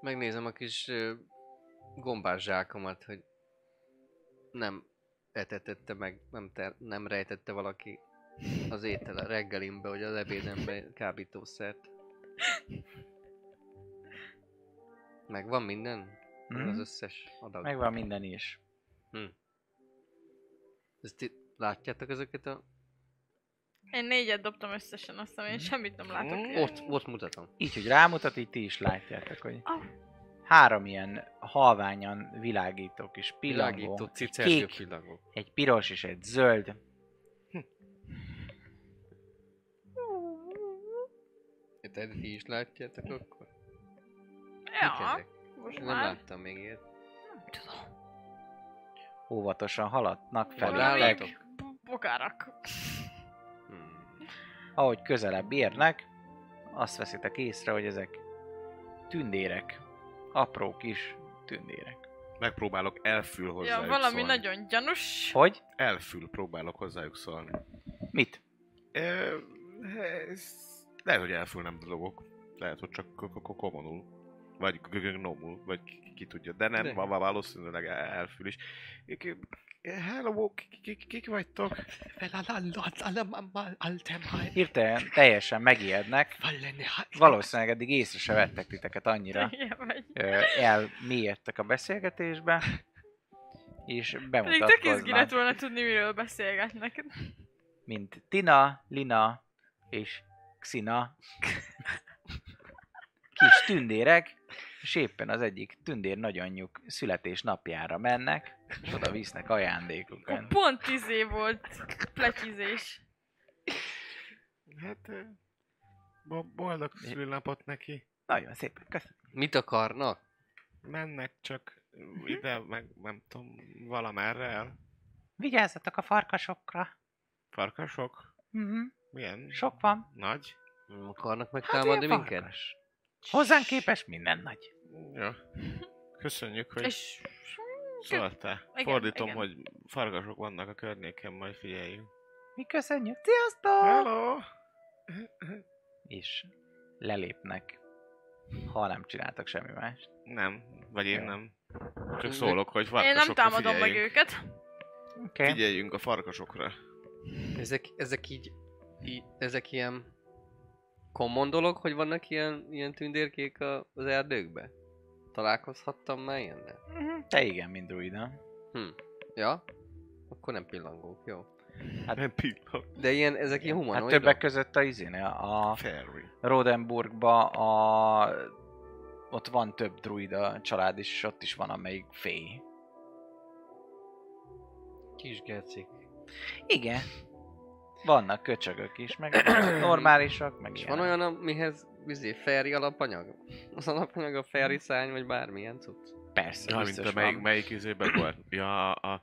S3: Megnézem a kis ö, gombás zsákomat, hogy nem etetette meg, nem, ter, nem rejtette valaki az étel a reggelimbe, vagy az ebédembe kábítószert. Meg van minden? Mm. Az
S2: Hm?
S3: összes adag.
S2: Megvan minden is.
S3: Ezt ti látjátok ezeket a...
S4: Én négyet dobtam összesen, azt hiszem, én semmit nem látok.
S3: Ott, ott mutatom.
S2: Így, hogy rámutat, így ti is látjátok, hogy
S4: Ah.
S2: három ilyen halványan világító kis
S3: Világító
S2: pillangó, egy
S3: cicergő
S2: kék,
S3: pillangó.
S2: egy piros és egy zöld.
S3: Te ti is látjátok akkor? Mik
S4: Ja,
S3: ezek?
S4: most
S3: Nem
S4: már.
S3: láttam még ilyet.
S2: Óvatosan haladnak
S4: Vadállatok?
S2: felétek.
S3: Vadállatok?
S4: Bokárak.
S3: Hmm.
S2: Ahogy közelebb érnek, azt veszitek észre, hogy ezek tündérek. Apró kis tündérek.
S5: Megpróbálok elfül hozzájuk
S4: Ja, valami
S5: szólni.
S4: nagyon gyanús.
S2: Hogy?
S5: Elfül próbálok hozzájuk szólni.
S2: Mit?
S5: Ö, ez... Lehet, hogy elfül nem dolgok. Lehet, hogy csak k- k- komonul. Vagy gnomul, vagy ki- ki tudja. De
S3: De.
S5: nem, va- va- valószínűleg el- elfül is. Ki- Hello, ki- ki- ki- kik vagytok?
S2: Hirtelen teljesen megijednek. Valószínűleg eddig észre se vettek titeket annyira.
S4: Igen, vagy.
S2: Ö, elmélyedtek a beszélgetésbe. És
S4: Pedig tök izgi lett
S2: bemutatkoznak,
S4: volna tudni, miről beszélgetnek.
S2: mint Tina, Lina és Xina. Kis tündérek, és éppen az egyik tündér nagyanyjuk születésnapjára mennek, és oda visznek
S4: Akkor
S2: ajándékukat.
S4: Pont izé volt pletyizés.
S5: Hát... ö, bo- Boldog szülnapot neki.
S2: Nagyon szépen, köszönöm.
S3: Mit akarnak?
S5: Mennek csak ide, meg nem tudom, valamerre el.
S2: Vigyázzatok a farkasokra.
S5: Farkasok?
S2: Mm-hmm.
S5: Milyen?
S2: Sok van.
S5: Nagy?
S3: Nem akarnak
S2: Hát
S3: megtámadni
S2: ilyen
S3: hát minket?
S2: farkas. Hozzánk képes minden nagy.
S5: Jó. Köszönjük, hogy
S4: És...
S5: szóltál.
S4: igen,
S5: Szóval Fordítom,
S4: igen.
S5: hogy farkasok vannak a környéken, majd figyeljünk.
S2: Mi köszönjük. Sziasztok!
S5: Hello!
S2: És lelépnek, ha nem csináltak semmi mást.
S5: Nem, vagy én
S2: Jó.
S5: nem. Csak szólok, hogy
S4: Én
S5: farkasokra
S4: nem támadom meg
S5: figyeljünk.
S4: őket.
S2: Oké. Okay.
S5: Figyeljünk a farkasokra.
S3: Ezek, ezek így, így, ezek ilyen common dolog, hogy vannak ilyen, ilyen tündérkék a- az erdőkbe? Találkozhattam már ilyennel?
S2: Mhm. Te igen, mint druida.
S3: Ja? Akkor nem pillangók, jó.
S2: Hát-
S5: nem pillanat.
S3: De ilyen, ezek ilyen
S2: Hát
S3: humanoidok?
S2: többek között a izén, a
S5: Fairy.
S2: Rodenburgba a... Ott van több druida család is, és ott is van, amelyik fény.
S3: Kis gecik.
S2: Igen. Vannak köcsögök is, meg normálisak, meg
S3: És
S2: ilyenek.
S3: van olyan, amihez vizé, fairy alapanyag? Az alapanyag a fairy szány, vagy bármilyen cucc?
S2: Persze,
S5: Ja, mint
S2: biztos
S5: a melyik,
S2: van.
S5: melyik izében volt? Ja, a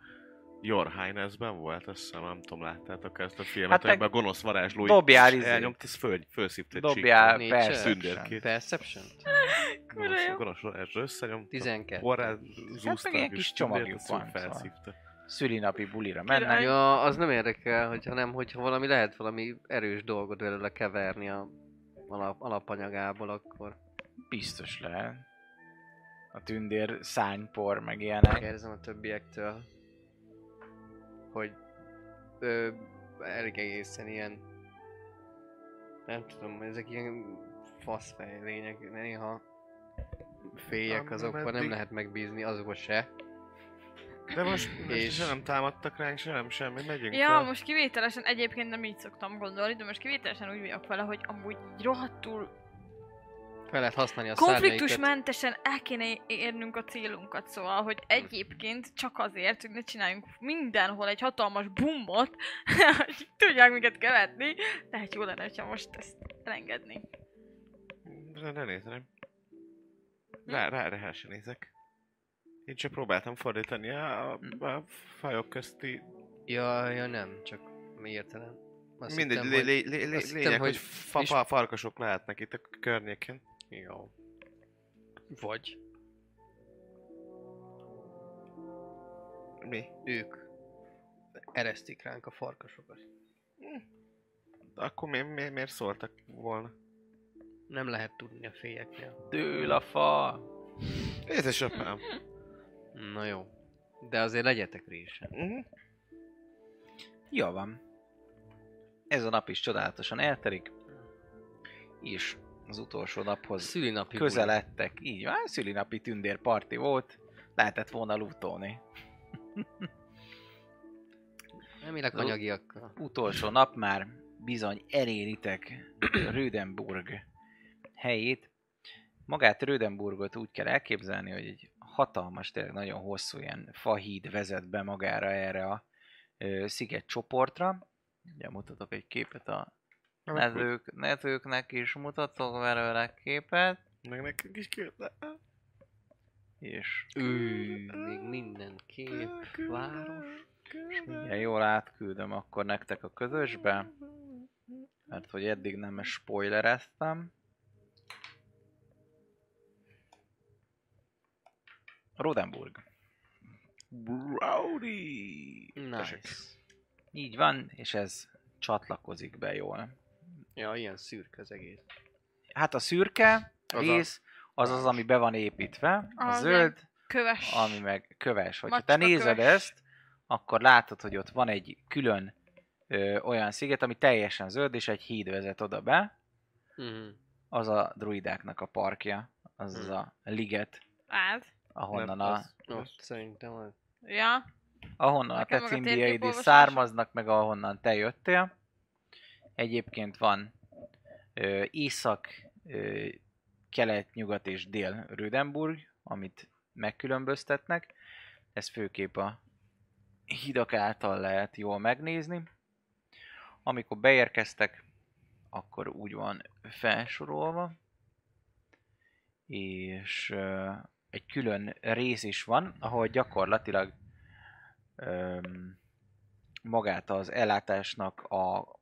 S5: Your Highness-ben volt, azt hiszem, nem tudom, láttátok ezt a filmet,
S2: Hát
S5: hát
S2: meg-
S5: amiben a gonosz varázsló
S2: Dobjál
S5: így
S2: izé.
S5: elnyomt, ez föl, fölszípt egy
S2: Dobjál,
S3: Nincs
S2: persze.
S5: Szünderkét.
S3: Perception?
S5: Gonosz,
S4: Kurva jó.
S5: gonosz varázsló összenyomta.
S3: 12.
S5: Borrát
S2: Hát meg
S5: zúzták,
S2: ilyen
S5: és
S2: kis
S5: tündért,
S2: csomagjuk
S5: azt úgy
S2: van, szóval.
S5: felszívta.
S2: Szülinapi bulira
S4: Király.
S2: mennek.
S3: Ja, az nem érdekel, hogyha nem, hogyha valami lehet valami erős dolgot belőle keverni a alap, alapanyagából, akkor
S2: Biztos lehet. A tündér szánypor, meg ilyenek.
S3: kérdezem a többiektől, hogy ö, elég egészen ilyen, nem tudom, ezek ilyen faszfej lények, néha féljek
S5: Am-
S3: azokban nem
S5: ameddig-
S3: lehet megbízni, azokba se.
S5: De most,
S3: És-
S5: és... se nem támadtak ránk, se nem semmi, megyünk
S4: Ja,
S5: el.
S4: most kivételesen, egyébként nem így szoktam gondolni, de most kivételesen úgy vagyok vele, hogy amúgy így rohadtul
S3: Fel lehet használni a szárnyaikat.
S4: konfliktusmentesen el kéne érnünk a célunkat, szóval, hogy egyébként csak azért, hogy ne csináljunk mindenhol egy hatalmas bumot, hogy tudják minket követni, tehát jó lenne, ha most ezt elengedni.
S5: De ne nézem. Rá, rá, rá se nézek. Én csak próbáltam fordítani a, a fajok közti...
S3: Ja, ja nem, csak mi értelem.
S5: Azt mindegy, hittem, lé, lé, lé,
S3: azt
S5: lé,
S3: hittem,
S5: lényeg,
S3: hogy
S5: hogy fa,
S3: is-
S5: fa, farkasok lehetnek itt a környéken.
S3: Jó. Vagy
S5: Mi?
S3: ők eresztik ránk a farkasokat.
S5: Akkor mi, mi, miért szóltak volna?
S3: Nem lehet tudni a félyeknél.
S2: Dől a fa.
S5: Édes apám.
S3: Na jó. De azért legyetek résen.
S5: Mhm.
S2: Jó van. Ez a nap is csodálatosan elterik. És az utolsó naphoz
S3: Szülinapi buli.
S2: közeledtek. Így van, szülinapi tündérparti volt. Lehetett volna lootolni.
S3: Elmileg
S2: Ló-
S3: anyagiakkal.
S2: Utolsó nap már bizony eléritek Rödenburg helyét. Magát Rödenburgot úgy kell elképzelni, hogy egy hatalmas, tényleg nagyon hosszú ilyen fahíd vezet be magára erre a ö, sziget csoportra. Ugye mutatok egy képet a nezők, nezőknek is mutatok belőle képet,
S5: Meg nekünk is küldte.
S2: és
S3: Ő, még minden kép, város.
S2: és mindjárt jól átküldöm akkor nektek a közösbe, mert hogy eddig nem spoilereztem. Rodenburg.
S5: Browdy!
S3: Nice.
S2: Így van, és ez csatlakozik be jól.
S3: Ja, ilyen szürke az egész.
S2: Hát a szürke
S5: a-
S2: rész, az az, ami be van építve, a
S4: Az
S2: zöld,
S4: Köves.
S2: ami meg köves. Hogyha te
S4: Macska
S2: nézed
S4: köves.
S2: ezt, akkor látod, hogy ott van egy külön ö, olyan sziget, ami teljesen zöld, és egy híd vezet oda be.
S3: Mhm.
S2: Az a druidáknak a parkja, az az
S3: Hmm.
S2: a liget,
S4: Át.
S2: ahonnan,
S5: Nem,
S2: a,
S5: az-
S3: Ott szerintem az.
S4: Ja.
S2: ahonnan a
S4: Nekem
S2: te
S4: meg a
S2: címdíjaid is
S4: térképolvasás.
S2: származnak, meg ahonnan te jöttél. Egyébként van ö, észak, ö, kelet, nyugat és dél Rödenburg, amit megkülönböztetnek. Ez főképp a hidak által lehet jól megnézni. Amikor beérkeztek, akkor úgy van felsorolva, és ö, egy külön rész is van, ahol gyakorlatilag öm, magát az ellátásnak a,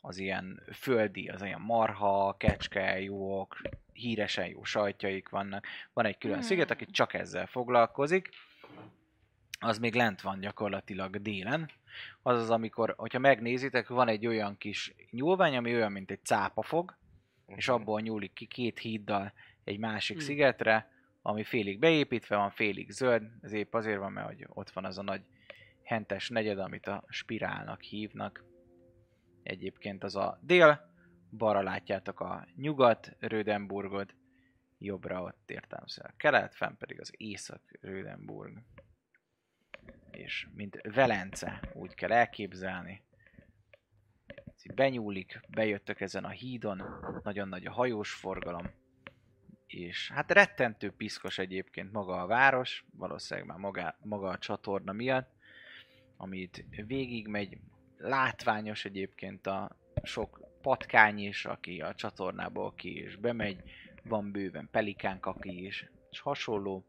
S2: az ilyen földi, az ilyen marha, kecske, jók, híresen jó sajtjaik vannak. Van egy külön
S4: Hmm.
S2: sziget, aki csak ezzel foglalkozik. Az még lent van gyakorlatilag délen. Az az, amikor, hogyha megnézitek, van egy olyan kis nyúlvány, ami olyan, mint egy cápafog, és abból nyúlik ki két híddal egy másik
S3: Hmm.
S2: szigetre, ami félig beépítve van, félig zöld. Ez épp azért van, mert hogy ott van az a nagy hentes negyed, amit a spirálnak hívnak. Egyébként az a dél, balra látjátok a nyugat, Rödenburgot, jobbra ott értelmesen a kelet, fenn pedig az észak, Rödenburg. És mint Velence, úgy kell elképzelni. Ez így Benyúlik, bejöttök ezen a hídon, nagyon nagy a hajós forgalom, és hát rettentő piszkos egyébként maga a város, valószínűleg már maga, maga a csatorna miatt, amit végigmegy, látványos egyébként a sok patkány is, aki a csatornából ki és bemegy, van bőven pelikánk, aki is, és hasonló.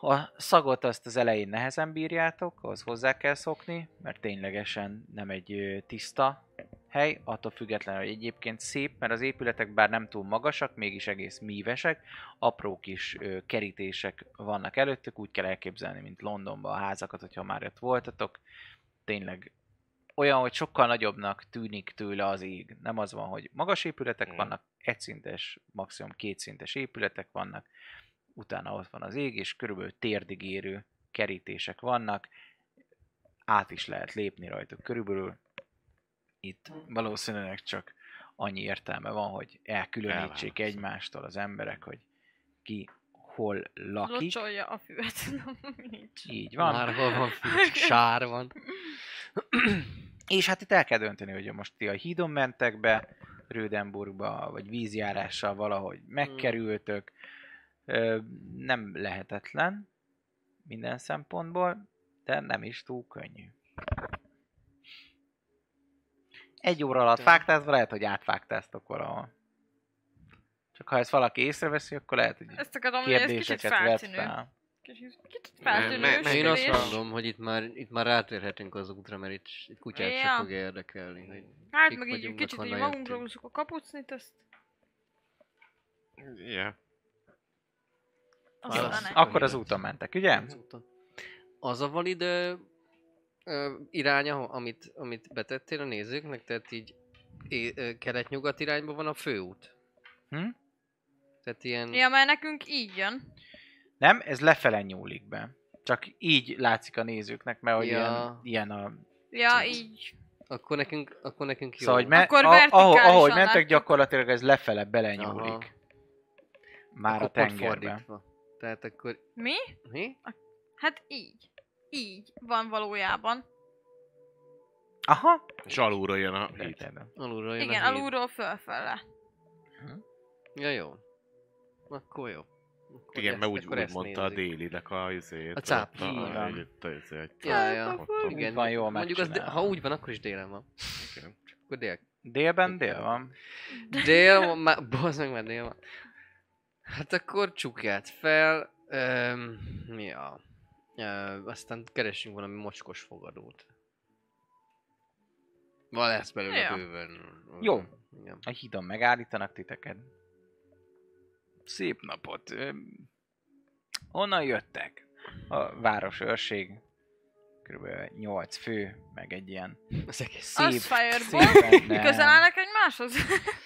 S2: A szagot azt az elején nehezen bírjátok, az hozzá kell szokni, mert ténylegesen nem egy ö, tiszta hely, attól függetlenül, hogy egyébként szép, mert az épületek bár nem túl magasak, mégis egész mívesek, apró kis ö, kerítések vannak előttük, úgy kell elképzelni, mint Londonban a házakat, hogyha már ott voltatok. Tényleg olyan, hogy sokkal nagyobbnak tűnik tőle az ég. Nem az van, hogy magas épületek
S5: Mm.
S2: vannak, egyszintes, maximum kétszintes épületek vannak, utána ott van az ég, és körülbelül térdig érő kerítések vannak, át is lehet lépni rajtuk körülbelül. Itt valószínűleg csak annyi értelme van, hogy elkülönítsék
S5: Elválasztják.
S2: egymástól az emberek, hogy ki hol lakik.
S4: Locsolja a füvet. Nem, nincs.
S2: Így van.
S3: Van. Már hol van fű, sár van.
S2: És hát itt el kell dönteni, hogy most ti a hídon mentek be, Rödenburgba, vagy vízjárással valahogy
S4: Hmm.
S2: megkerültök. Ö, nem lehetetlen minden szempontból, de nem is túl könnyű. Egy óra alatt
S3: De-
S2: vágtázva lehet, hogy átvágtáztok valahol. Csak ha ezt valaki észreveszi, akkor lehet, hogy
S4: Ezt akarom, hogy ez kicsit
S2: kérdéseket vet
S4: feltűnő.
S2: fel.
S4: és így kicsit
S5: me-
S4: feltűnős.
S5: me-
S3: Én azt
S5: Megülés.
S3: mondom, hogy itt már, itt már rátérhetünk az útra, mert itt s- itt kutyát
S4: Ja.
S3: sem fog érdekelni. Hogy...
S4: Hát
S3: kik
S4: meg így
S3: vagyunk,
S4: kicsit így
S3: honnan
S4: magunkra
S3: jöttünk.
S4: húzzuk a kapucnit, azt
S5: Ja.
S4: aztán
S3: Válasz.
S4: el.
S2: Akkor az úton mentek, ugye?
S4: Mhm.
S3: Az a valid ö, ö, iránya, ho- amit, amit betettél a nézőknek, tehát így é- ö, kelet-nyugat irányba van a főút.
S2: Hm?
S3: Tehát ilyen...
S4: Ja, mert nekünk így jön.
S2: Nem, ez lefele nyúlik be. Csak így látszik a nézőknek, mert hogy
S3: Ja.
S2: ilyen, ilyen a...
S4: Ja, így.
S3: Akkor nekünk, akkor nekünk jó.
S2: Szóval, hogy me-
S4: Akkor
S2: a, ahogy,
S4: vertikálisan
S2: ahogy mentek,
S4: látjuk.
S2: gyakorlatilag ez lefele
S3: Aha.
S2: belenyúlik. Már
S3: Akkor
S2: a
S3: pont
S2: tengerbe.
S3: fordítva. Tehát akkor...
S4: Mi?
S3: Mi?
S4: Hát így. Így van valójában.
S2: Aha.
S5: És alulról jön a híd.
S2: Érted.
S3: Alulról jön
S4: Igen,
S3: a híd.
S4: alulról fölfele.
S3: Ja, jó. Akkor jó. Akkor
S5: Igen,
S3: ezt-
S5: mert úgy,
S3: akkor
S5: úgy
S3: ezt
S5: mondta a
S3: nézzük.
S5: délinek a izét.
S3: A cáp.
S5: ott
S2: Így
S5: A,
S2: van.
S5: itt a, izét.
S3: Ja, ja.
S5: Ott- ott-
S3: Igen,
S2: Úgy van, jól
S3: Mondjuk az, de- ha
S2: megcsinálva.
S3: úgy van, akkor is délen van.
S5: igen.
S3: Akkor dél.
S2: Délben dél van.
S3: Dél van, már, bazd meg, már dél van. Hát akkor csukját fel. Öm, ja. Öm, aztán keresünk valami mocskos fogadót. Van lesz belőle
S4: Ja.
S3: bőven.
S2: Jó.
S3: Igen.
S2: A hídon megállítanak titeket. Szép napot. Öm, Honnan jöttek? A városőrség. Körülbelül 8 fő, meg egy ilyen
S3: Az egész.
S2: szép...
S4: Az Fireball?
S2: szépen- nem.
S4: Közel állnak egymáshoz?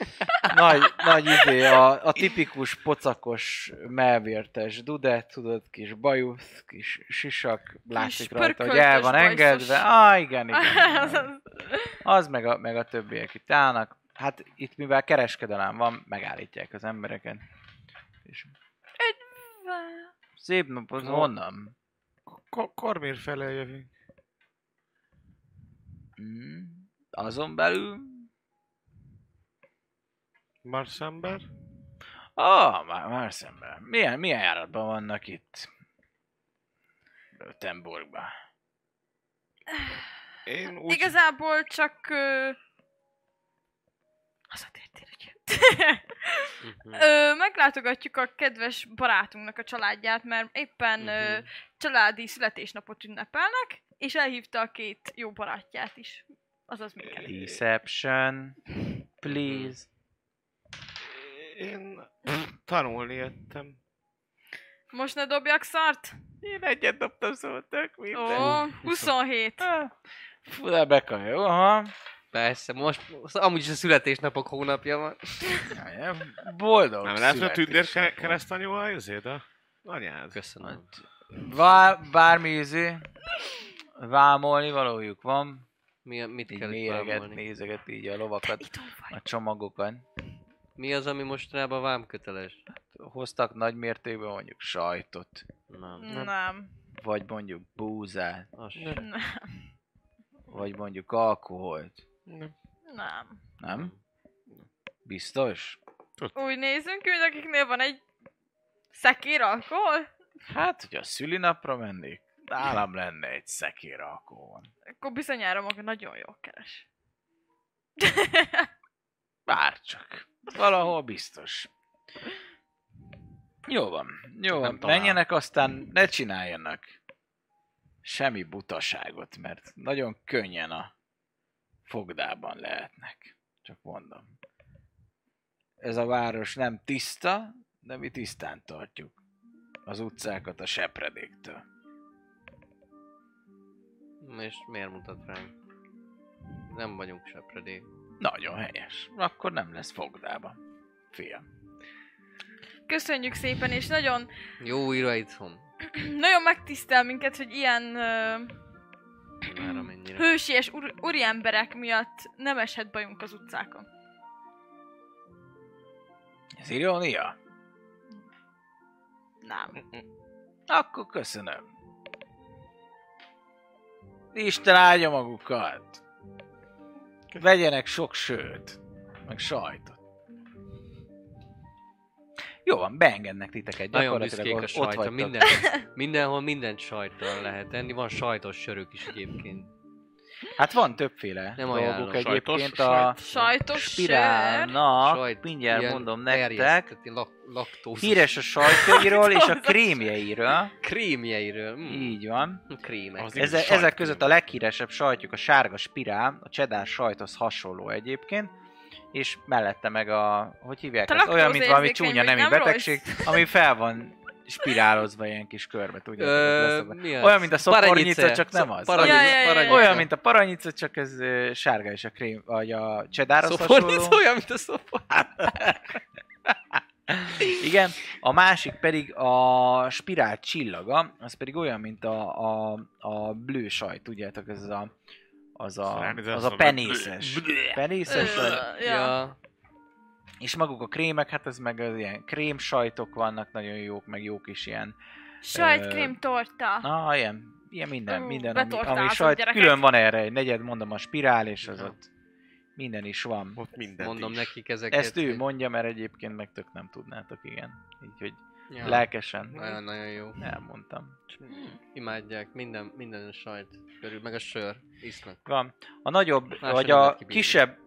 S2: nagy, nagy izé, a, a tipikus pocakos, melvértes dudet, tudod, kis bajusz, kis sisak, látszik rajta, hogy el van
S4: pörköltös,
S2: engedve.
S4: bajszos.
S2: Á, igen, igen.
S4: Az-
S2: igen.
S4: az-
S2: Az meg a, meg a többiek itt állnak. Hát itt mivel kereskedelem van, megállítják az embereket. És szép nap, az honnan?
S5: Ko- Kormir felé jövünk.
S2: Mm, azon belül?
S5: Marsamber?
S2: Ah, már, már szemben. Milyen, milyen járatban vannak itt? Temborgban.
S5: Én úgy...
S4: Igazából csak... Ö... Hazatértél, ugye?
S3: Mhm.
S4: Ö, meglátogatjuk a kedves barátunknak a családját, mert éppen ö,
S3: Mhm.
S4: családi születésnapot ünnepelnek, és elhívta a két jó barátját is. Azaz minket.
S2: Deception. Please.
S5: Én tanulni jöttem.
S4: Most ne dobjak szart?
S2: Én egyet dobtam szóval tök
S4: Ó,
S2: minden.
S4: 27.
S2: Ah, Fú, de bekajó, aha.
S3: Persze, most, most amúgy is a születésnapok hónapja van.
S2: Jaj, Boldog
S5: Nem lehet, hogy a tündér
S2: születésnapot.
S5: keresztanyú a izéd a anyád?
S3: Köszönöm.
S2: Vá- bármi izé, vámolni valójuk van.
S3: Mi, mit
S2: Így
S3: kell itt
S2: méreget,
S3: vámolni?
S2: nézeget így a lovakat,
S4: Itthon vagy.
S2: a csomagokat.
S3: Mi az, ami mostanában vámköteles?
S2: Hoztak nagy mértékben mondjuk sajtot,
S3: Nem.
S4: Nem.
S2: vagy mondjuk búzát,
S3: Az se.
S5: Nem.
S4: Nem.
S2: vagy mondjuk alkoholt.
S5: Nem.
S4: Nem.
S2: Nem?
S3: Mm.
S2: Biztos?
S4: Úgy nézünk, ki, mint akiknél van egy szekér alkohol,
S2: Hát, hogy a szülinapra mennék, nálam lenne egy szekér alkohol.
S4: akkor bizonyára maga nagyon jól keres.
S2: Bárcsak. Valahol biztos. Jó van, jó
S5: Csak
S2: van.
S5: nem talál.
S2: Menjenek, aztán ne csináljanak semmi butaságot, mert nagyon könnyen a fogdában lehetnek. Csak mondom. Ez a város nem tiszta, de mi tisztán tartjuk az utcákat a sepredéktől.
S3: És miért mutat ránk? Nem vagyunk sepredék.
S2: Nagyon helyes. Akkor nem lesz fogdában. Fiam.
S4: Köszönjük szépen, és nagyon,
S3: Jó újra itthon.
S4: nagyon megtisztel minket, hogy ilyen ö,
S3: Már amennyire.
S4: hősies ur- úriemberek miatt nem eshet bajunk az utcákon.
S2: Ez irónia?
S4: Nem.
S2: Akkor köszönöm. Isten áldja magukat. Vegyenek sok sőt, meg sajtot. Jó van, beengednek titeket.
S3: Nagyon
S2: Gyakorlatilag
S3: büszkék
S2: ott,
S3: a
S2: ott
S3: sajta.
S2: vagytok.
S3: Minden, mindenhol mindent sajtal lehet enni. Van sajtos sörök is egyébként.
S2: Hát van többféle
S3: Nem
S2: Nem dolgok
S3: ajánlom.
S2: egyébként
S5: Sajtos,
S2: a
S4: Sajtos sör.
S2: spirálnak, mindjárt
S3: ilyen
S2: mondom nektek,
S3: terjesztett, lak, laktózis.
S2: híres a sajtjairól és a
S4: Laktózis.
S2: krémjeiről,
S3: Krémjeiről. Mm.
S2: így van.
S3: Krémek.
S5: Az
S2: Eze,
S5: igazi
S2: ezek
S5: sajtkrém.
S2: között a leghíresebb sajtjuk a sárga spirál, a cheddar sajthoz hasonló egyébként, és mellette meg a, hogy hívják
S4: Te
S2: ezt? Olyan, mint valami csúnya
S4: laktózérzékeny vagy,
S2: nemi
S4: nem
S2: betegség, ami fel van spirálozva ilyen kis körbe, tudjátok.
S3: Ö,
S2: Uh,
S3: mi az?
S2: Olyan, mint a szopornica,
S3: Paranyice.
S2: csak nem
S3: Szop-
S2: az.
S3: paranyice,
S4: Ja, ja, ja,
S3: paranyice.
S4: ja.
S2: olyan, mint a paranyica, csak ez ö, sárga és a krém, vagy a cheddar hasonló.
S3: Szopornica, olyan, mint a szopornica.
S2: Igen, a másik pedig a spirál csillaga, az pedig olyan, mint a, a, a blő sajt, tudjátok, ez a, az a,
S5: Ránézel,
S2: az a
S5: szóval-
S2: penészes. Penészes
S4: Ö,
S2: sajt.
S4: Ja.
S3: Ja.
S2: És maguk a krémek, hát ez meg az ilyen krém sajtok vannak, nagyon jók, meg jók is ilyen.
S4: Sajtkrém torta.
S2: Na, ilyen, ilyen minden,
S4: Ú,
S2: minden, ami, ami
S4: betortázott
S2: sajt.
S4: gyerekek.
S2: Külön van erre egy negyed, mondom, a spirál, és az
S3: Ja.
S2: ott minden is van.
S5: Ott mindent
S3: Mondom
S5: is.
S3: nekik ezeket.
S2: Ezt ő mondja, mert egyébként meg tök nem tudnátok, igen. Így, hogy
S3: Ja.
S2: lelkesen
S3: Nagyon-nagyon jó.
S2: elmondtam.
S3: Imádják minden, minden sajt körül, meg a sör. Isznak.
S2: Van. A nagyobb,
S3: Más
S2: vagy
S3: nem
S2: a
S3: lehet kibírni.
S2: kisebb,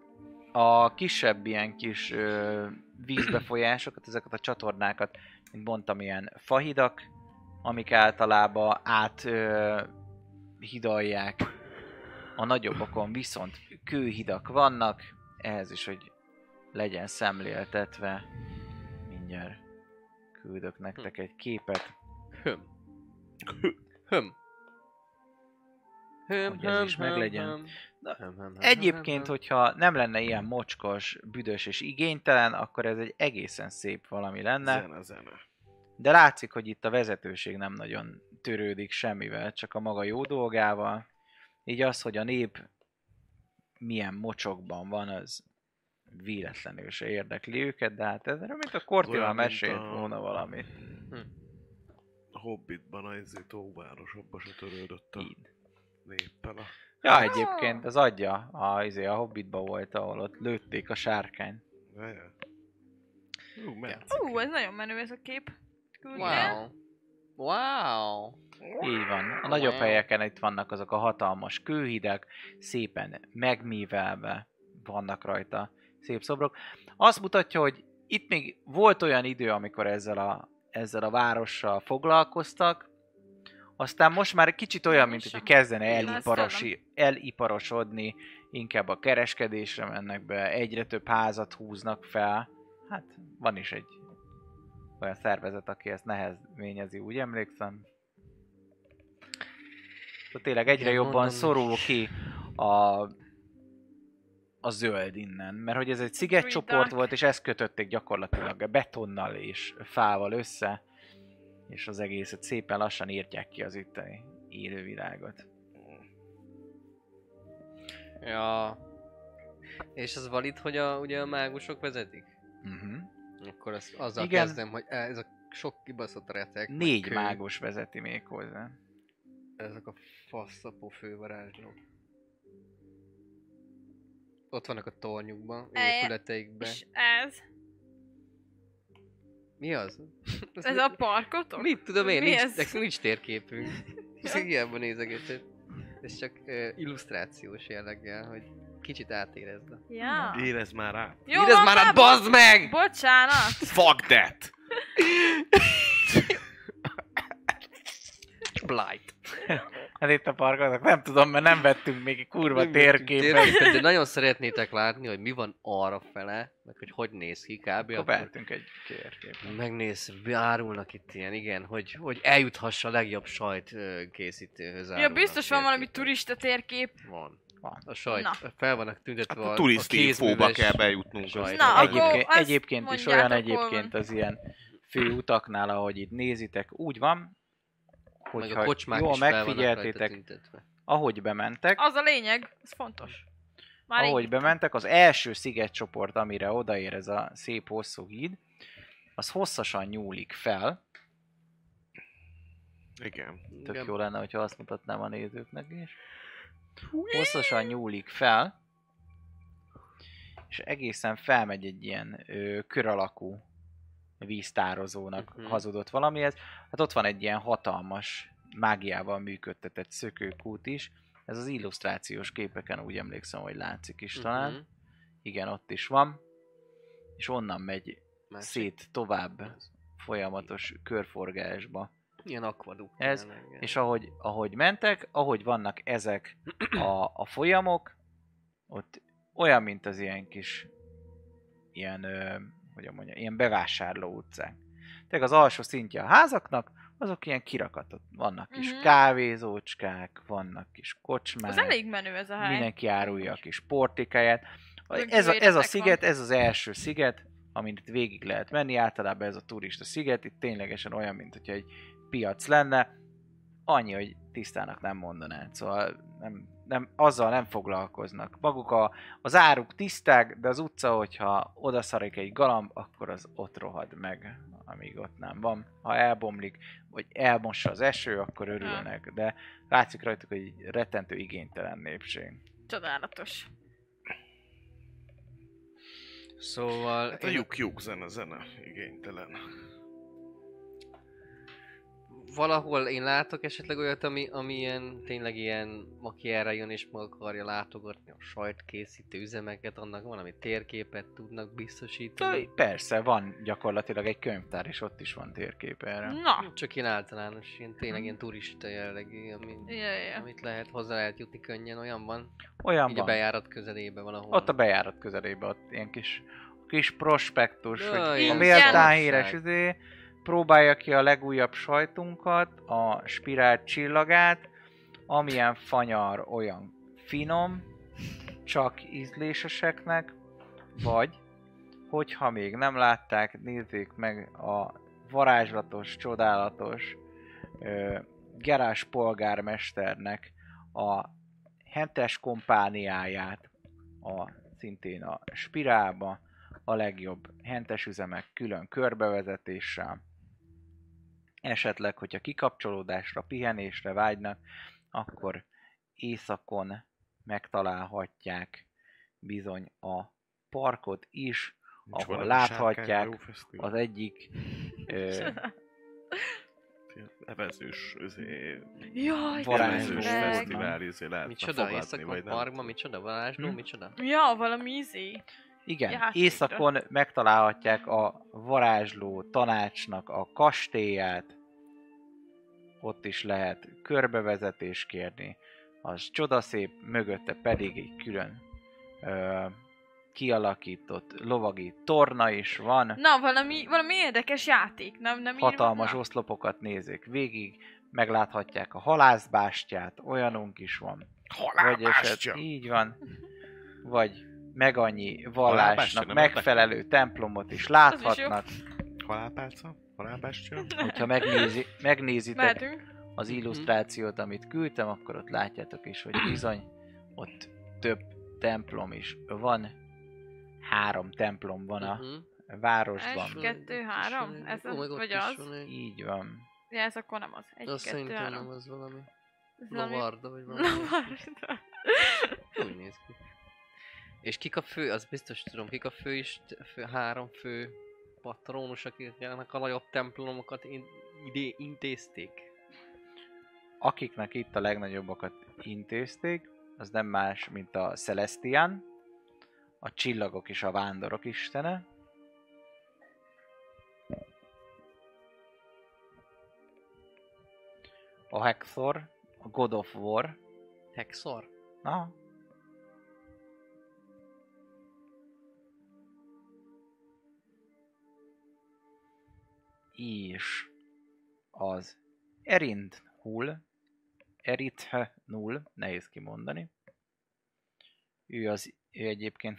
S2: a kisebb ilyen kis ö, vízbefolyásokat, ezeket a csatornákat, mint mondtam, ilyen fahidak, amik általában át ö, hidalják. A nagyobbakon viszont kőhidak vannak, ehhez is, hogy legyen szemléltetve. Mindjárt küldök nektek egy képet,
S3: Höm. Höm. Höm,
S2: Hogy ez is meglegyen. Na,
S3: höm, höm,
S5: Hát,
S3: höm,
S2: Egyébként,
S3: höm,
S2: hogyha nem lenne ilyen mocskos, büdös és igénytelen, akkor ez egy egészen szép valami lenne.
S5: Zene, zene.
S2: De látszik, hogy itt a vezetőség nem nagyon törődik semmivel, csak a maga jó dolgával. Így az, hogy a nép milyen mocsokban van, az véletlenül se érdekli őket, de hát ez mint a Kortila
S5: Olyan, mint
S2: mesélt
S5: a-
S2: volna valami.
S5: A Hobbitban a izét óvárosabba se törődött a
S2: Így.
S5: néppel a...
S2: Ja, egyébként az adja, a, izé, a Hobbitba volt, ahol ott lőtték a sárkányt.
S5: Ja, ja. Ú, ment.
S4: Ú, ez nagyon menő ez a kép.
S3: höm.
S4: Küldje.
S3: Wow. Wow.
S2: Így van. A nagyobb
S3: Wow.
S2: helyeken itt vannak azok a hatalmas kőhidek, szépen megmívelve vannak rajta szép szobrok. Azt mutatja, hogy itt még volt olyan idő, amikor ezzel a, ezzel a várossal foglalkoztak, aztán most már kicsit olyan, mint hogy kezdene eliparosi, eliparosodni, inkább a kereskedésre mennek be, egyre több házat húznak fel. Hát van is egy olyan szervezet, aki ezt nehezményezi, úgy emlékszem. Tehát tényleg egyre
S3: Igen,
S2: jobban
S3: mondom is.
S2: szorul ki a, a zöld innen, mert hogy ez egy szigetcsoport
S4: Dark.
S2: volt, és ezt kötötték gyakorlatilag betonnal és fával össze, és az egészet szépen lassan írtják ki az itteni élővilágot.
S3: Ja. És az valid, hogy a, ugye a mágusok vezetik? Mhm.
S2: Uh-huh.
S3: Akkor az, azzal
S2: Igen.
S3: Igen. kezdem, hogy eh, ez a sok kibaszott retek. meg
S2: Négy
S3: kő,
S2: mágus vezeti még hozzá.
S3: Ezek a faszapó fővarázslók. Ott vannak a tornyukban,
S4: Ej,
S3: épületeikben.
S4: E, És ez?
S3: Mi az?
S4: Ez a parkotok?
S3: Mit tudom én,
S4: Mi
S3: nincs,
S4: ez?
S3: nekünk nincs térképünk. Csak hiába nézegetett. Ez csak ö, illusztrációs jelleggel, hogy kicsit átérezd.
S4: Ja.
S5: Érezd már át.
S4: Jó,
S3: Érezd
S4: van,
S3: már át,
S4: van.
S3: bazd meg!
S4: Bocsánat.
S5: Fuck that!
S3: Blight.
S2: Hát itt a parkolnak, nem tudom, mert nem vettünk még egy kurva
S3: Nem vettünk
S2: térképet.
S3: térképet, De nagyon szeretnétek látni, hogy mi van arra fele, meg hogy hogy néz ki kb.
S2: Akkor
S3: Akkor
S2: vettünk egy térképet.
S3: megnéz, árulnak itt ilyen, igen, hogy, hogy eljuthassa a legjobb sajt ö, készítőhöz.
S4: Ja,
S3: árulnak
S4: biztos van valami
S3: térképet.
S4: turista térkép.
S3: Van.
S2: Van.
S3: A sajt,
S4: Na.
S3: fel vannak tüntetve
S5: Hát a turiszti infóba
S3: kézműves-
S5: kell bejutnunk.
S3: sajt.
S4: Na,
S5: aztán.
S4: akkor-
S2: Egyébként,
S4: azt
S2: egyébként is olyan
S4: mondjátok, hol
S2: egyébként az ilyen fő utaknál, ahogy itt nézitek, úgy van,
S3: Meg
S2: hogyha
S3: a kocsmák
S2: jól
S3: is fel vannak rajta
S2: megfigyeltétek,
S3: tüntetve.
S2: ahogy bementek,
S4: Az a lényeg, ez fontos. Már
S2: ahogy
S4: így.
S2: bementek, az első szigetcsoport, amire odaér ez a szép hosszú híd, az hosszasan nyúlik fel,
S5: Igen.
S2: Tök
S3: Igen.
S2: jó lenne, hogyha azt mutatnám a nézőknek is. Hosszasan nyúlik fel, és egészen felmegy egy ilyen ö, kör alakú víztározónak
S3: Mhm.
S2: hazudott valamihez. Hát ott van egy ilyen hatalmas, mágiával működtetett szökőkút is, Ez az illusztrációs képeken úgy emlékszem, hogy látszik
S3: Mhm.
S2: is talán. Igen, ott is van. És onnan megy
S3: Másik.
S2: szét tovább folyamatos körforgásba.
S3: Ilyen akvaduk.
S2: Ez, És ahogy, ahogy mentek, ahogy vannak ezek a, a folyamok, ott olyan, mint az ilyen kis, ilyen, ö, hogyan mondja, ilyen bevásárló utcák. Tehát az alsó szintje a házaknak, azok ilyen kirakatot. Vannak kis
S4: Mhm.
S2: mm-hmm. kávézócskák, vannak kis kocsmák.
S4: Az elég menő ez a hely.
S2: Mindenki árulja a kis portikáját.
S4: Meg
S2: Ez a, ez a
S4: véretek
S2: sziget, ez az első sziget, amit itt végig lehet menni, általában ez a turista sziget, itt ténylegesen olyan, mint hogyha egy piac lenne, annyi, hogy tisztának nem mondanád, szóval nem, nem, azzal nem foglalkoznak. Maguk a, az áruk tiszták, de az utca, hogyha odaszarik egy galamb, akkor az ott rohad meg, amíg ott nem van. Ha elbomlik, vagy elmossa az eső, akkor örülnek, de látszik rajtuk, hogy rettentő igénytelen népség.
S4: Csodálatos.
S3: Szóval...
S5: Hát a
S3: én-
S5: lyuk-lyuk zene, zene, igénytelen.
S3: valahol én látok esetleg olyat, ami, ami ilyen, tényleg ilyen, aki erre jön és meg akarja látogatni a sajtkészítő üzemeket, annak valami térképet tudnak biztosítani.
S2: Ö, Persze, van gyakorlatilag egy könyvtár, és ott is van térkép erre.
S4: Na,
S3: Csak ilyen általános, ilyen
S4: Mhm.
S3: tényleg ilyen turista jellegű, ami,
S4: ja, ja.
S3: amit lehet, hozzá lehet jutni könnyen, olyan van.
S2: Olyan
S3: Így a
S2: van.
S3: bejárat közelébe valahol.
S2: Ott a bejárat közelében, ott ilyen kis, kis prospektus,
S3: Jaj,
S2: hogy a
S4: Ingyen.
S2: méltán
S3: valóság.
S2: híres izé, próbálja ki a legújabb sajtunkat, a spirált csillagát, amilyen fanyar, olyan finom, csak ízléseseknek, vagy, hogyha még nem látták, nézzék meg a varázslatos, csodálatos ö, gerás polgármesternek a hentes kompániáját, a, szintén a spirálba, a legjobb hentes üzemek külön körbevezetéssel. Esetleg, hogyha kikapcsolódásra, pihenésre vágynak, akkor éjszakon megtalálhatják bizony a parkot is,
S5: Nincs
S2: Ahol
S5: valami
S2: láthatják
S5: sárkányhajó fesztivál?
S2: az egyik ö,
S5: Ilyen Evezős, izé,
S4: Jaj,
S2: Varázslós
S5: evezős
S4: tényleg.
S5: fesztivál, izé lehetne
S3: Micsoda,
S5: fogadni,
S3: éjszakon
S5: vagy nem.
S3: parkban, micsoda, varázsló,
S4: Mhm.
S2: Hm?
S3: micsoda?
S4: Ja, valami izé.
S2: Igen,
S4: Játékra.
S2: éjszakon megtalálhatják a varázsló tanácsnak a kastélyát, ott is lehet körbevezetés kérni, az csodaszép, mögötte pedig egy külön ö, kialakított lovagi torna is van,
S4: Na, valami, valami érdekes játék, nem? nem
S2: hatalmas
S4: írva?
S2: oszlopokat nézik végig, megláthatják a halászbástyát, olyanunk is van. Vagy eset,
S5: Halálbástya!
S2: így van. Vagy meg annyi
S5: Halálbástya,
S2: vallásnak
S5: nem
S2: megfelelő templomot is
S4: Az is jó.
S2: láthatnak.
S5: Halálpálca? Halálbástya?
S2: Hogyha megnézi, megnézitek
S4: Mehetünk.
S2: az illusztrációt, amit küldtem, akkor ott látjátok is, hogy bizony ott több templom is van. Három templom van a
S3: Mhm.
S2: városban.
S4: Egy, kettő, három? Ez
S3: Ó, meg
S4: az,
S3: ott
S4: vagy
S3: is
S4: az?
S3: van egy.
S2: Így van.
S4: Ja, ez akkor nem az. Egy,
S3: Azt
S4: kettő,
S3: szerintem nem
S4: három.
S3: az valami.
S4: Ez valami-
S3: Lovarda, vagy valami.
S4: Lovarda.
S3: Úgy néz ki. És kik a fő, az biztos tudom, kik a fő is, fő, három fő patronus, akiknek a nagyobb templomokat in, idé, intézték.
S2: Akiknek itt a legnagyobbakat intézték, az nem más, mint a Celestian, a csillagok és a vándorok istene, a Hector, a God of War,
S3: Hexor?
S2: Na. És az Erind Hull, Erit Null, nehéz kimondani. Ő az, ő egyébként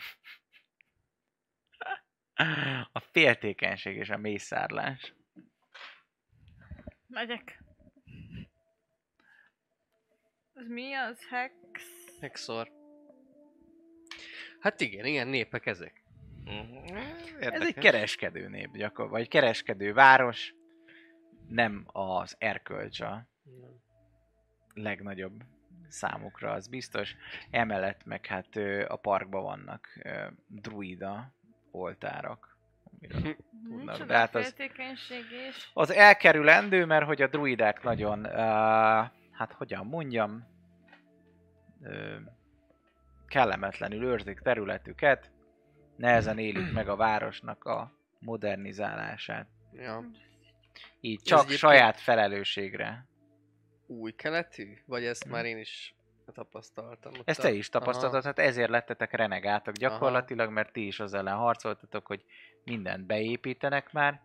S2: a féltékenység és a mészárlás.
S4: Megyek. Ez mi az? Hex?
S3: Hexor. Hát igen, ilyen népek ezek.
S5: Mhm.
S2: Ez egy kereskedő nép, gyakor, vagy kereskedő város, nem az erkölcs a legnagyobb számukra, az biztos. Emellett meg hát ö, a parkban vannak ö, druida oltárok.
S3: Mhm.
S2: amiről-
S4: Micsoda
S2: de hát az-
S4: féltékenység és...
S2: Az elkerülendő, mert hogy a druidák nagyon, ö, hát hogyan mondjam, ö, kellemetlenül őrzik területüket, nehezen élik meg a városnak a modernizálását.
S3: Ja.
S2: Így
S3: Ez
S2: csak
S3: egyébként-
S2: saját felelősségre.
S3: Új keletű? Vagy ezt már én is tapasztaltam. Ott
S2: Ezt
S3: a-
S2: te is
S3: Aha.
S2: tapasztaltad, hát ezért lettetek renegátok gyakorlatilag, mert ti is az ellen harcoltatok, hogy mindent beépítenek már,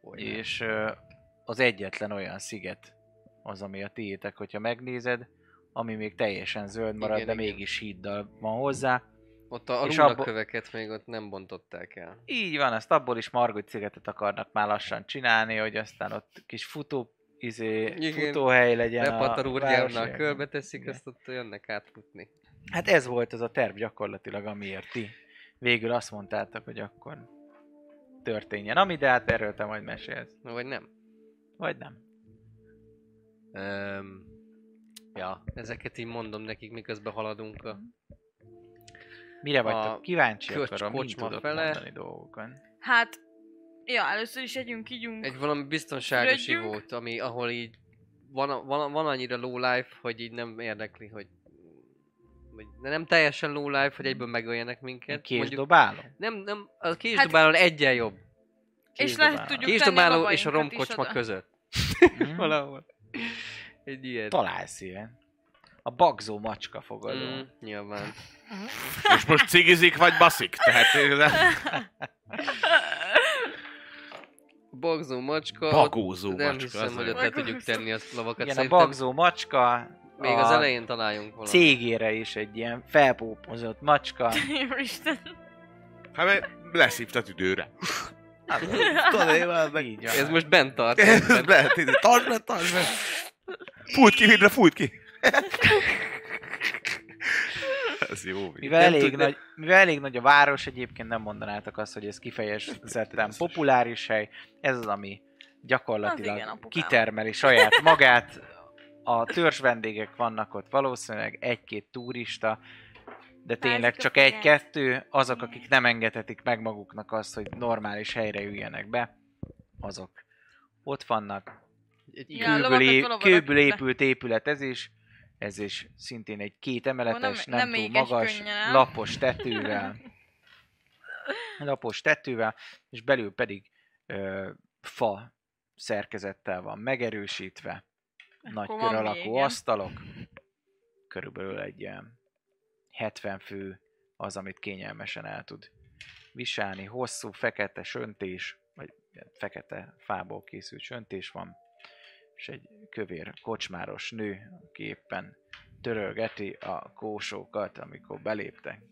S3: Hogy nem.
S2: és ö, az egyetlen olyan sziget az, ami a tiétek, hogyha megnézed, ami még teljesen zöld marad,
S3: Igen,
S2: de
S3: igen.
S2: mégis híddal van hozzá.
S3: Ott a, a
S2: és
S3: rúnaköveket még ott nem bontották el.
S2: Így van, azt abból is Margot szigetet akarnak már lassan csinálni, hogy aztán ott kis futó, izé,
S3: Igen.
S2: futóhely legyen
S3: Lepatar úrjárnál
S2: városi-
S3: körbe teszik,
S2: Igen.
S3: azt ott jönnek átfutni.
S2: Hát ez volt az a terv gyakorlatilag, amiért ti végül azt mondtátok, hogy akkor történjen. Ami, de hát erről te majd mesélsz.
S3: Na, Vagy nem?
S2: Vagy nem.
S3: Öm, ja, ezeket így mondom nekik, miközben haladunk a
S4: Mhm.
S2: Mire
S3: A
S2: vagytok? Kíváncsi
S3: köcs-
S2: akarom, mind
S3: kocsma
S2: tudok
S3: fele.
S2: mondani dolgokon.
S4: Hát, ja, először is együnk, ígyunk.
S3: Egy valami biztonságos
S4: Rögjünk.
S3: ivót, ami, ahol így van, a- van, a- van annyira low life, hogy így nem érdekli, hogy vagy de nem teljesen low life, hogy egyből megöljenek minket.
S2: Késdobáló?
S3: nem, nem, a késdobálón hát, egyen jobb.
S4: és lehet tudjuk tenni a
S3: Késdobáló és a
S4: babainkat is
S3: romkocsma
S4: oda.
S3: között.
S2: Mhm.
S3: Valahol. Egy ilyen.
S2: Találsz ilyen. A bagzó macska fogadó.
S3: Mm, nyilván.
S5: És most cigizik vagy baszik? Tehát de-
S3: Bagzó macska.
S5: bagózó
S3: nem
S5: macska.
S3: hiszem,
S5: az
S3: hogy
S5: a-
S3: ott le
S4: Bagózó.
S3: tudjuk tenni azt lovakat.
S2: Igen, a
S3: Szerintem
S2: bagzó macska
S3: Még az
S2: a
S3: elején találjunk valamit.
S2: cégére is egy ilyen felpópozott macska.
S4: Úristen.
S5: Hát mert leszívtat időre.
S2: Tudod, Hát, így van.
S3: Ez most bent tart.
S5: Ez lehet, így, tartsd be, tartsd be. Fújt ki, vidre, fújt ki. Ez jó. mi?
S2: Mivel
S3: Nem
S2: elég,
S3: tudni.
S2: nagy, mivel elég nagy a város, egyébként nem mondanátok azt, hogy ez kifejezetten populáris hely. Ez az, ami
S4: Az
S2: gyakorlatilag
S4: igen, apukám.
S2: kitermeli saját magát. A törzs vendégek vannak ott valószínűleg, egy-két turista, de tényleg
S4: Fázik a
S2: csak
S4: fejem.
S2: egy-kettő, azok, akik nem engedhetik meg maguknak azt, hogy normális helyre üljenek be, azok ott vannak,
S3: Egy
S4: Ja,
S3: kül-
S2: kőből,
S4: lovakat
S2: é-
S4: a lovon
S2: kőből
S4: rakjuk be.
S2: épült épület ez is, ez is szintén egy két emeletes,
S4: nem-
S2: nem,
S4: nem
S2: nem, túl
S4: éges
S2: magas,
S4: könnyen, nem?
S2: lapos tetővel, lapos tetővel, és belül pedig ö, fa szerkezettel van megerősítve, nagy
S4: Akkor
S2: kör
S4: van mi,
S2: alakú
S4: igen.
S2: asztalok, körülbelül egy ilyen 70 fő az, amit kényelmesen el tud viselni, hosszú fekete söntés, vagy ilyen fekete fából készült söntés van, és egy kövér kocsmáros nő, aki éppen törölgeti a kósókat, amikor beléptek.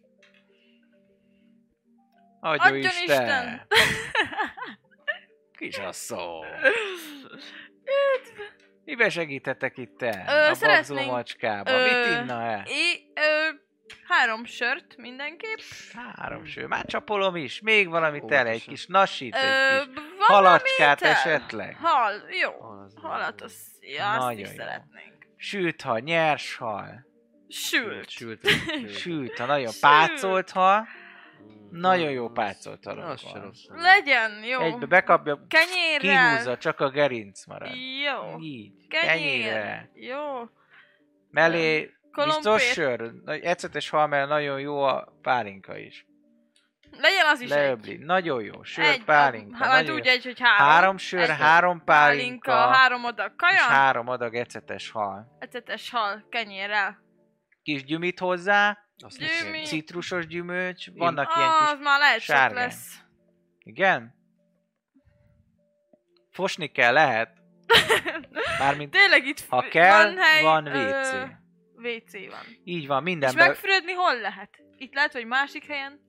S2: Adjon
S4: Adjon
S2: Isten!
S4: Isten!
S2: Isten! Kisasszony! Miben segíthetek itt te?
S4: Ö,
S2: a
S4: szeretnénk-
S2: bagzó macskába.
S4: ö,
S2: Mit inna el?
S4: É, ö, három sört mindenképp.
S2: Három ső. Már csapolom is. Még valamit el, egy
S3: Óvatosan.
S2: kis nasít,
S4: Ö,
S2: egy kis
S4: valami
S2: halacskát
S4: étel?
S2: esetleg.
S4: Hal, jó.
S3: Az
S4: Halat, az, ja, azt
S2: Nagyon
S4: is
S2: jó.
S4: szeretnénk.
S2: Sült hal, nyers hal.
S4: Sült.
S3: Sült.
S2: Sült hal, nagyon
S4: Sült.
S2: pácolt hal.
S3: Mm,
S2: Nagyon jó
S3: az-
S2: pácolt halok
S3: Az se
S2: van.
S3: rossz.
S4: Legyen, jó.
S2: Egybe bekapja,
S4: Kenyérrel.
S2: kihúzza, csak a gerinc marad.
S4: Jó.
S2: Így,
S4: Kenyér.
S2: kenyére.
S4: Jó.
S2: Mellé biztos
S4: Kolompér.
S2: sör, nagy- ecetes hal, mert nagyon jó a pálinka is.
S4: Legyen az is egy.
S2: Leöbli, nagyon jó, sör,
S4: a-
S2: pálinka.
S4: Hát
S2: nagyon
S4: majd
S2: jó.
S4: úgy egy, hogy három.
S2: Három sör,
S4: egy-
S2: három pálinka,
S4: három adag
S2: és
S4: kaja,
S2: három adag ecetes hal.
S4: ecetes hal kenyérrel.
S2: Kis gyümit hozzá,
S3: Azt
S4: Gyümölcs.
S3: hiszem.
S2: citrusos gyümölcs, vannak ilyen
S4: Ah,
S2: kis...
S4: Az már lehet sok
S2: sárgány.
S4: lesz.
S2: Igen? Fosni kell, lehet. Mármint,
S4: Tényleg itt
S2: ha
S4: f-
S2: kell,
S4: van, hely,
S2: van
S4: ö,
S2: WC.
S4: WC van.
S2: Így van,
S4: És
S2: mindenben.
S4: megfürödni hol lehet? Itt lehet, hogy másik helyen,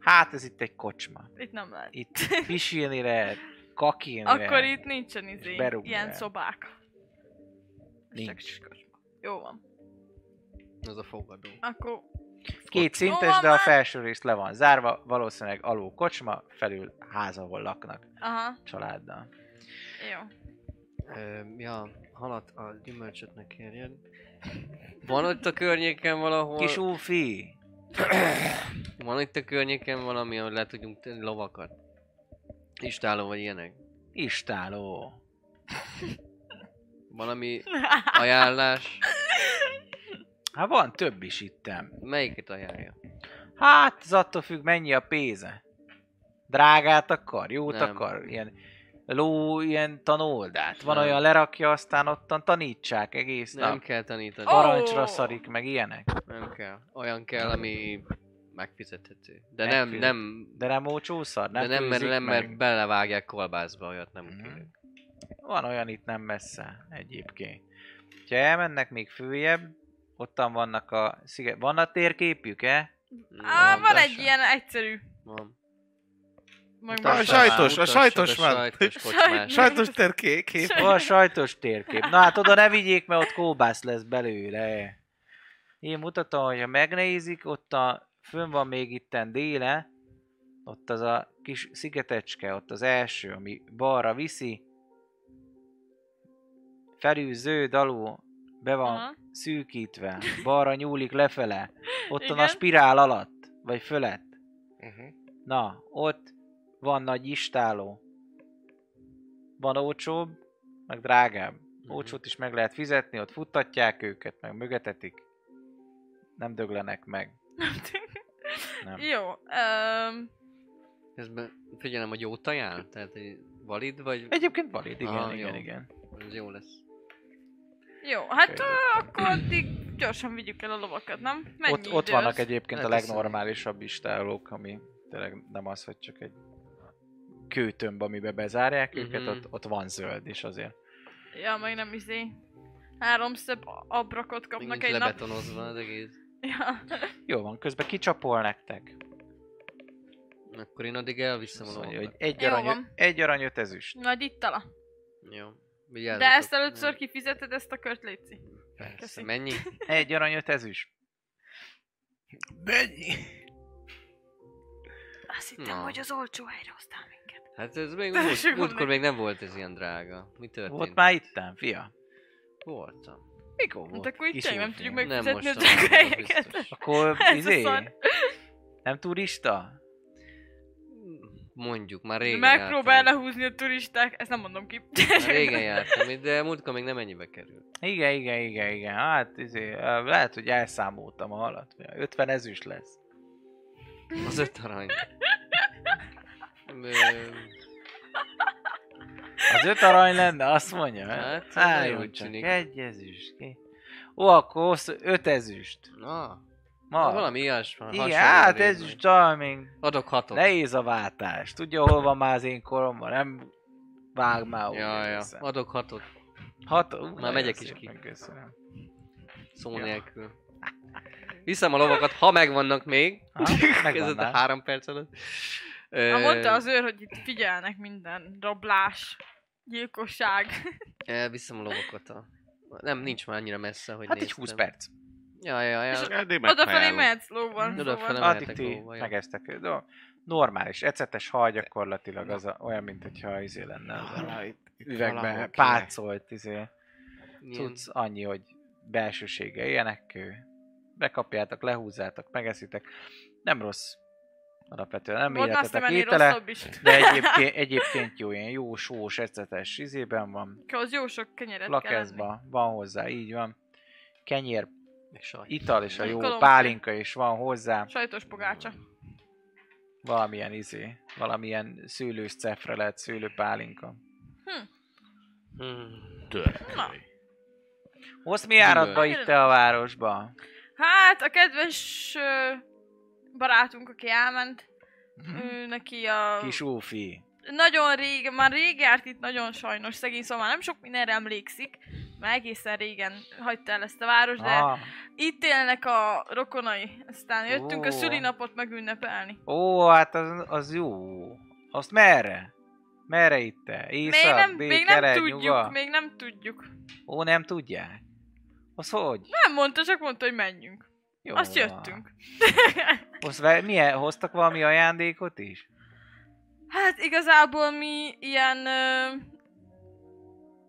S2: Hát ez itt egy kocsma.
S4: itt nem lehet.
S2: Itt pisilni lehet, kakilni
S4: Akkor
S2: lehet.
S4: itt nincsen izé,
S2: És berúgni
S4: ilyen
S2: el.
S4: szobák. Ez csak
S2: Nincs.
S4: kocsma. Jó van.
S3: Az a fogadó.
S4: Akkor
S2: Két
S4: Jó
S2: szintes,
S4: van
S2: de a
S4: már.
S2: felső rész le van zárva, valószínűleg alul kocsma, felül ház, ahol laknak
S4: Aha,
S2: családdal.
S4: jó.
S3: Ö, ja, halat a gyümölcsöt ne kérjen. Van ott a környéken valahol...
S2: Kis úfi!
S3: Van itt a környéken valami, ahol le tudjunk tenni lovakat. Istáló vagy ilyenek.
S2: Istáló.
S3: Valami ajánlás.
S2: Hát van több is ittem.
S3: Melyiket ajánlja?
S2: Hát, az attól függ, mennyi a pénze. Drágát akar, jót
S3: Nem.
S2: akar, ilyen ló, ilyen tanoldát. Van
S3: Nem.
S2: olyan lerakja, aztán ottan tanítsák egész
S3: Nem
S2: nap.
S3: kell tanítani.
S4: Ó!
S2: Parancsra szarik, meg ilyenek.
S3: Nem kell. Olyan kell, ami megfizethető. De nem,
S2: Megfizet-
S3: nem,
S2: De nem ócsószar,
S3: nem,
S2: nem
S3: de nem mert,
S2: főzik
S3: nem,
S2: meg.
S3: mert belevágják kolbászba, olyat nem
S2: Mhm.
S3: kérünk.
S2: Van olyan itt nem messze egyébként. Ha elmennek még följebb, ottan vannak a sziget... Van a térképjük-e?
S4: Á, van egy
S2: mondassa.
S4: ilyen egyszerű.
S3: Van.
S4: Majd
S5: Mutassa.
S3: Mutassa
S5: A
S4: most-
S3: rá,
S5: sajtos,
S3: mutassa,
S5: a sajtos
S3: de
S5: van.
S3: Sajtos
S4: Sajtos.
S3: kocsmás.
S5: Sajtos terkék.
S2: Van a sajtos térkép. Na hát oda ne vigyék, mert ott kóbász lesz belőle. Én mutatom, hogyha megnézik, ott a... Fönn van még itten déle, ott az a kis szigetecske, ott az első, ami balra viszi. Felül zöld alul be van
S4: Aha.
S2: szűkítve, balra nyúlik lefele, ottan a
S4: Igen.
S2: spirál alatt, vagy fölött.
S5: Uh-huh.
S2: Na, ott van nagy istáló. Van olcsóbb, meg drágább.
S3: Mhm.
S2: Olcsót is meg lehet fizetni, ott futtatják őket, meg mögetetik. Nem döglenek meg. Nem.
S4: Jó. Um,
S3: Közben figyelem, hogy jót ajánl? Tehát hogy valid vagy?
S2: Egyébként valid, igen,
S3: Aha,
S2: igen,
S3: Ah, jó.
S2: igen.
S3: Ez jó lesz.
S4: jó, hát
S2: Körülbelül.
S4: ö, akkor addig gyorsan vigyük el a lovakat, nem? Mennyi
S2: Ott, ott
S4: idő
S2: vannak
S4: az?
S2: egyébként a
S3: Hát ez-
S2: legnormálisabb istálók, ami tényleg nem az, hogy csak egy kőtömb, amibe bezárják őket,
S3: Mhm.
S2: ott, ott van zöld is azért.
S4: Ja, meg nem izé. Három szöbb abrakot
S3: Még
S4: kapnak
S3: nincs
S4: egy nap.
S3: lebetonozva az egész.
S4: Ja.
S2: Jó van, közben kicsapol nektek.
S3: Akkor én addig elviszem a
S2: Azt mondja,
S3: lovakat.
S2: Szóval, hogy egy
S4: Jó
S2: arany,
S4: van.
S2: egy arany öt ezüst.
S4: Nagy ittala.
S3: Jó.
S4: De
S3: Vigyázzatok.
S4: ezt először kifizeted ezt a kört, Léci.
S3: Persze,
S4: Köszi.
S3: Mennyi?
S2: Egy arany öt ezüst.
S4: Azt hittem,
S3: Na.
S4: hogy az olcsó helyre hoztál minket.
S3: Hát ez még
S4: Tessék
S3: múlt,
S4: mondani.
S3: múltkor még nem volt ez ilyen drága. Mi történt?
S2: Volt már ittem, fia.
S3: Voltam.
S2: Mikor
S4: Hát
S2: volt?
S4: akkor itt tényleg nem tudjuk
S2: meg.
S3: Nem
S4: megfizetni a
S3: most tanulom,
S4: drága
S3: az
S4: helyeket.
S3: biztos.
S2: Akkor
S4: Ez a
S2: izé,
S4: szar.
S2: nem turista?
S3: Mondjuk, már régen
S4: Megpróbál
S3: jártam.
S4: lehúzni a turisták, ezt nem mondom ki.
S3: Már régen jártam itt, de múltkor még nem ennyibe került.
S2: Igen, igen, igen, igen. Hát izé, ö, lehet, hogy elszámoltam a halat. 50 ezüst lesz.
S3: Az öt arany. Ö,
S2: Az öt arany lenne, azt mondja.
S3: Hát,
S2: Álljon
S3: nagyon
S2: csak
S3: tűnik.
S2: egy ezüst. ki. Ó, akkor hozz öt ezüst.
S3: Na, hát
S2: Ma.
S3: valami ilyesmi.
S2: igen,
S3: hasonló
S2: hát
S3: rémlik.
S2: ezüst, talán
S3: Adok hatot.
S2: Nehéz a váltás. Tudja, hol van már az én koromban? Nem vág már úgy.
S3: Ja, ja,
S2: egészen.
S3: adok hatot.
S2: Hat, ú, nagyon
S3: megyek is
S2: szépen
S3: ki.
S2: Köszönöm.
S3: Szó
S2: Ja.
S3: nélkül. Viszem a lovakat, ha megvannak még.
S2: Ha,
S3: Ez
S2: megvan
S3: a
S2: már.
S3: három perc alatt. Ö,
S4: Ha mondta az őr, hogy itt figyelnek minden rablás, gyilkosság.
S3: ö, Viszem a lovakat. a- Nem, nincs már annyira messze, hogy
S2: Hát egy
S3: néztem.
S2: 20 perc.
S3: Ja, ja, ja.
S5: Eddig
S4: Odafelé
S5: megfájálunk.
S4: mehetsz lóval.
S3: Mm. Odafele
S4: szóval.
S3: mehetsz.
S2: Addig
S3: mehetek
S2: ti
S3: lóval, ja.
S2: megeztek. De normális, ecetes hal gyakorlatilag az a, olyan, mint hogyha izé lenne az a
S5: Arra, itt- itt
S2: üvegbe
S5: valahol
S2: pácolt izé.
S3: Ilyen-
S2: Tudsz annyi, hogy belsősége ilyenek kő. Bekapjátok, lehúzzátok, megeszitek. Nem rossz. Alapvetően nem
S4: Volt azt nem
S2: életetek
S4: ennél
S2: étele,
S4: rosszabb is.
S2: de egyébként, egyébként jó, ilyen jó sós ecetes izében van.
S4: Az jó sok kenyeret kell enni.
S2: Lakeszba van hozzá, így van. Kenyér,
S3: Meg sajt.
S2: ital és a
S4: Meg
S2: jó
S4: kolomba.
S2: pálinka is van hozzá.
S4: Sajtos pogácsa.
S2: Valamilyen izé, valamilyen szőlős cefre lehet szőlőpálinka.
S3: Hmm.
S5: kell.
S4: Na.
S2: Hozz mi járatba
S4: Gyümölcs.
S2: itt te a városba?
S4: Hát, a kedves ö, barátunk, aki elment, ő neki a...
S2: Mhm. Kis Úfi.
S4: Nagyon rég, már rég járt itt, nagyon sajnos szegény, szóval már nem sok mindenre emlékszik, mert egészen régen hagyta el ezt a város, de
S2: Ah,
S4: itt élnek a rokonai. Aztán jöttünk
S2: Ó.
S4: a szülinapot megünnepelni.
S2: ó, hát az, az jó. Azt merre? Merre itt te? Észak,
S4: még nem,
S2: dél,
S4: még nem
S2: kelet,
S4: tudjuk,
S2: nyugat?
S4: még nem tudjuk.
S2: Ó, nem tudják? Az hogy?
S4: Nem mondta, csak mondta, hogy menjünk.
S2: Jó
S4: Azt
S2: van.
S4: jöttünk.
S2: Hozz ve- milyen, hoztak valami ajándékot is?
S4: Hát igazából mi ilyen ö,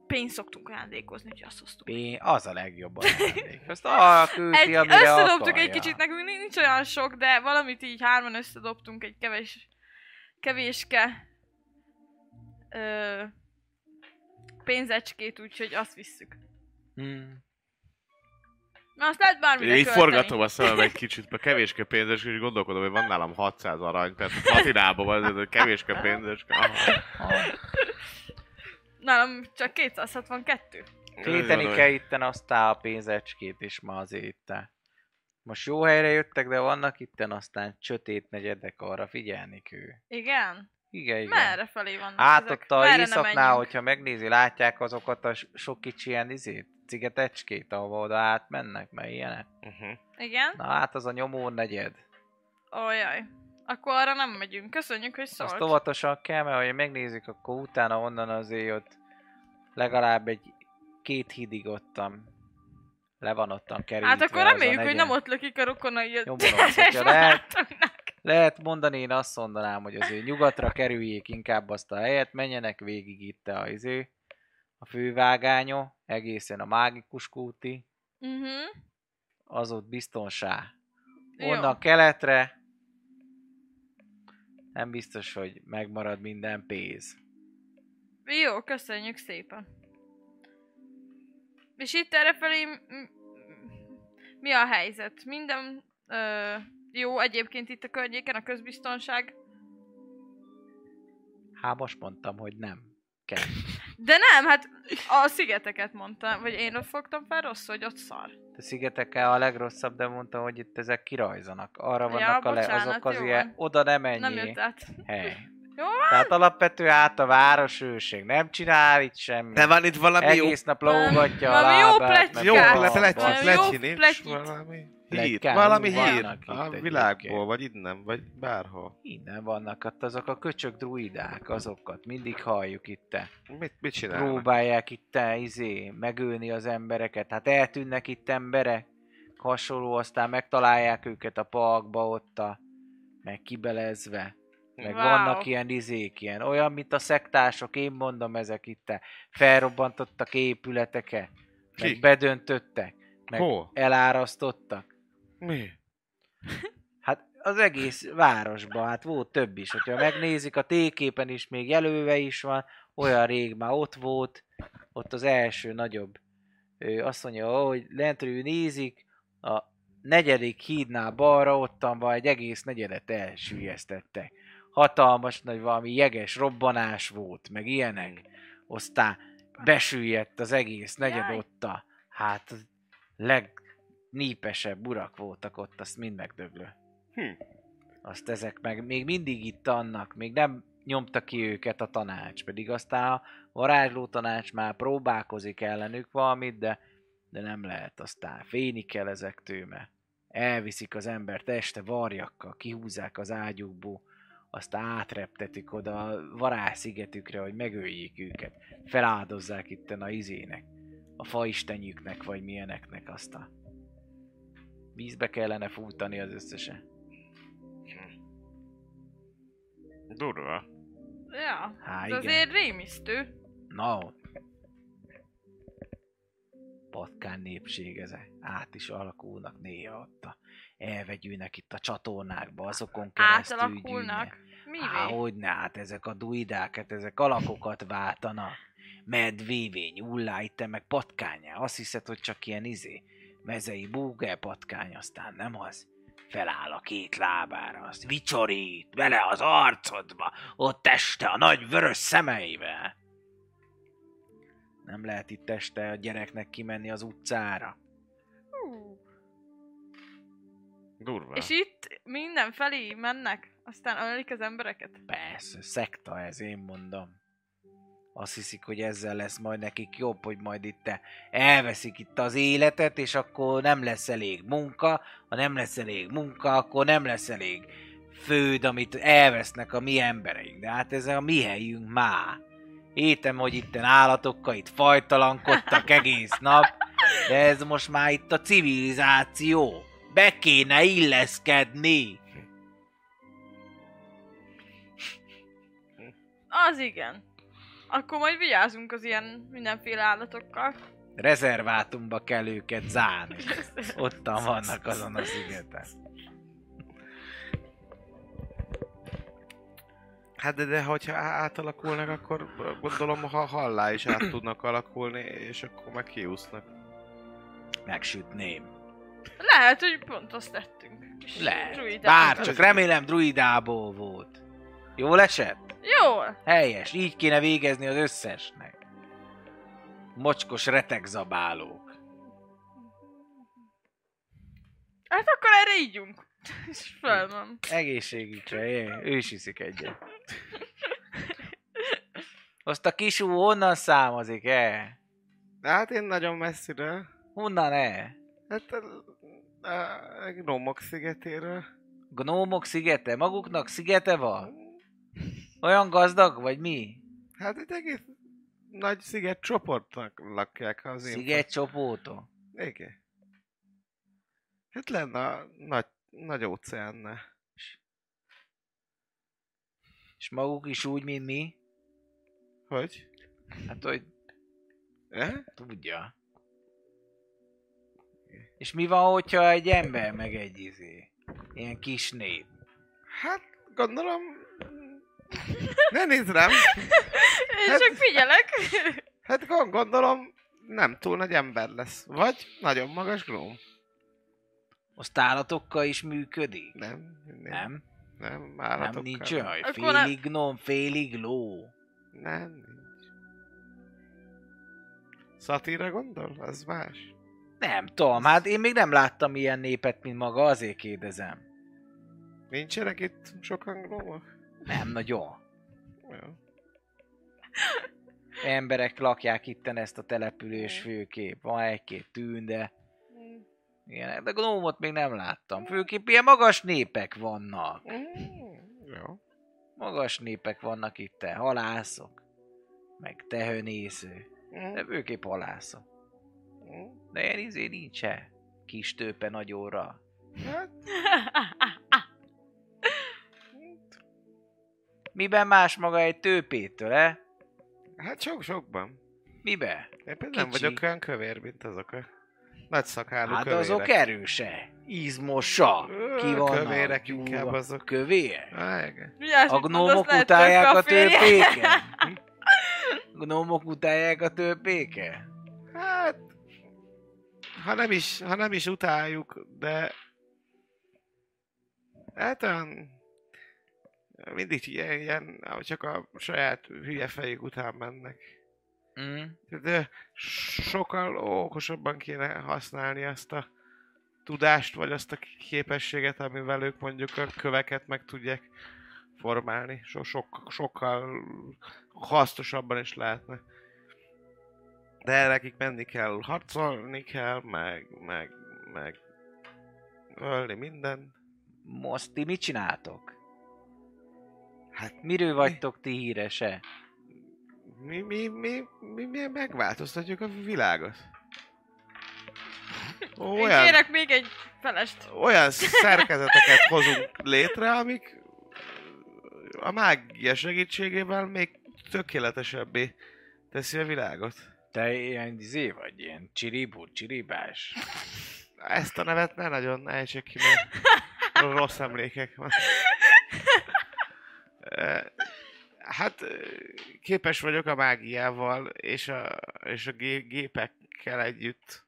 S4: pénzt szoktunk ajándékozni, hogy azt hoztunk.
S2: Én, az a legjobb ajándék. Azt arra küldi,
S4: Egy,
S2: amire
S4: összedobtuk
S2: akarja.
S4: egy kicsit, nekünk nin- nincs olyan sok, de valamit így hárman összedobtunk, egy kevés, kevéske ö,
S2: Hm.
S4: pénzecskét, úgyhogy azt visszük.
S2: Hmm.
S4: Na, azt lehet bármire
S5: Én így
S4: költeni.
S5: forgatom a szemem egy kicsit, mert kevéske pénzes, és gondolkodom, hogy van nálam 600 arany, tehát a patinában van ez a kevéske pénzes. Aha.
S4: Nálam csak 262.
S2: Téteni kell itten aztán a pénzecskét is ma azért itten. Most jó helyre jöttek, de vannak itten aztán csötét negyedek arra figyelni ő.
S4: Igen?
S2: Igen, igen.
S4: Merre felé vannak
S2: Át
S4: ezek?
S2: ott a
S4: Merre ne
S2: éjszaknál,
S4: menjünk?
S2: hogyha megnézi, látják azokat a s- sok kicsi ilyen izét, cigetecskét, ahova oda átmennek, mert ilyenek.
S5: Uh-huh.
S4: Igen?
S2: Na hát az a nyomó negyed.
S4: Ojaj. Akkor arra nem megyünk. Köszönjük, hogy szólt.
S2: Azt óvatosan kell, mert ha megnézik, akkor utána onnan azért ott legalább egy két hídig ottam. Le van ottam kerítve.
S4: Hát akkor
S2: az a
S4: reméljük, hogy
S2: negyed.
S4: nem ott lökik a rokonai a
S2: Jobban ott,
S4: teljes
S2: hogyha lehet.
S4: barátunknak.
S2: Lehet mondani, én azt mondanám, hogy azért nyugatra kerüljék inkább azt a helyet, menjenek végig itt a izé, a fővágányo, egészen a mágikus kúti,
S4: Mhm.
S2: az ott biztonsá.
S4: Jó.
S2: Onnan keletre nem biztos, hogy megmarad minden pénz.
S4: Jó, köszönjük szépen. És itt errefelé m- m- mi a helyzet? Minden ö, jó egyébként itt a környéken, a közbiztonság.
S2: Hát most mondtam, hogy nem. Kell.
S4: De nem, hát a szigeteket mondtam, vagy én ott fogtam fel rossz, hogy ott szar.
S2: A szigetekkel a legrosszabb, de mondtam, hogy itt ezek kirajzanak. Arra
S4: Ja,
S2: vannak a le,
S4: bocsánat,
S2: azok az
S4: jó
S2: ilyen,
S4: van.
S2: oda nem
S4: Nem
S2: menjél.
S4: jött át.
S2: hely.
S4: Jó hát,
S2: Tehát alapvetően át a város őség. Nem csinál itt semmit.
S5: De van itt valami
S2: Egész nap lógatja a
S4: Valami jó
S2: lábát.
S5: jó,
S2: meg
S4: pletykát.
S5: jó
S2: a
S5: le-
S4: Valami
S5: pletyit,
S4: jó
S5: pletyit, nincs
S4: pletyit.
S5: valami hír,
S2: Pletykán
S5: valami
S2: vannak
S5: hír
S2: itt
S5: a
S2: egyébként.
S5: világból, vagy innen, vagy bárhol.
S2: Innen vannak ott azok a köcsög druidák, azokat mindig halljuk itt.
S5: Mit, mit csinálnak?
S2: Próbálják itt izé, megölni az embereket. Hát eltűnnek itt emberek, hasonló, aztán megtalálják őket a parkba ott, a, meg kibelezve. Meg
S4: Wow.
S2: vannak ilyen izék, ilyen, olyan, mint a szektások, én mondom ezek itt. eh, Felrobbantottak épületeket, meg
S5: Ki?
S2: bedöntöttek, meg
S5: Hol?
S2: elárasztottak.
S5: Mi?
S2: Hát az egész városban, hát volt több is. Hogyha megnézik, a téképen is még jelölve is van, olyan rég már ott volt, ott az első nagyobb. Ő azt mondja, hogy lentről nézik, a negyedik hídnál balra ottan van egy egész negyedet elsüllyesztettek. Hatalmas nagy valami jeges robbanás volt, meg ilyenek. Aztán besüllyedt az egész negyed
S4: Jaj.
S2: otta. Hát legnépesebb urak voltak ott, azt mind megdöglő azt ezek meg még mindig itt annak, még nem nyomta ki őket a tanács, pedig aztán a varázsló tanács már próbálkozik ellenük valamit, de, de nem lehet aztán. Félni kell ezek tőme. Elviszik az embert este varjakkal, kihúzzák az ágyukból, aztán átreptetik oda a varázszigetükre, hogy megöljék őket. Feláldozzák itten a izének, a faistenjüknek, vagy milyeneknek aztán. Vízbe kellene fújtani az összesen.
S5: Durva.
S4: Ja,
S2: Há,
S4: ez
S2: igen.
S4: azért rémisztő.
S2: Na ott. Patkány népség ezek. Át is alakulnak néha ott a... Elvegyülnek itt a csatornákba, azokon keresztül
S4: Átalakulnak. Mi
S2: Há, hogyne, hát ezek a duidák, hát ezek alakokat váltanak. Medvévé, nyullá, itt te meg patkányá. Azt hiszed, hogy csak ilyen izé, mezei búgel patkány, aztán nem az. Feláll a két lábára, azt vicsorít bele az arcodba, ott este a nagy vörös szemeivel. Nem lehet itt este a gyereknek kimenni az utcára.
S4: Hú.
S5: Durva.
S4: És itt mindenfelé mennek, aztán ölik az embereket.
S2: Persze, szekta ez, én mondom. Azt hiszik, hogy ezzel lesz majd nekik jobb, hogy majd itt elveszik itt az életet, és akkor nem lesz elég munka, ha nem lesz elég munka, akkor nem lesz elég főd, amit elvesznek a mi embereink. De hát ez a mi helyünk már. Étem, hogy itten állatokkal itt fajtalankodtak egész nap, de ez most már itt a civilizáció. Be kéne illeszkedni.
S4: Az igen. Akkor majd vigyázunk az ilyen mindenféle állatokkal.
S2: Rezervátumba kell őket zárni. Ottan vannak azon a szigeten.
S5: Hát de, de hogyha á- átalakulnak, akkor gondolom, ha hallá is át tudnak alakulni, és akkor meg kiúsznak.
S2: Megsütném.
S4: Lehet, hogy pont azt tettünk. Kis
S2: Lehet.
S4: druidát.
S2: Bár, csak remélem druidából volt. Jól esett?
S4: Jól.
S2: Helyes, így kéne végezni az összesnek. Mocskos retegzabálók.
S4: Hát akkor erre ígyunk. És fel van.
S2: Egészségükre, jé, ő is iszik egyet. Azt a kisú honnan számozik, e?
S5: De hát én nagyon messziről.
S2: Honnan, e?
S5: Hát a, a, a Gnomok szigetéről.
S2: Gnómok szigete? Maguknak szigete van? Olyan gazdag, vagy mi?
S5: Hát egy egész nagy sziget csoportnak lakják az én.
S2: Sziget csopóta.
S5: Igen. Hát lenne a nagy, nagy óceánnál.
S2: És maguk is úgy, mint mi?
S5: Hogy?
S2: Hát, hogy
S5: E?
S2: Tudja. És mi van, hogyha egy ember meg egy izé? Ilyen kis nép.
S5: Hát gondolom... Ne nézd rám!
S4: Én
S5: Hát-
S4: csak figyelek.
S5: Hát gond- gondolom nem túl nagy ember lesz. Vagy nagyon magas gróm.
S2: Azt állatokkal is működik?
S5: Nem, nem, nem,
S2: Nem?
S5: nem
S2: Nem,
S5: állatokkal.
S2: nincs olyan, hogy
S4: Akkor a-
S2: félig gnom, félig ló.
S5: Nem, nincs. Szatíra gondol? Az más.
S2: Nem tudom, hát én még nem láttam ilyen népet, mint maga, azért kérdezem.
S5: Nincsenek itt sokan grómok?
S2: Nem nagyon.
S5: Jó.
S2: Emberek lakják itten ezt a település főképp. Van egy-két tűn, de... Ilyen, de gnómot még nem láttam. Főképp ilyen magas népek vannak.
S5: Jó.
S2: magas népek vannak itt, halászok, meg tehönésző, de főképp halászok. De ilyen izé nincsen kis tőpe nagy óra.
S5: Hát,
S2: Miben más maga egy tőpétől, e?
S5: hát sok-sokban.
S2: Miben?
S5: Én például nem
S2: Kicsi.
S5: vagyok olyan kövér, mint azok a nagy szakálú
S2: Hát de
S5: kövérek.
S2: azok erőse, izmosa,
S5: Ö,
S2: ki van
S5: Kövérek inkább azok.
S2: Kövér?
S5: Á, igen.
S4: Vigyázz,
S2: A
S4: mit mondasz,
S2: gnómok
S4: lehet
S2: utálják
S4: tőke
S2: a
S4: férje.
S2: tőpéket? Gnómok utálják a tőpéket?
S5: Hát, ha nem is, ha nem is utáljuk, de hát olyan mindig ilyen, ilyen csak a saját hülye fejük után mennek.
S2: Mm.
S5: De sokkal okosabban kéne használni azt a tudást, vagy azt a képességet, amivel ők mondjuk a köveket meg tudják formálni. So- sok, sokkal hasznosabban is lehetne. De erre nekik menni kell, harcolni kell, meg, meg, meg ölni minden.
S2: Most ti mit csináltok?
S5: Hát
S2: Miről vagytok ti hírese?
S5: mi, mi, mi, mi, mi megváltoztatjuk a világot.
S4: Én kérek még egy felest.
S5: olyan szerkezeteket hozunk létre, amik a mágia segítségével még tökéletesebbé teszi a világot.
S2: Te ilyen izé vagy, ilyen csiribú, csiribás.
S5: Ezt a nevet ne nagyon ejtsék ki, mert rossz emlékek van. Ö, Hát ö, képes vagyok a mágiával és a, és a gé- gépekkel együtt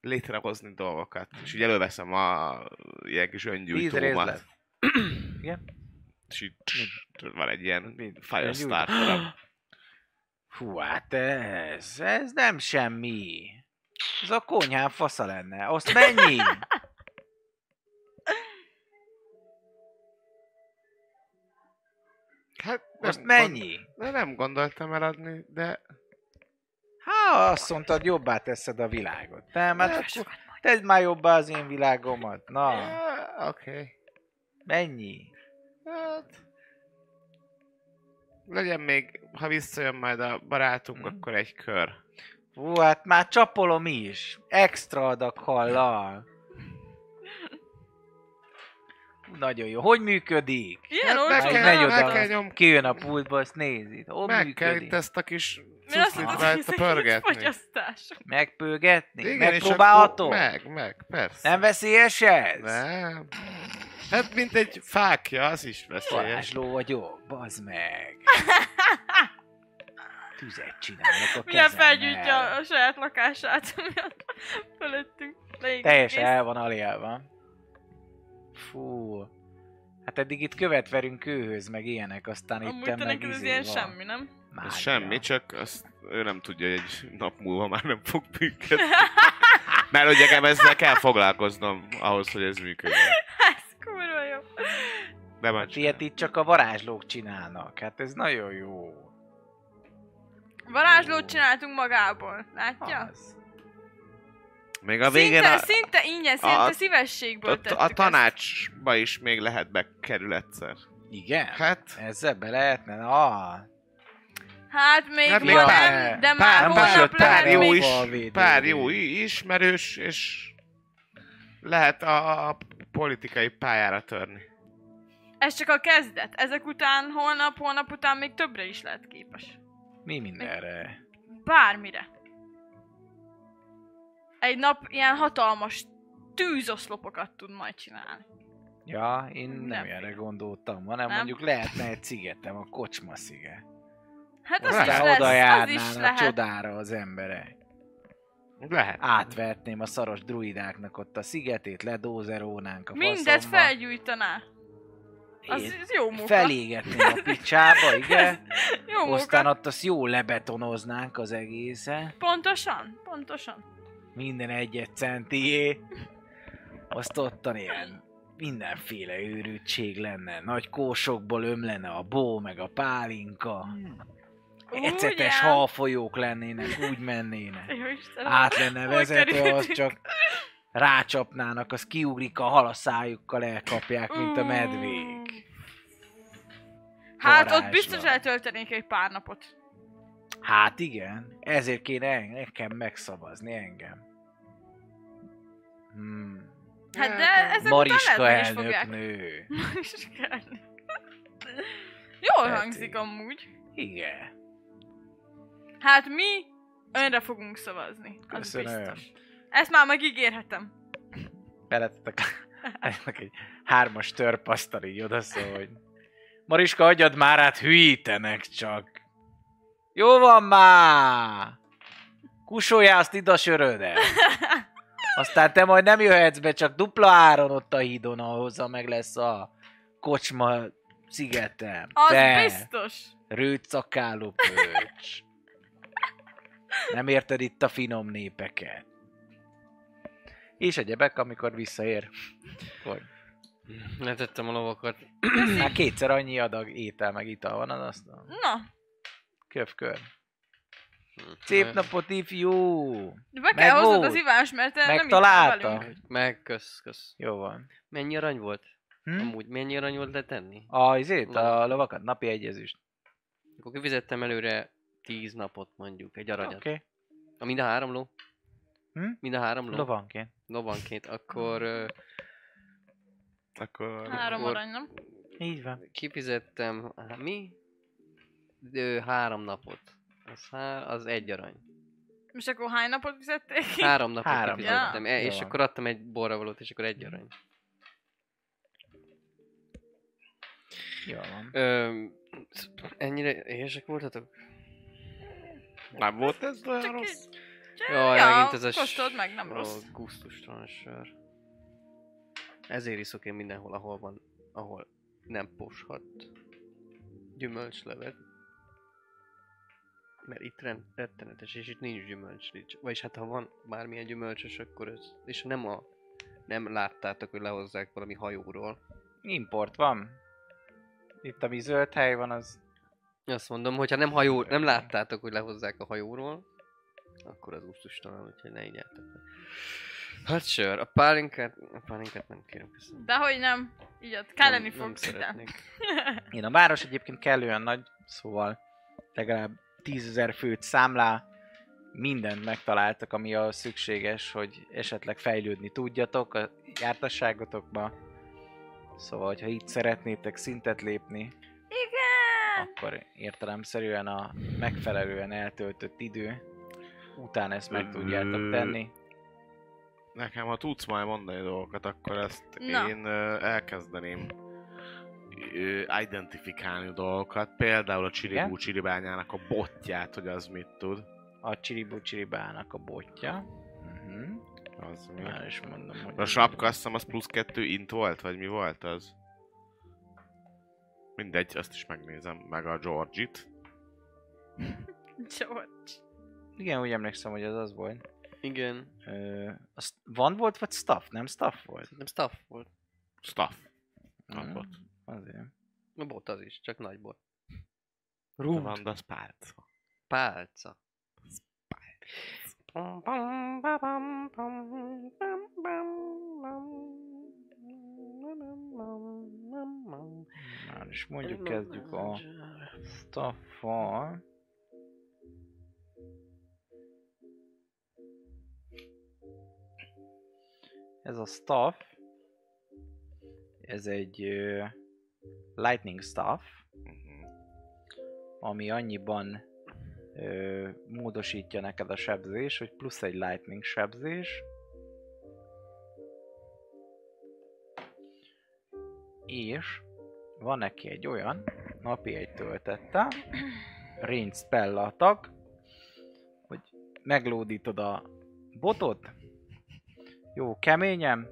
S5: létrehozni dolgokat. És így előveszem a ilyen kis
S2: Tíz
S5: öngyújtómat.
S2: részlet. Igen?
S5: és így css, van egy ilyen
S2: Egy
S5: firestarter
S2: új- Hú, hát ez, ez nem semmi. Ez a konyhám fasza lenne. Azt mennyi?
S5: Hát
S2: Azt
S5: Gond,
S2: mennyi?
S5: de nem gondoltam eladni, de
S2: Hát azt mondtad, jobbá teszed a világot. Nem, hát
S5: Hát,
S2: akkor tedd már jobbá az én világomat. Na,
S5: Ah, oké.
S2: mennyi?
S5: Hát... Legyen még, ha visszajön majd a barátunk,
S2: Mhm.
S5: akkor egy kör.
S2: Hú, hát már csapolom is. Extra adag hallal. Hú, Nagyon jó. Hogy működik?
S4: Ilyen
S5: Hát meg
S4: olcsó.
S2: Majd
S5: kell-
S2: megy
S5: meg
S2: oda,
S5: kell
S2: azt
S5: nyom-
S2: kijön a pultba, azt nézi. Hol
S5: Meg kell
S2: működik?
S5: itt ezt a kis
S4: Mi azt
S5: cuclit
S4: mondod, hogy
S5: rajta
S4: ezek
S5: pörgetni.
S4: fogyasztás.
S2: Megpörgetni?
S5: Igen, és
S2: Megpróbálható?
S5: akkor- Meg, meg, persze.
S2: Nem veszélyes ez?
S5: Nem. Hát mint egy fákja, az is veszélyes.
S2: Varázsló vagyok, bazd meg. Tüzet csinálok a
S4: Milyen
S2: kezemmel.
S4: felgyújtja a saját lakását, ami ott fölöttünk. Leég-
S2: Teljesen
S4: kész.
S2: el van aliálva. Fú. Hát eddig itt követverünk kőhöz, meg ilyenek, aztán itt
S4: Amúgy
S2: meg
S4: te neked ez
S2: izé
S4: ilyen
S2: van.
S4: semmi, nem?
S2: Mágia.
S5: Ez semmi, csak azt ő nem tudja, hogy egy nap múlva már nem fog működni. Mert hogy nekem ezzel kell foglalkoznom ahhoz, hogy ez működjön.
S4: Ez kurva jó.
S5: De már
S2: Hát ilyet itt csak a varázslók csinálnak. Hát ez nagyon jó.
S4: Varázslót csináltunk magából, látja?
S2: Az.
S5: Még a végén
S4: Szinte,
S5: a,
S4: szinte ingyen,
S5: a-
S4: szinte
S5: a-
S4: szívességből
S5: a,
S4: tettük
S5: a
S4: ezt.
S5: tanácsba is még lehet bekerül egyszer.
S2: Igen? Hát...
S5: Hát,
S2: Ezzel be lehetne? Ah,
S4: Hát még
S5: Hát
S4: ma
S5: még
S4: nem,
S2: pár-
S4: de már
S5: pár, pár,
S4: holnap
S5: pár,
S4: lehet
S5: jó
S4: még...
S5: is,
S2: Falvédő.
S5: pár jó i- ismerős, és lehet a, a politikai pályára törni.
S4: Ez csak a kezdet. Ezek után, holnap, holnap után még többre is lehet képes.
S2: mi mindenre?
S4: Bármire. Egy nap ilyen hatalmas tűzoszlopokat tud majd csinálni.
S2: Ja, én nem,
S4: Nem.
S2: erre gondoltam, hanem
S4: Nem?
S2: nem. mondjuk lehetne egy szigetem, a kocsma sziget.
S4: Hát az is
S5: Lehet.
S2: Aztán oda
S4: lesz, az is
S2: járnának
S4: lehet.
S2: csodára az emberek.
S5: Lehet.
S2: Átvertném a szaros druidáknak ott a szigetét, ledózerónánk a
S4: Mindet
S2: faszomba.
S4: felgyújtaná. Az,
S2: Én
S4: az jó munka.
S2: Felégetném a picsába, igen.
S4: Jó
S2: Aztán
S4: munka.
S2: ott azt jól lebetonoznánk az egészen.
S4: Pontosan, pontosan.
S2: Minden egyet centié. Azt ottan ilyen mindenféle őrültség lenne. Nagy kósokból ömlene a bó, meg a pálinka.
S4: Hmm.
S2: Ecetes
S4: Ugyan.
S2: halfolyók lennének, úgy mennének.
S4: Jó Istenem.
S2: Át lenne
S4: Hogy
S2: vezető, az
S4: kerültünk?
S2: csak rácsapnának, az kiugrik a hal a szájukkal, elkapják, mint a medvék.
S4: Hát ott
S2: varázslat.
S4: biztos eltöltenék egy pár napot.
S2: Hát igen, ezért kéne en- nekem megszavazni engem. Hmm.
S4: Hát de ezek
S2: Mariska
S4: után lehet, hogy
S2: elnök
S4: is fogják.
S2: nő.
S4: Mariska elnök. Jól
S2: Tetszik.
S4: hangzik amúgy.
S2: Igen.
S4: Hát mi önre fogunk szavazni. Az
S2: Köszönöm.
S4: biztos. Ezt már megígérhetem.
S2: Beletettek ennek egy hármas törpasztal így odaszól, hogy Mariska, adjad már át, hülyítenek csak. Jó van már! Kusoljál azt ide a sörödet. Aztán te majd nem jöhetsz be, csak dupla áron ott a hídon, ahhoz a meg lesz a kocsma szigetem.
S4: Az
S2: Te,
S4: biztos.
S2: rőcakáló pöcs. Nem érted itt a finom népeket. És egyebek, amikor visszaér. Hogy?
S3: Letettem a lovakat.
S2: Már kétszer annyi adag étel meg ital van az asztalon.
S4: Na,
S2: Kövkör. Szép napot, ifjú!
S4: be kell hoznod
S2: volt.
S4: az ivás, mert te nem itt vagy
S2: Megtalálta?
S4: velünk.
S3: Meg, kösz, kösz.
S2: Jó van.
S3: Mennyi arany volt?
S2: Hm?
S3: Amúgy mennyi arany volt letenni?
S2: A, izét, a lovakat, napi egyezést.
S3: Akkor kifizettem előre 10 napot mondjuk, egy
S2: Oké.
S3: aranyat. Okay. A mind a három ló?
S2: Hm?
S3: Mind a három ló?
S2: Lovanként.
S3: Lovanként. Akkor ö,
S5: Akkor...
S4: Három
S3: Akkor-
S4: arany, nem?
S2: Így van.
S3: kifizettem, há- mi? Ö, három napot. Az, há, az egy arany.
S4: És akkor hány napot fizették?
S3: Három napot
S2: Három.
S3: három. kifizettem.
S2: Ja.
S3: E,
S2: Jó
S3: és
S2: van. Hm.
S3: akkor adtam egy borravalót, és akkor egy arany.
S2: Jó van.
S3: Ö, ennyire éhesek voltatok?
S5: Nem volt ez olyan
S4: Csak
S5: rossz?
S4: így.
S3: Jaj,
S4: ja,
S3: megint ez a... s-
S4: kóstold meg, nem rossz.
S3: A gusztustalan sör. Ezért iszok én mindenhol, ahol van, ahol nem poshat gyümölcslevet. Mert itt rend, rettenetes, és itt nincs gyümölcs, nincs. Vagyis hát ha van bármilyen gyümölcsös, akkor ez... És nem a... Nem láttátok, hogy lehozzák valami hajóról.
S2: Import van. Itt, ami zöld hely van, az
S3: Azt mondom, hogyha nem hajó, nem láttátok, hogy lehozzák a hajóról, akkor az gusztustalan, úgyhogy ne így álltok. Hát sör, a pálinkát, a pálinkát nem kérem, köszönöm.
S4: De hogy nem. Így ott kell lenni
S3: nem, nem
S4: fogsz ide.
S3: szeretnék.
S2: Én a város egyébként kellően nagy, szóval legalább tízezer főt számlál, mindent megtaláltak, ami a szükséges, hogy esetleg fejlődni tudjatok a jártasságotokba. Szóval, hogyha itt szeretnétek szintet lépni,
S4: Igen!
S2: akkor értelemszerűen a megfelelően eltöltött idő után ezt meg tudjátok tenni.
S5: Nekem, ha tudsz majd mondani dolgokat, akkor ezt
S4: Na.
S5: én ö, elkezdeném ö, identifikálni dolgokat. Például a Csiribú
S2: Igen?
S5: Csiribányának a botját, hogy az mit tud.
S2: A csiribu csiribának a botja. Uh-huh.
S5: Az mi?
S2: Már is mondom, hogy...
S5: A sapka azt hiszem az plusz kettő int volt, vagy mi volt az? Mindegy, azt is megnézem, meg a Georgit.
S4: George.
S2: Igen, úgy emlékszem, hogy az az volt.
S3: Igen.
S2: Ö, az van volt, vagy staff? Nem staff volt?
S3: Nem staff volt.
S5: Staff.
S2: Mhm.
S5: Kapott.
S2: Azért.
S3: Na bot az is, csak nagyból.
S5: Rúd. Van, de az pálca.
S3: Pálca.
S2: Már is mondjuk kezdjük a staffal. Ez a staff. Ez egy ö, lightning staff,
S5: Uh-huh.
S2: ami annyiban ö, módosítja neked a sebzés, hogy plusz egy lightning sebzés. És van neki egy olyan, napi egy töltette, range spell attack, hogy meglódítod a botot, jó keményem,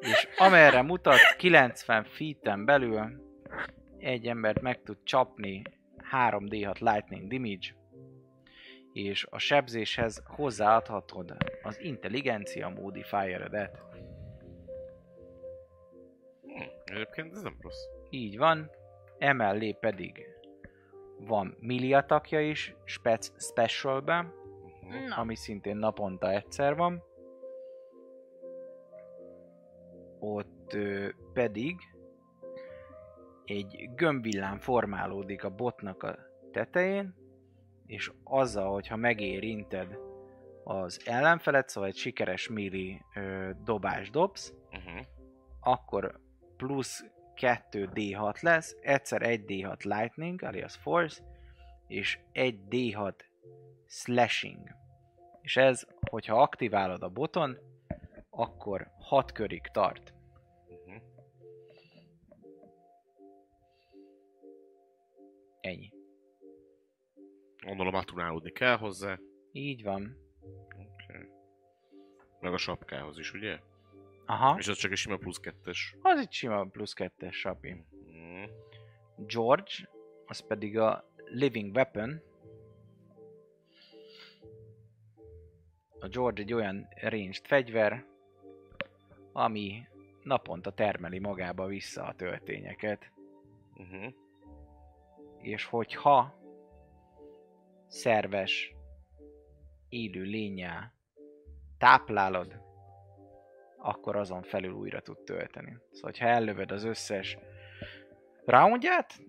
S2: és amerre mutat 90 feet belül egy embert meg tud csapni 3d6 lightning damage, és a sebzéshez hozzáadhatod az intelligencia modifieredet.
S5: Egyébként ez nem rossz.
S2: Így van. Emellé pedig van milliatakja is, spec specialben,
S5: Uh-huh.
S4: Na,
S2: ami szintén naponta egyszer van. Ott ö, pedig egy gömbvillám formálódik a botnak a tetején, és azzal, hogyha megérinted az ellenfelet, szóval egy sikeres milli ö, dobás dobsz,
S5: Uh-huh.
S2: akkor plusz 2d6 lesz, egyszer 1d6 lightning, alias force, és 1d6 slashing. És ez, hogyha aktiválod a boton, akkor 6 körig tart.
S5: Uh-huh.
S2: Ennyi.
S5: Gondolom attunálódni kell hozzá.
S2: Így van.
S5: Okay. Meg a sapkához is, ugye?
S2: Aha,
S5: És az csak egy sima plusz kettes.
S2: az itt sima plusz 2-es sapi.
S5: Mhm.
S2: George, az pedig a Living Weapon. A George egy olyan ranged fegyver, ami naponta termeli magába vissza a töltényeket
S5: Mhm.
S2: és hogyha szerves élő lényel táplálod, akkor azon felül újra tud tölteni. Szóval, ha ellövöd az összes roundját,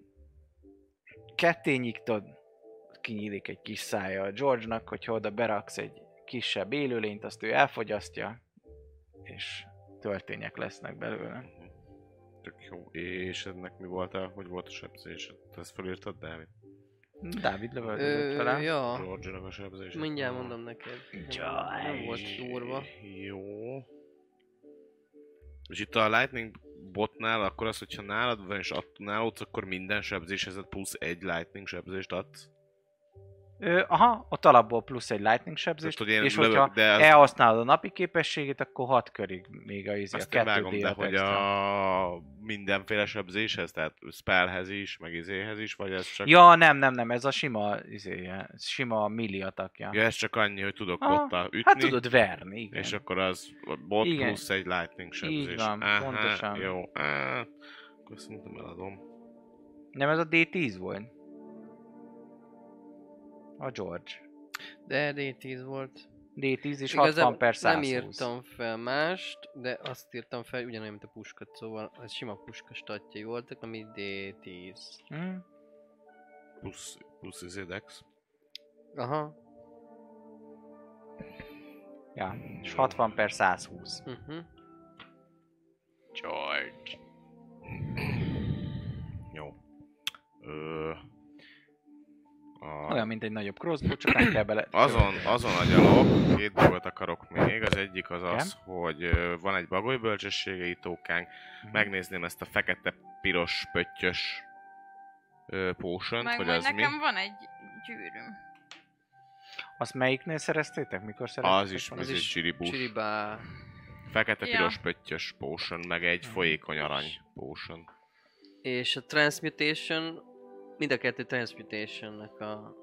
S2: ketté nyíktod, kinyílik egy kis szája a George-nak, hogyha oda beraksz egy kisebb élőlényt, azt ő elfogyasztja, és töltények lesznek belőle.
S5: Mhm. Tök jó. És ennek mi volt a, hogy volt a sebzés? Ezt felírtad, Dávid?
S2: Dávid lövöldözött
S3: Ö,
S2: vele.
S3: ja.
S5: George-nak a sebzés.
S3: Mindjárt mondom neked. Nem volt durva.
S5: Jó. És itt a Lightning botnál akkor az, hogyha nálad van és attunálódsz, akkor minden sebzéshez plusz egy Lightning sebzést adsz.
S2: Ö, aha, ott alapból plusz egy lightning
S5: Tehát,
S2: sebzést,
S5: hogy én
S2: és
S5: lövök,
S2: hogyha
S5: de azt,
S2: elhasználod a napi képességét, akkor hat körig még a izé, a
S5: azt én
S2: kettő
S5: vágom, de
S2: díjat
S5: hogy
S2: extra.
S5: a mindenféle sebzéshez, tehát spellhez is, meg izéhez is, vagy ez csak...
S2: Ja, nem, nem, nem, ez a sima, izé, ez sima milli atakja.
S5: Ja, ez csak annyi, hogy tudok
S2: Aha.
S5: bottal ütni,
S2: hát tudod verni, igen.
S5: és akkor az bot
S2: Igen.
S5: plusz egy lightning sebzés.
S2: van, pontosan.
S5: Jó, Á, akkor szerintem eladom.
S2: Nem, ez a D10 volt. A George.
S3: De D10 volt.
S2: D10 és
S3: Igazából
S2: 60 per 120.
S3: Nem írtam fel mást, de azt írtam fel, ugyanolyan, mint a puskat, szóval ez sima puska statjai voltak, ami D10.
S2: Hm?
S5: Plusz, plusz izé dex.
S3: Aha.
S2: Ja, és 60 per 120.
S3: Uh-huh.
S5: George. Jó. Ö, a,
S2: Olyan, mint egy nagyobb crossbow, csak nem kell bele...
S5: azon, azon agyalok, két dolgot akarok még. Az egyik az az, hogy ö, van egy bagoly bölcsessége itókánk.
S2: Mhm.
S5: Megnézném ezt a fekete, piros, pöttyös ö, potion
S4: meg
S5: hogy
S4: majd
S5: az mi.
S4: nekem van egy gyűrűm.
S2: Azt melyiknél szereztétek? Mikor szereztétek?
S5: Az is,
S2: valami?
S5: az is csiribús.
S3: Csiribá.
S5: Fekete
S4: Ja.
S5: piros pöttyös potion, meg egy folyékony arany potion.
S3: És a Transmutation, mind a kettő Transmutationnek a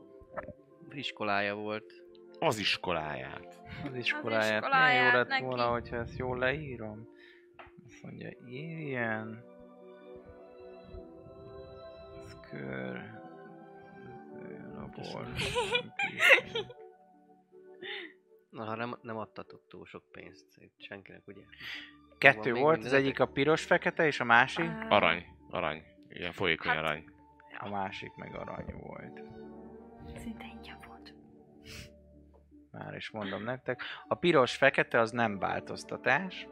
S3: iskolája volt.
S5: Az iskoláját.
S2: Az iskoláját. Az iskoláját
S4: iskoláját
S2: jó lett
S4: neki.
S2: volna, hogyha ezt jól leírom. Azt mondja, ilyen. Ez kör. Ez Labor.
S3: Na, ha nem, nem adtatok túl sok pénzt itt senkinek, ugye?
S2: Kettő
S3: még
S2: volt, az
S3: mindenetek?
S2: egyik a piros-fekete, és a másik?
S4: Á,
S5: Arany, arany. Ilyen folyékony
S4: Hát-
S5: arany.
S2: A másik meg arany volt.
S4: Szinte ingyen volt.
S2: Már is mondom nektek. A piros-fekete az nem változtatás.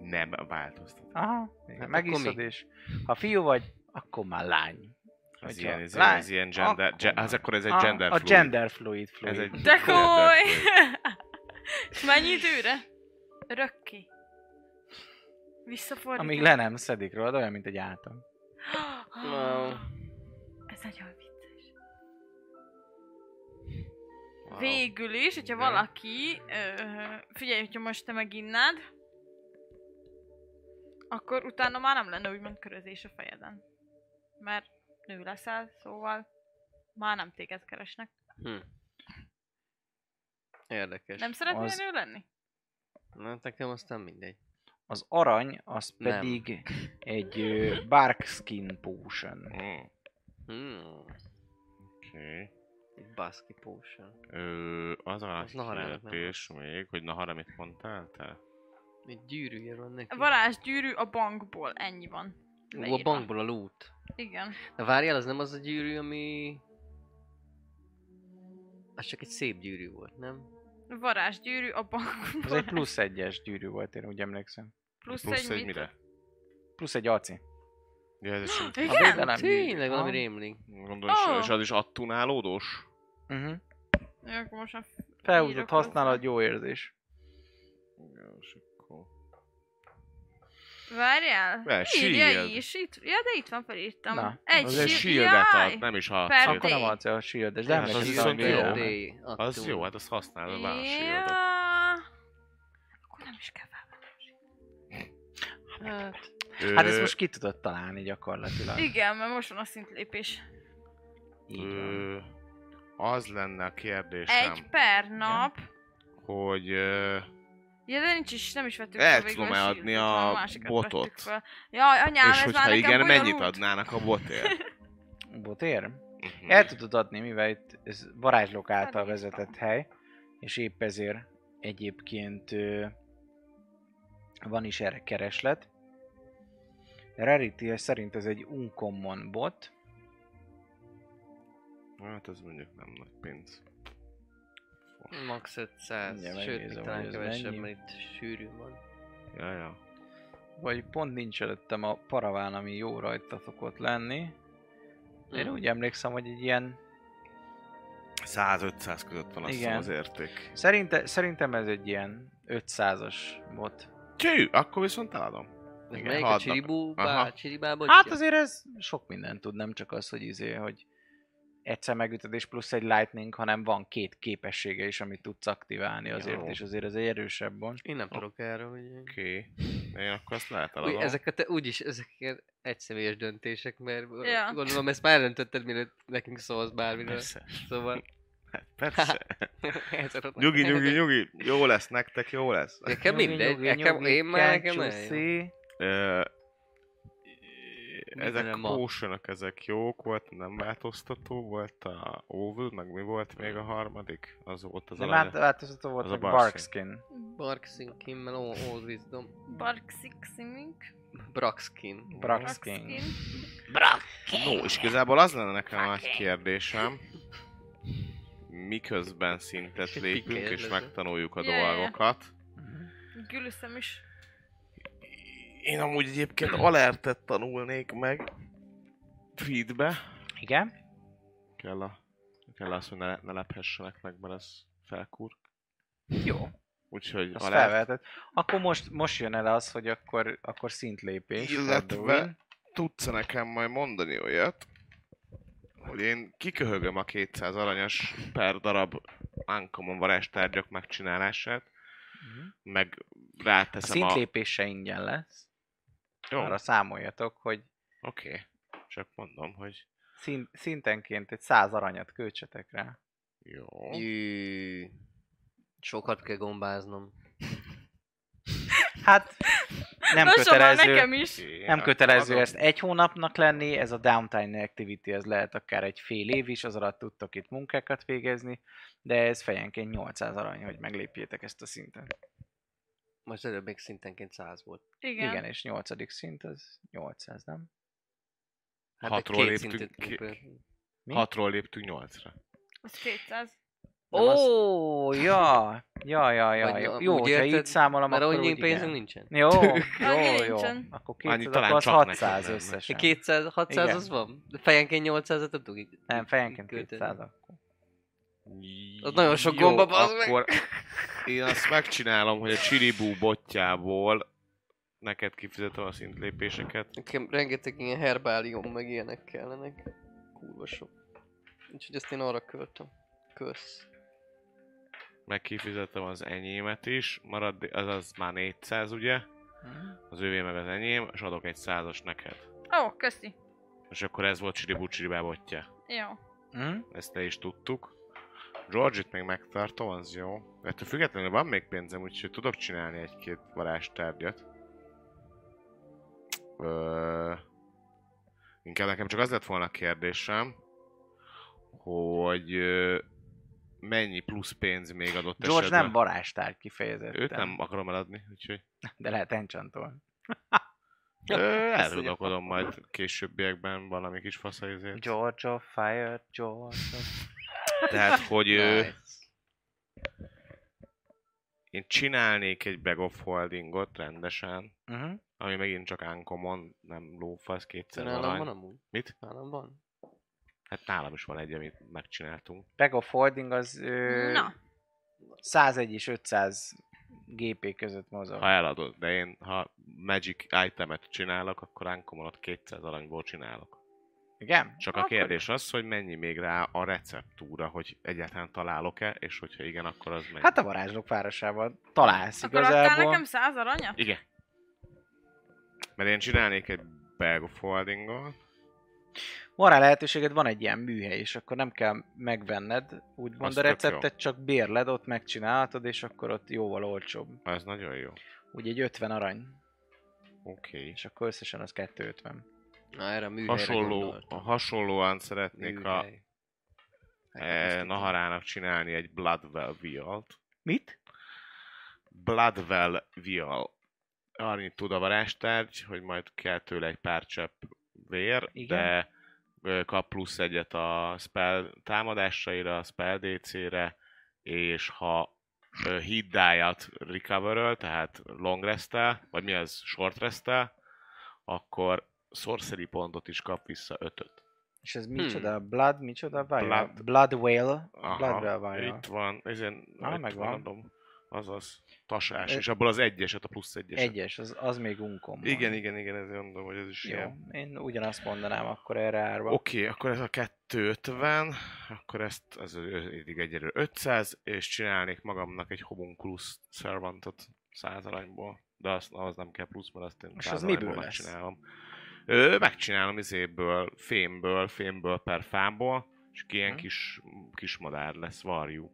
S5: Nem változtat.
S2: Aha, igen,
S3: Hát akkor
S2: megiszod
S3: mi?
S2: és ha fiú vagy, akkor már lány.
S5: Ez
S2: Hogyha
S5: ilyen, ez, ilyen-
S2: lány-
S5: ez ilyen gender,
S2: akkor
S5: ge,
S2: már.
S5: az akkor ez egy
S2: Aha,
S5: gender
S2: A
S5: fluid.
S2: gender fluid fluid.
S5: Ez egy
S4: De komoly!
S5: gender fluid.
S4: És mennyi időre? Rökké. Visszafordítom.
S2: Amíg le nem szedik rólad, olyan, mint egy átom.
S3: Wow.
S4: Ez nagyon vicces.
S3: Wow.
S4: Végül is, hogyha
S3: Igen.
S4: valaki... Ö, figyelj, hogyha most te meginnád, akkor utána már nem lenne úgymond körözés a fejeden. Mert nő leszel, szóval már nem téged keresnek.
S3: Hm. Érdekes.
S4: Nem szeretnél
S2: Az-
S4: nő lenni?
S3: Na, nekem aztán mindegy.
S2: Az arany, az
S3: Nem.
S2: pedig egy ö, bark skin potion.
S5: Mm,
S3: Hmm.
S5: Oké.
S3: Egy baszki potion.
S5: Ö, Az a
S3: Az Naharának nem
S5: kérdés még, hogy Nahara mit mondtál te?
S3: Egy gyűrűje van neki.
S4: Varázsgyűrű a bankból, ennyi van.
S3: Ú, a
S4: leírva.
S3: bankból a loot.
S4: Igen.
S3: Na várjál, az nem az a gyűrű, ami... Az csak egy szép gyűrű volt, nem?
S4: Varázsgyűrű a bankból.
S2: Ez egy plusz egyes gyűrű volt, én úgy emlékszem.
S4: plusz,
S5: Plusz egy
S4: mit?
S5: mire?
S2: Plusz egy aci.
S5: Ja, ez is
S2: A
S4: Igen? Oh.
S2: védelem gyűrű.
S3: Tényleg valami
S2: Aha.
S3: rémlik.
S5: Gondolom, és-
S4: Ó.
S5: és az is attunálódós?
S2: Mhm.
S4: Jó, akkor most már
S2: Felhúzott
S4: írok
S2: használat,
S4: hozzá.
S2: jó érzés.
S5: Igen, és akkor...
S4: Várjál?
S5: Ne,
S4: Írja
S5: shield.
S4: is, itt, ja, de itt van, felírtam.
S2: Na,
S4: egy
S5: Az egy
S4: shi-
S5: shieldet
S4: jaj!
S5: ad, nem is hat.
S4: Per
S2: Akkor nem
S4: Day.
S2: adsz a shield de
S5: Hát
S2: nem
S5: az
S2: emlékszem,
S5: viszont
S2: hogy
S5: jó.
S2: miért.
S5: Az jó, hát azt használod a shieldet.
S4: Ja. Akkor nem is kell felvenni.
S3: Hát,
S2: Hát ezt most ki tudod találni gyakorlatilag.
S4: Igen, mert most van a szintlépés.
S2: Így van.
S5: Ö, az lenne a kérdésem,
S4: Egy per nap.
S5: hogy ö,
S4: Ja, de nincs is, nem is vettük
S5: El
S4: fel végül
S5: tudom-e
S4: a
S5: adni
S4: shieldet,
S5: a
S4: hanem másikat
S5: botot?
S4: vettük fel. Jaj, anyám,
S5: és
S4: ez már
S5: hogyha
S4: nekem
S5: igen, mennyit
S4: bonyolult.
S5: adnának a botért?
S2: Botér?
S5: Mhm.
S2: El tudod adni, mivel itt ez varázslók által
S4: Elnéztem.
S2: vezetett hely, és épp ezért egyébként ö, van is erre kereslet. Rarity szerint ez egy uncommon bot,
S5: Hát ez mondjuk nem nagy pénz.
S3: max 500,
S2: Mindjárt
S3: sőt, még
S2: megnézem, hogy
S3: talán
S2: ez
S3: kevesebb,
S2: mennyi.
S3: mert itt sűrű van.
S5: Ja, ja.
S2: vagy pont nincs előttem a paraván, ami jó rajta szokott lenni. Én
S3: Mhm.
S2: úgy emlékszem, hogy egy ilyen...
S5: 100-500 között van azt hiszem
S2: Igen.
S5: az érték.
S2: Szerinte, szerintem ez egy ilyen 500-as bot.
S5: Cső, akkor viszont eladom.
S3: De
S5: Igen,
S3: Melyik
S5: ha
S3: a
S5: adnak. Aha.
S3: csiribúba, csiribába?
S2: Hát azért ez sok mindent tud, nem csak az, hogy izé, hogy egyszer megütöd és plusz egy lightning, hanem van két képessége is, amit tudsz aktiválni azért,
S5: Jó.
S2: és azért ez egy erősebb van.
S3: Én nem tudok erről, hogy...
S5: Oké. Én akkor azt lehet
S3: Új,
S5: eladom.
S3: ezeket, úgyis ezek ilyen egyszemélyes döntések, mert
S4: Ja.
S3: ja. gondolom ezt már döntötted, mielőtt nekünk szólsz bármiről.
S5: Persze.
S3: Szóval...
S5: Hát Persze.
S3: ezért ott-
S5: Nyugi, nyugi, nyugi. Jó lesz nektek, jó lesz.
S3: Nekem
S2: Nyugi,
S3: mindegy,
S2: nyugi,
S3: nekem,
S2: nyugi,
S3: én már nekem nagyon jó.
S2: kencsúszi.
S5: Ö,
S3: Mit
S5: ezek
S3: tudom ma?
S5: potionok, ezek jók volt, nem változtató volt a Oval, meg mi volt még a harmadik? Az volt az
S2: Nem hát-
S5: alany.
S2: vált- változtató volt,
S5: Az a
S2: meg
S5: Barkskin.
S2: Barkskin.
S3: Barkskin, Kimmel, Old Wisdom,
S4: Barksik szimink.
S3: Braxkin.
S2: Barkskin.
S5: No, és igazából az lenne nekem a nagy kérdésem, miközben szintet
S3: Piké
S5: lépünk és
S3: lesz.
S5: megtanuljuk a
S4: Ja, ja, ja.
S5: dolgokat.
S4: Gülüszem is.
S5: Én amúgy egyébként alertet tanulnék meg feedbe.
S2: Igen?
S5: Kell, a, kell azt, hogy ne, ne lephessenek meg, mert ez felkúr.
S2: Jó,
S5: Úgyhogy
S2: azt felvehetett. Akkor most, most jön el az, hogy akkor, akkor szintlépés.
S5: Illetve-
S2: fordul.
S5: tudsz nekem majd mondani olyat, hogy én kiköhögöm a 200 aranyas per darab uncommon varázstárgyak megcsinálását, meg ráteszem
S2: a
S5: a...
S2: szintlépése ingyen lesz.
S5: Jó,
S2: Arra számoljatok, hogy
S5: oké. Csak mondom, hogy
S2: szint, szintenként egy száz aranyat költsetek rá.
S5: jó.
S3: Jű. Sokat kell gombáznom.
S2: Hát nem
S4: Lassan már
S2: kötelező.
S4: nekem is.
S5: Oké,
S2: Nem
S5: akkor
S2: kötelező
S5: adom.
S2: ezt egy hónapnak lenni, ez a downtime activity, ez lehet akár egy fél év is, az alatt tudtok itt munkákat végezni, de ez fejenként 800 arany, hogy meglépjétek ezt a szintet.
S3: Most előbb még szintenként 100 volt.
S4: Igen.
S2: Igen, Igen és 8. szint az 800, nem?
S3: de
S5: Hatról
S3: Hát két
S5: léptünk
S3: szintet
S5: ki-
S3: ugrunk.
S2: Mi?
S5: Hatról léptünk nyolcra.
S4: Az 200.
S3: Nem azt-
S2: Ó, ja, ja, ja, ja,
S3: Vagy
S2: jó,
S3: na,
S2: jó
S3: úgy
S2: hogyha
S3: érted,
S2: így számolom,
S3: Mert
S2: akkor
S3: annyi
S2: úgy
S3: pénzünk
S2: igen.
S3: nincsen.
S2: Jó, jó,
S4: Annyi
S2: jó.
S4: nincsen.
S2: Akkor
S5: Annyi
S2: 200,
S5: talán
S2: akkor az
S5: csak
S2: 600
S5: nekem lenne.
S2: összesen.
S3: 200, 600
S2: Igen.
S3: az van? De Fejenként 800 et nem tudunk így
S2: Nem, fejenként
S3: költeni.
S2: 200 -ak.
S3: Az nagyon sok gomba, bazd meg.
S5: akkor én azt megcsinálom, hogy a csiribú botjából neked kifizetem a szintlépéseket.
S3: Nekem rengeteg ilyen herbálium meg ilyenek kellenek. Kurva sok. Úgyhogy ezt én arra költöm. Kösz.
S5: meg kifizetem az enyémet is, marad, az, az már 400 ugye,
S2: Mhm.
S5: az övé meg az enyém, és adok egy százas neked.
S4: Ó, köszi.
S5: És akkor ez volt Csiribú Csiribábotja.
S4: Jó.
S2: Mhm.
S5: Ezt te is tudtuk. George-it még megtartom, az jó. Ettől függetlenül van még pénzem, úgyhogy tudok csinálni egy-két varázstárgyat. Ö... Inkább nekem csak az lett volna a kérdésem, hogy ö, mennyi plusz pénz még adott
S2: George
S5: esetben.
S2: nem varázstár kifejezetten.
S5: Őt nem akarom eladni, úgyhogy...
S2: De lehet enchantolni.
S5: Ö,
S3: Ezt
S5: Elgondolkodom majd későbbiekben valami kis faszajzét.
S2: George of Fire, George of...
S5: Tehát, hogy ö,
S3: Nice.
S5: én csinálnék egy bag of holdingot rendesen,
S2: Mhm.
S5: ami megint csak uncommon, nem lófasz, kétszer
S3: Nálam van
S5: arany.
S3: amúgy?
S5: Mit?
S3: Nálam van?
S5: Hát nálam is van egy, amit megcsináltunk.
S2: Bag of Holding az ö,
S4: Na,
S2: 101 és 500 GP között mozog.
S5: Ha eladod, de én ha magic itemet csinálok, akkor uncommonot 200 aranyból csinálok.
S2: Igen?
S5: Csak a
S4: Akkor-
S5: kérdés az, hogy mennyi még rá a receptúra, hogy egyáltalán találok-e, és hogyha igen, akkor az mennyi.
S2: Hát a varázslók városában találsz
S4: akkor adtál
S2: igazából.
S4: nekem 100 aranyat?
S5: Igen. Mert én csinálnék egy bag of holdingot,
S2: Van rá lehetőséged, van egy ilyen műhely, és akkor nem kell megvenned,
S5: Az
S2: úgymond a
S5: tök
S2: receptet, csak bérled, ott megcsinálhatod, és akkor ott jóval olcsóbb.
S5: az nagyon jó.
S2: Úgy egy 50 arany,
S5: Oké. Okay.
S2: és akkor összesen az 250.
S3: Na erre a műhelyre
S5: Hasonló,
S3: gondoltam.
S5: hasonlóan szeretnék a
S3: Műhely.
S5: e,
S3: Hát,
S5: Naharának csinálni egy Bloodwell vialt.
S2: Mit?
S5: Bloodwell vial. Annyit tud a varázstárgy, hogy majd kell tőle egy pár csepp vér,
S2: Igen.
S5: de ö, kap plusz egyet a spell támadásaira, a spell DC-re, és ha ö, hit die-at recover tehát long rest vagy mi az, short rest akkor sorcery pontot is kap vissza ötöt.
S2: És ez micsoda? Blood, micsoda? Vajra?
S5: Hmm. Blood.
S2: Blood. Blood Whale.
S5: Aha,
S2: Blood Whale vajra.
S5: Itt van, ezen
S2: Na,
S5: itt
S2: megvan.
S5: adom. Azaz, tasás,
S2: Ö-
S5: és abból az egyeset, a plusz egyeset.
S2: Egyes, az, az még unkom.
S5: Igen, igen, igen, ezért mondom, hogy ez is
S2: Jó,
S5: ilyen.
S2: én ugyanazt mondanám akkor erre árva.
S5: Oké, okay, akkor ez a 250, akkor ezt, ez eddig egyelőre 500, és csinálnék magamnak egy homunculus servantot 100 aranyból, de azt, ahhoz nem kell plusz, mert azt én
S2: És
S5: 100
S2: az miből
S5: aranyból
S2: lesz?
S5: megcsinálom. Ö, megcsinálom izéből, fémből, fémből per fából, és ki ilyen
S2: Mhm.
S5: kis, kis madár lesz, varjú.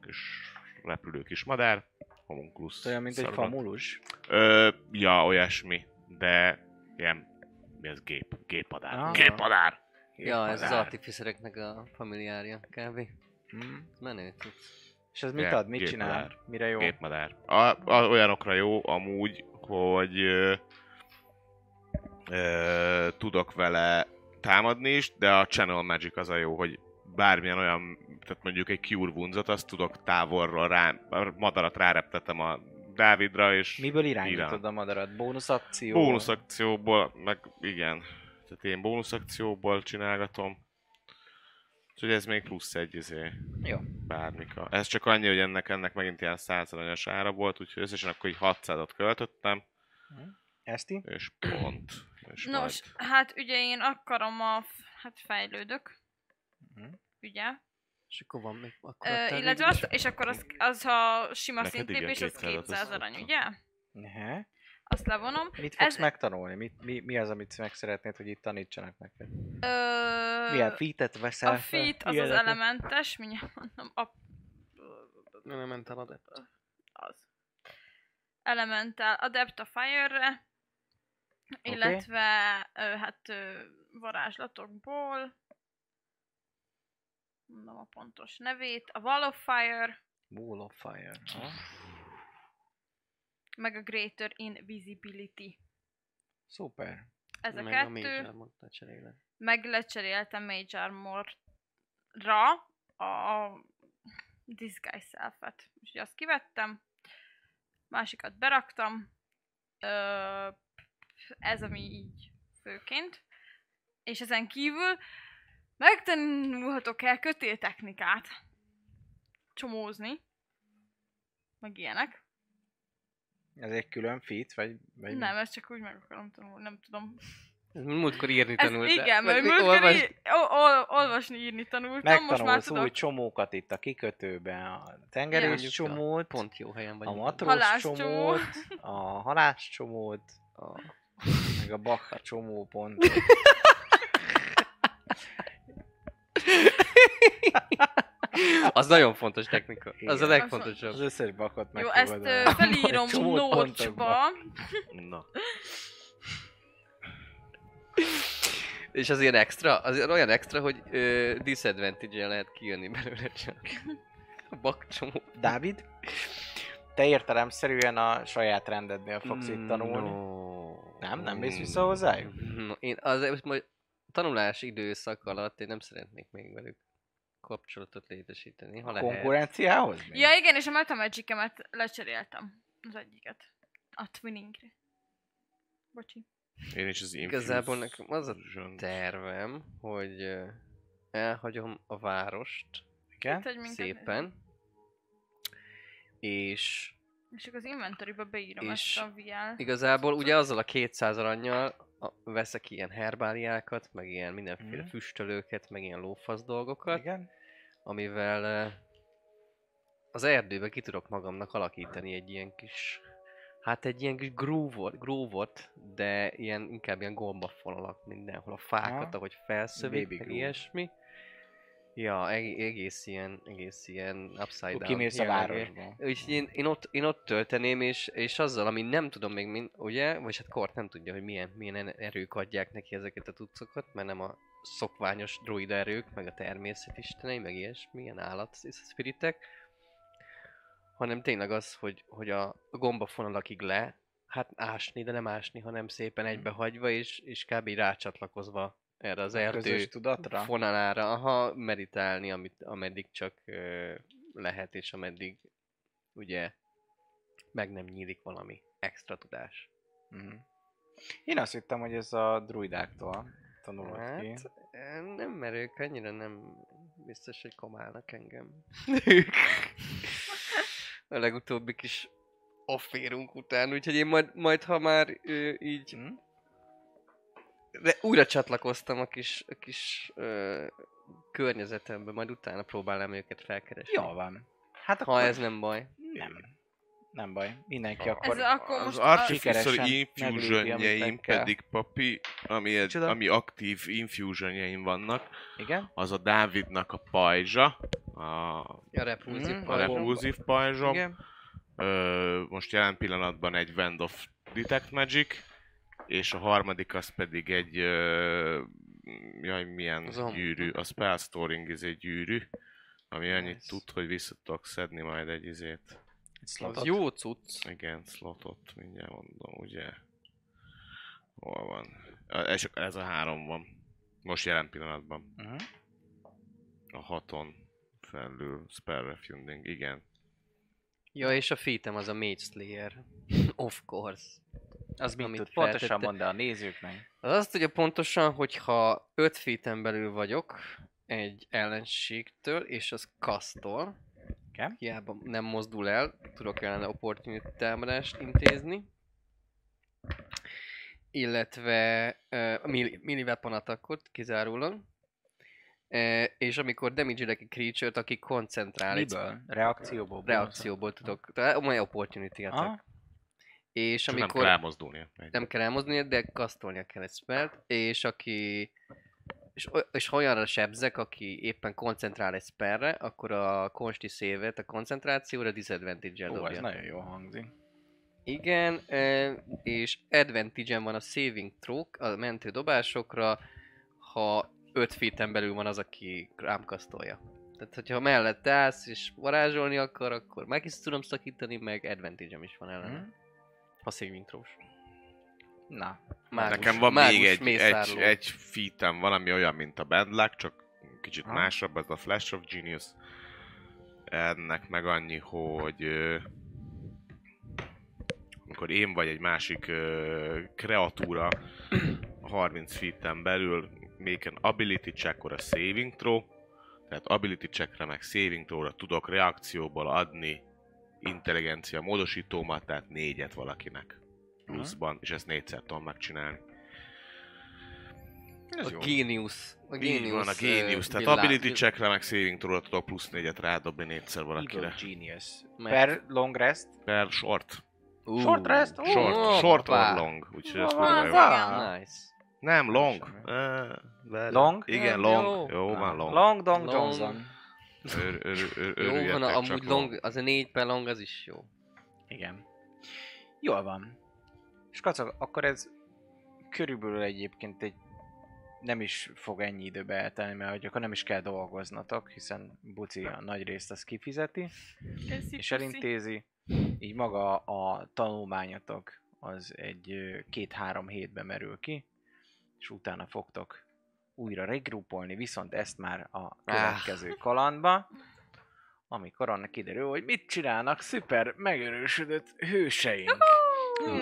S5: Kis repülő kis madár, homunculus
S2: Olyan, mint egy
S5: servant.
S2: famulus.
S5: Ö, ja, olyasmi, de ilyen, mi ez gép, gépadár.
S2: Ah.
S5: Gépadár!
S3: Ja, ez az
S5: Gépadár.
S3: artificereknek a familiárja kb.
S2: Hm.
S3: Menő. cucc.
S2: És ez mit
S5: Gép-
S2: ad, mit
S5: gépmadár.
S2: csinál? Mire jó?
S5: Gépmadár. A, a, olyanokra jó amúgy, hogy ö, ö, tudok vele támadni is, de a Channel Magic az a jó, hogy bármilyen olyan, tehát mondjuk egy Cure Wounds-ot, azt tudok távolról rá, a madarat ráreptetem a Dávidra, és
S2: Miből irányítod
S5: Irán.
S2: a madarat? Bónusz akció?
S5: Bónusz akcióból, meg igen. Tehát én bónusz akcióból csinálgatom. Úgyhogy ez még plusz egy, izé,
S2: Jó.
S5: bármika. Ez csak annyi, hogy ennek, ennek megint ilyen százalanyos ára volt, úgyhogy összesen akkor így 600-at költöttem,
S2: Eszti?
S5: és pont. És
S4: Nos,
S5: majd
S4: hát ugye én akarom a... f- Hát fejlődök.
S2: Mhm.
S4: Ugye?
S3: És akkor van még... Akkor
S4: Ö,
S3: te
S4: illetve
S3: végül is-
S4: azt, és akkor az, az ha sima
S6: Neked
S4: szintlépés,
S6: igen,
S4: az
S6: 200
S4: 200 arany,
S6: össze.
S4: ugye?
S2: Ne.
S4: Azt levonom.
S2: Mit fogsz
S4: Ez-
S2: megtanulni? Mit, mi, mi az, amit meg szeretnéd, hogy itt tanítsanak neked?
S4: Ö,
S2: Milyen fitet veszel
S4: a
S2: fel?
S4: feat az az
S2: Ilyeneket?
S4: elementes, mindjárt mondom, a,
S3: Nem, nem ment el adept.
S4: az. Elemental Adept a Fire-re, illetve ö, hát ö, varázslatokból, mondom a pontos nevét, a Wall of Fire,
S2: Wall of Fire. Aha.
S4: meg a Greater Invisibility.
S2: Szuper.
S4: Ez a
S3: Meg
S4: kettő.
S3: mage armor, ne cseréled.
S4: meg lecseréltem Mage Armor-ra a Disguise Self-et. Úgyhogy azt kivettem, másikat beraktam, Ö, ez ami így főként, és ezen kívül megtanulhatok el kötéltechnikát, csomózni, meg ilyenek.
S2: Ez egy külön fit, vagy, vagy mi?
S4: Nem, ezt csak úgy meg akarom tanulni, nem tudom.
S3: Ez múltkor írni
S4: Ez,
S3: tanultál.
S4: igen, mert
S3: Vagy
S4: múltkor
S3: olvasd.
S4: í- ol- ol- olvasni, írni tanultam, most már
S2: Megtanulsz
S4: tudok.
S2: új csomókat itt a kikötőben, a
S4: Ja.
S2: tengerős
S3: Mondjuk a-
S2: csomót,
S3: Pont jó helyen vagy.
S2: a matrós
S4: Halászcsomó.
S2: csomót, a halász csomót,
S3: A...
S2: meg a bakha csomó pont.
S3: Az nagyon fontos technika. Az a
S2: Igen. Az
S3: legfontosabb.
S2: összes bakot meg
S4: Jó, ezt ö, felírom nócsba.
S6: Na,
S3: És az ilyen extra, az ilyen olyan extra, hogy ö, disadvantage lehet kijönni belőle csak. A bakcsomó.
S2: Dávid, te értelemszerűen a saját rendednél fogsz
S3: Hmm,
S2: itt tanulni.
S3: Mm, No. Mm.
S2: Nem? Nem mész vissza hozzájuk?
S3: No, én azért most majd tanulás időszak alatt én nem szeretnék még velük kapcsolatot létesíteni, ha lehet.
S2: Konkurenciához még?
S4: Ja igen, és a Metamagic-emet lecseréltem. Az egyiket. A Twinning-re. Bocsi.
S6: én is az Infuse
S3: Igazából nekem az a
S6: Zsang-
S3: tervem, hogy ö, elhagyom a várost
S2: Igen?
S4: Itt, hogy minket-
S3: szépen, és
S4: És akkor az inventory-ba beírom
S3: És-
S4: ezt a VR.
S3: igazából ugye azzal a 200 aranyjal a- veszek ilyen herbáliákat, meg ilyen mindenféle
S2: Mhm.
S3: füstölőket, meg ilyen lófasz dolgokat,
S2: Igen?
S3: amivel eh, az erdőbe ki tudok magamnak alakítani egy ilyen kis, hát egy ilyen kis grúvot, grúvot de ilyen, inkább ilyen gombafonalak mindenhol, a fákat,
S2: Aha.
S3: ahogy felszövik,
S2: Baby
S3: meg
S2: groove.
S3: ilyesmi. Ja, eg- egész ilyen, egész ilyen upside
S2: Akkor
S3: down.
S2: kimész a
S3: jellegű.
S2: városba.
S3: Úgyhogy én, én, ott, én ott tölteném, és, és azzal, ami nem tudom még, min, ugye, vagy hát Kort nem tudja, hogy milyen, milyen en- erők adják neki ezeket a tudszokat, mert nem a szokványos druida erők, meg a természet istenei, meg ilyesmi, ilyen állat spiritek, hanem tényleg az, hogy, hogy a gombafonalakig le, hát ásni, de nem ásni, hanem szépen egybehagyva, és, és kb. így rácsatlakozva erre az erdő
S2: Közös tudatra?
S3: fonalára, aha, meditálni, amit, ameddig csak ö, lehet, és ameddig ugye meg nem nyílik valami extra tudás.
S2: Mhm. Én azt hittem, hogy ez a druidáktól tanulod ki.
S3: Hát, ö, nem, mert ők annyira nem biztos, hogy komálnak engem. A legutóbbi kis afférunk után, úgyhogy én majd, majd ha már ö, így
S2: Hm?
S3: de újra csatlakoztam a kis, a kis ö, környezetembe, majd utána próbálom őket felkeresni.
S2: Jó van. Hát
S3: Ha ez nem baj.
S2: Nem. Nem baj. Mindenki
S6: Ez
S5: Ah.
S2: akkor...
S4: Ez akkor
S6: az
S4: most...
S6: Artificer
S2: sikeresen meglépi, amit
S6: infusionjeim
S2: meg kell.
S6: pedig, papi, ami,
S2: Micsoda?
S6: ami aktív infusionjeim vannak,
S2: Igen?
S6: az a Dávidnak a pajzsa, a,
S3: Hmm, A repulzív
S2: Mhm.
S6: a
S2: Pajzsom.
S6: repulzív pajzsom,
S2: Igen.
S6: Ö, most jelen pillanatban egy Wand of Detect Magic, és a harmadik az pedig egy... Ö, jaj, milyen
S3: Az a-
S6: gyűrű. A Spell Storing ez egy gyűrű, ami annyit
S3: Nice.
S6: tud, hogy vissza tudok szedni majd egy izét.
S2: Szóval-
S3: Az jó cucc.
S6: Igen, slotot, mindjárt mondom, ugye? Hol van? Ö, És ez a három van. Most jelen pillanatban.
S2: Mhm.
S6: A haton felül Spell Refunding, igen.
S3: Ja, és a fitem az a Mage Slayer. of course. Az
S2: Mit
S3: amit
S2: tud pontosan
S3: feltette.
S2: mondani a nézőknek?
S3: Az azt tudja pontosan, hogy ha 5 feeten belül vagyok egy ellenségtől, és az kasztol,
S2: Igen.
S3: hiába nem mozdul el, tudok ellene opportunity támadást intézni, illetve uh, melee melee weapon attackot kizárólag, Ö, és amikor damage egy creature-t, aki koncentrál, egy
S4: Miből? Reakcióból?
S3: reakcióból tudok, tehát olyan opportunity
S4: Aha.
S3: És
S5: Csak nem
S3: amikor
S5: kell elmozdulnia.
S3: nem kell elmozdulnia, de kasztolnia kell egy spelt, és aki és, o- és ha olyanra sebzek, aki éppen koncentrál egy spellre, akkor a konsti szévet a koncentrációra disadvantage-el
S4: Ó, ez
S3: dobja.
S4: nagyon jól hangzik.
S3: Igen, ö, és advantage van a saving throw a mentő dobásokra, ha 5 feet belül van az, aki rám kasztolja. Tehát, hogyha mellett állsz és varázsolni akar, akkor meg is tudom szakítani, meg advantage is van ellene,
S4: Mhm.
S3: ha saving throw
S4: Na,
S3: Mágus,
S5: Nekem van
S3: mágus
S5: még egy, egy,
S3: mészárló.
S5: egy featem, valami olyan, mint a Bad Luck, csak kicsit
S4: Ha.
S5: másabb, ez a Flash of Genius. Ennek meg annyi, hogy ö, amikor én vagy egy másik ö, kreatúra 30 feet belül make an ability check or a saving throw, tehát ability checkre meg saving throw-ra tudok reakcióból adni intelligencia módosítómat, tehát négyet valakinek pluszban, és ezt négyszer tudom megcsinálni.
S3: a génius. A
S5: Így
S3: génius.
S5: van, a génius.
S3: ö,
S5: Tehát
S3: villá-
S5: ability checkre, meg saving throw tudok plusz négyet rádobni négyszer
S4: Evil
S5: valakire.
S4: Genius.
S3: Meg-
S4: Per long rest.
S5: Per short.
S3: Ú,
S4: Short rest? Ó,
S5: Short,
S3: ó,
S5: short
S3: papá.
S5: or long. Úgyhogy ez
S4: Ó,
S5: kurva
S7: az
S5: jó.
S7: a-
S3: Nice.
S5: Nem, long.
S4: Semmi.
S5: Eh, ver-
S4: Long?
S3: Nem,
S5: Igen, long.
S3: jó.
S5: Jó, van long.
S4: Long dong
S3: Long.
S4: Johnson.
S5: Ör- ör- ör-
S3: Jó,
S5: örüljetek,
S3: van, a-
S5: csak
S3: amúgy long, az a négy per long, az is jó.
S4: Igen. Jól van. És kacag, akkor ez körülbelül egyébként egy nem is fog ennyi időbe eltelni, mert hogy akkor nem is kell dolgoznatok, hiszen Buci a nagy részt az kifizeti,
S7: Köszi,
S4: és
S7: puszi.
S4: elintézi. Így maga a tanulmányatok az egy ö, két-három hétbe merül ki, és utána fogtok újra regrupolni, viszont ezt már a következő kalandba, amikor annak kiderül, hogy mit csinálnak szuper megerősödött hőseink. Mm,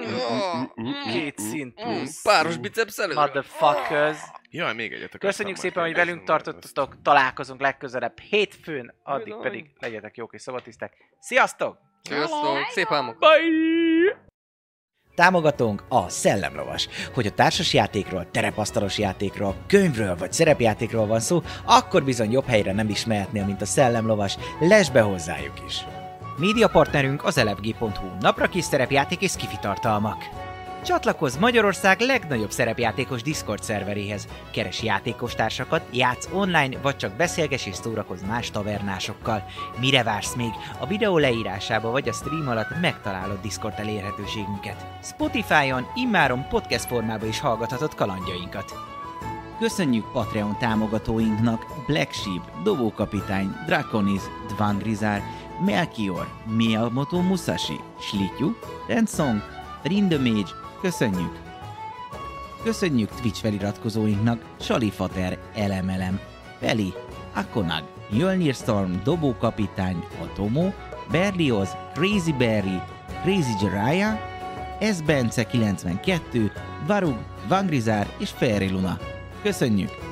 S4: Két
S5: Mm,
S4: szint plusz.
S3: Páros biceps előre.
S4: Motherfuckers.
S5: Jaj, még egyet akartam
S4: Köszönjük
S5: már
S4: szépen, hogy
S5: kérdezni,
S4: velünk
S5: Ah, majd ezt-
S4: tartottatok. Találkozunk legközelebb hétfőn, addig
S3: Bizony.
S4: pedig legyetek jók és szabadtiszták. Sziasztok!
S3: Sziasztok, szép álmokat.
S4: Bye!
S2: Támogatónk a Szellemlovas. Hogy a társas játékról, terepasztalos játékról, könyvről vagy szerepjátékról van szó, akkor bizony jobb helyre nem is mehetnél, mint a Szellemlovas. Lesz be hozzájuk is! Média partnerünk az elefg.hu, napra kis szerepjáték és kifitartalmak. Csatlakozz Magyarország legnagyobb szerepjátékos Discord szerveréhez. Keres játékostársakat, játsz online, vagy csak beszélges és szórakozz más tavernásokkal. Mire vársz még? A videó leírásába vagy a stream alatt megtalálod Discord elérhetőségünket. Spotify-on immáron podcast formában is hallgathatod kalandjainkat. Köszönjük Patreon támogatóinknak Black Sheep, Dovókapitány, Draconis, Dvangrizár, Melchior, Miyamoto Musashi, Slityu, Rensong, Rindemage, köszönjük! Köszönjük Twitch feliratkozóinknak Salifater, Elemelem, Peli, Akonag, Jölnir Storm, Dobókapitány, Atomo, Berlioz, Crazy Berry, Crazy Jiraiya, S. Bence 92, Varug, Vangrizár és Fairy Luna. Köszönjük!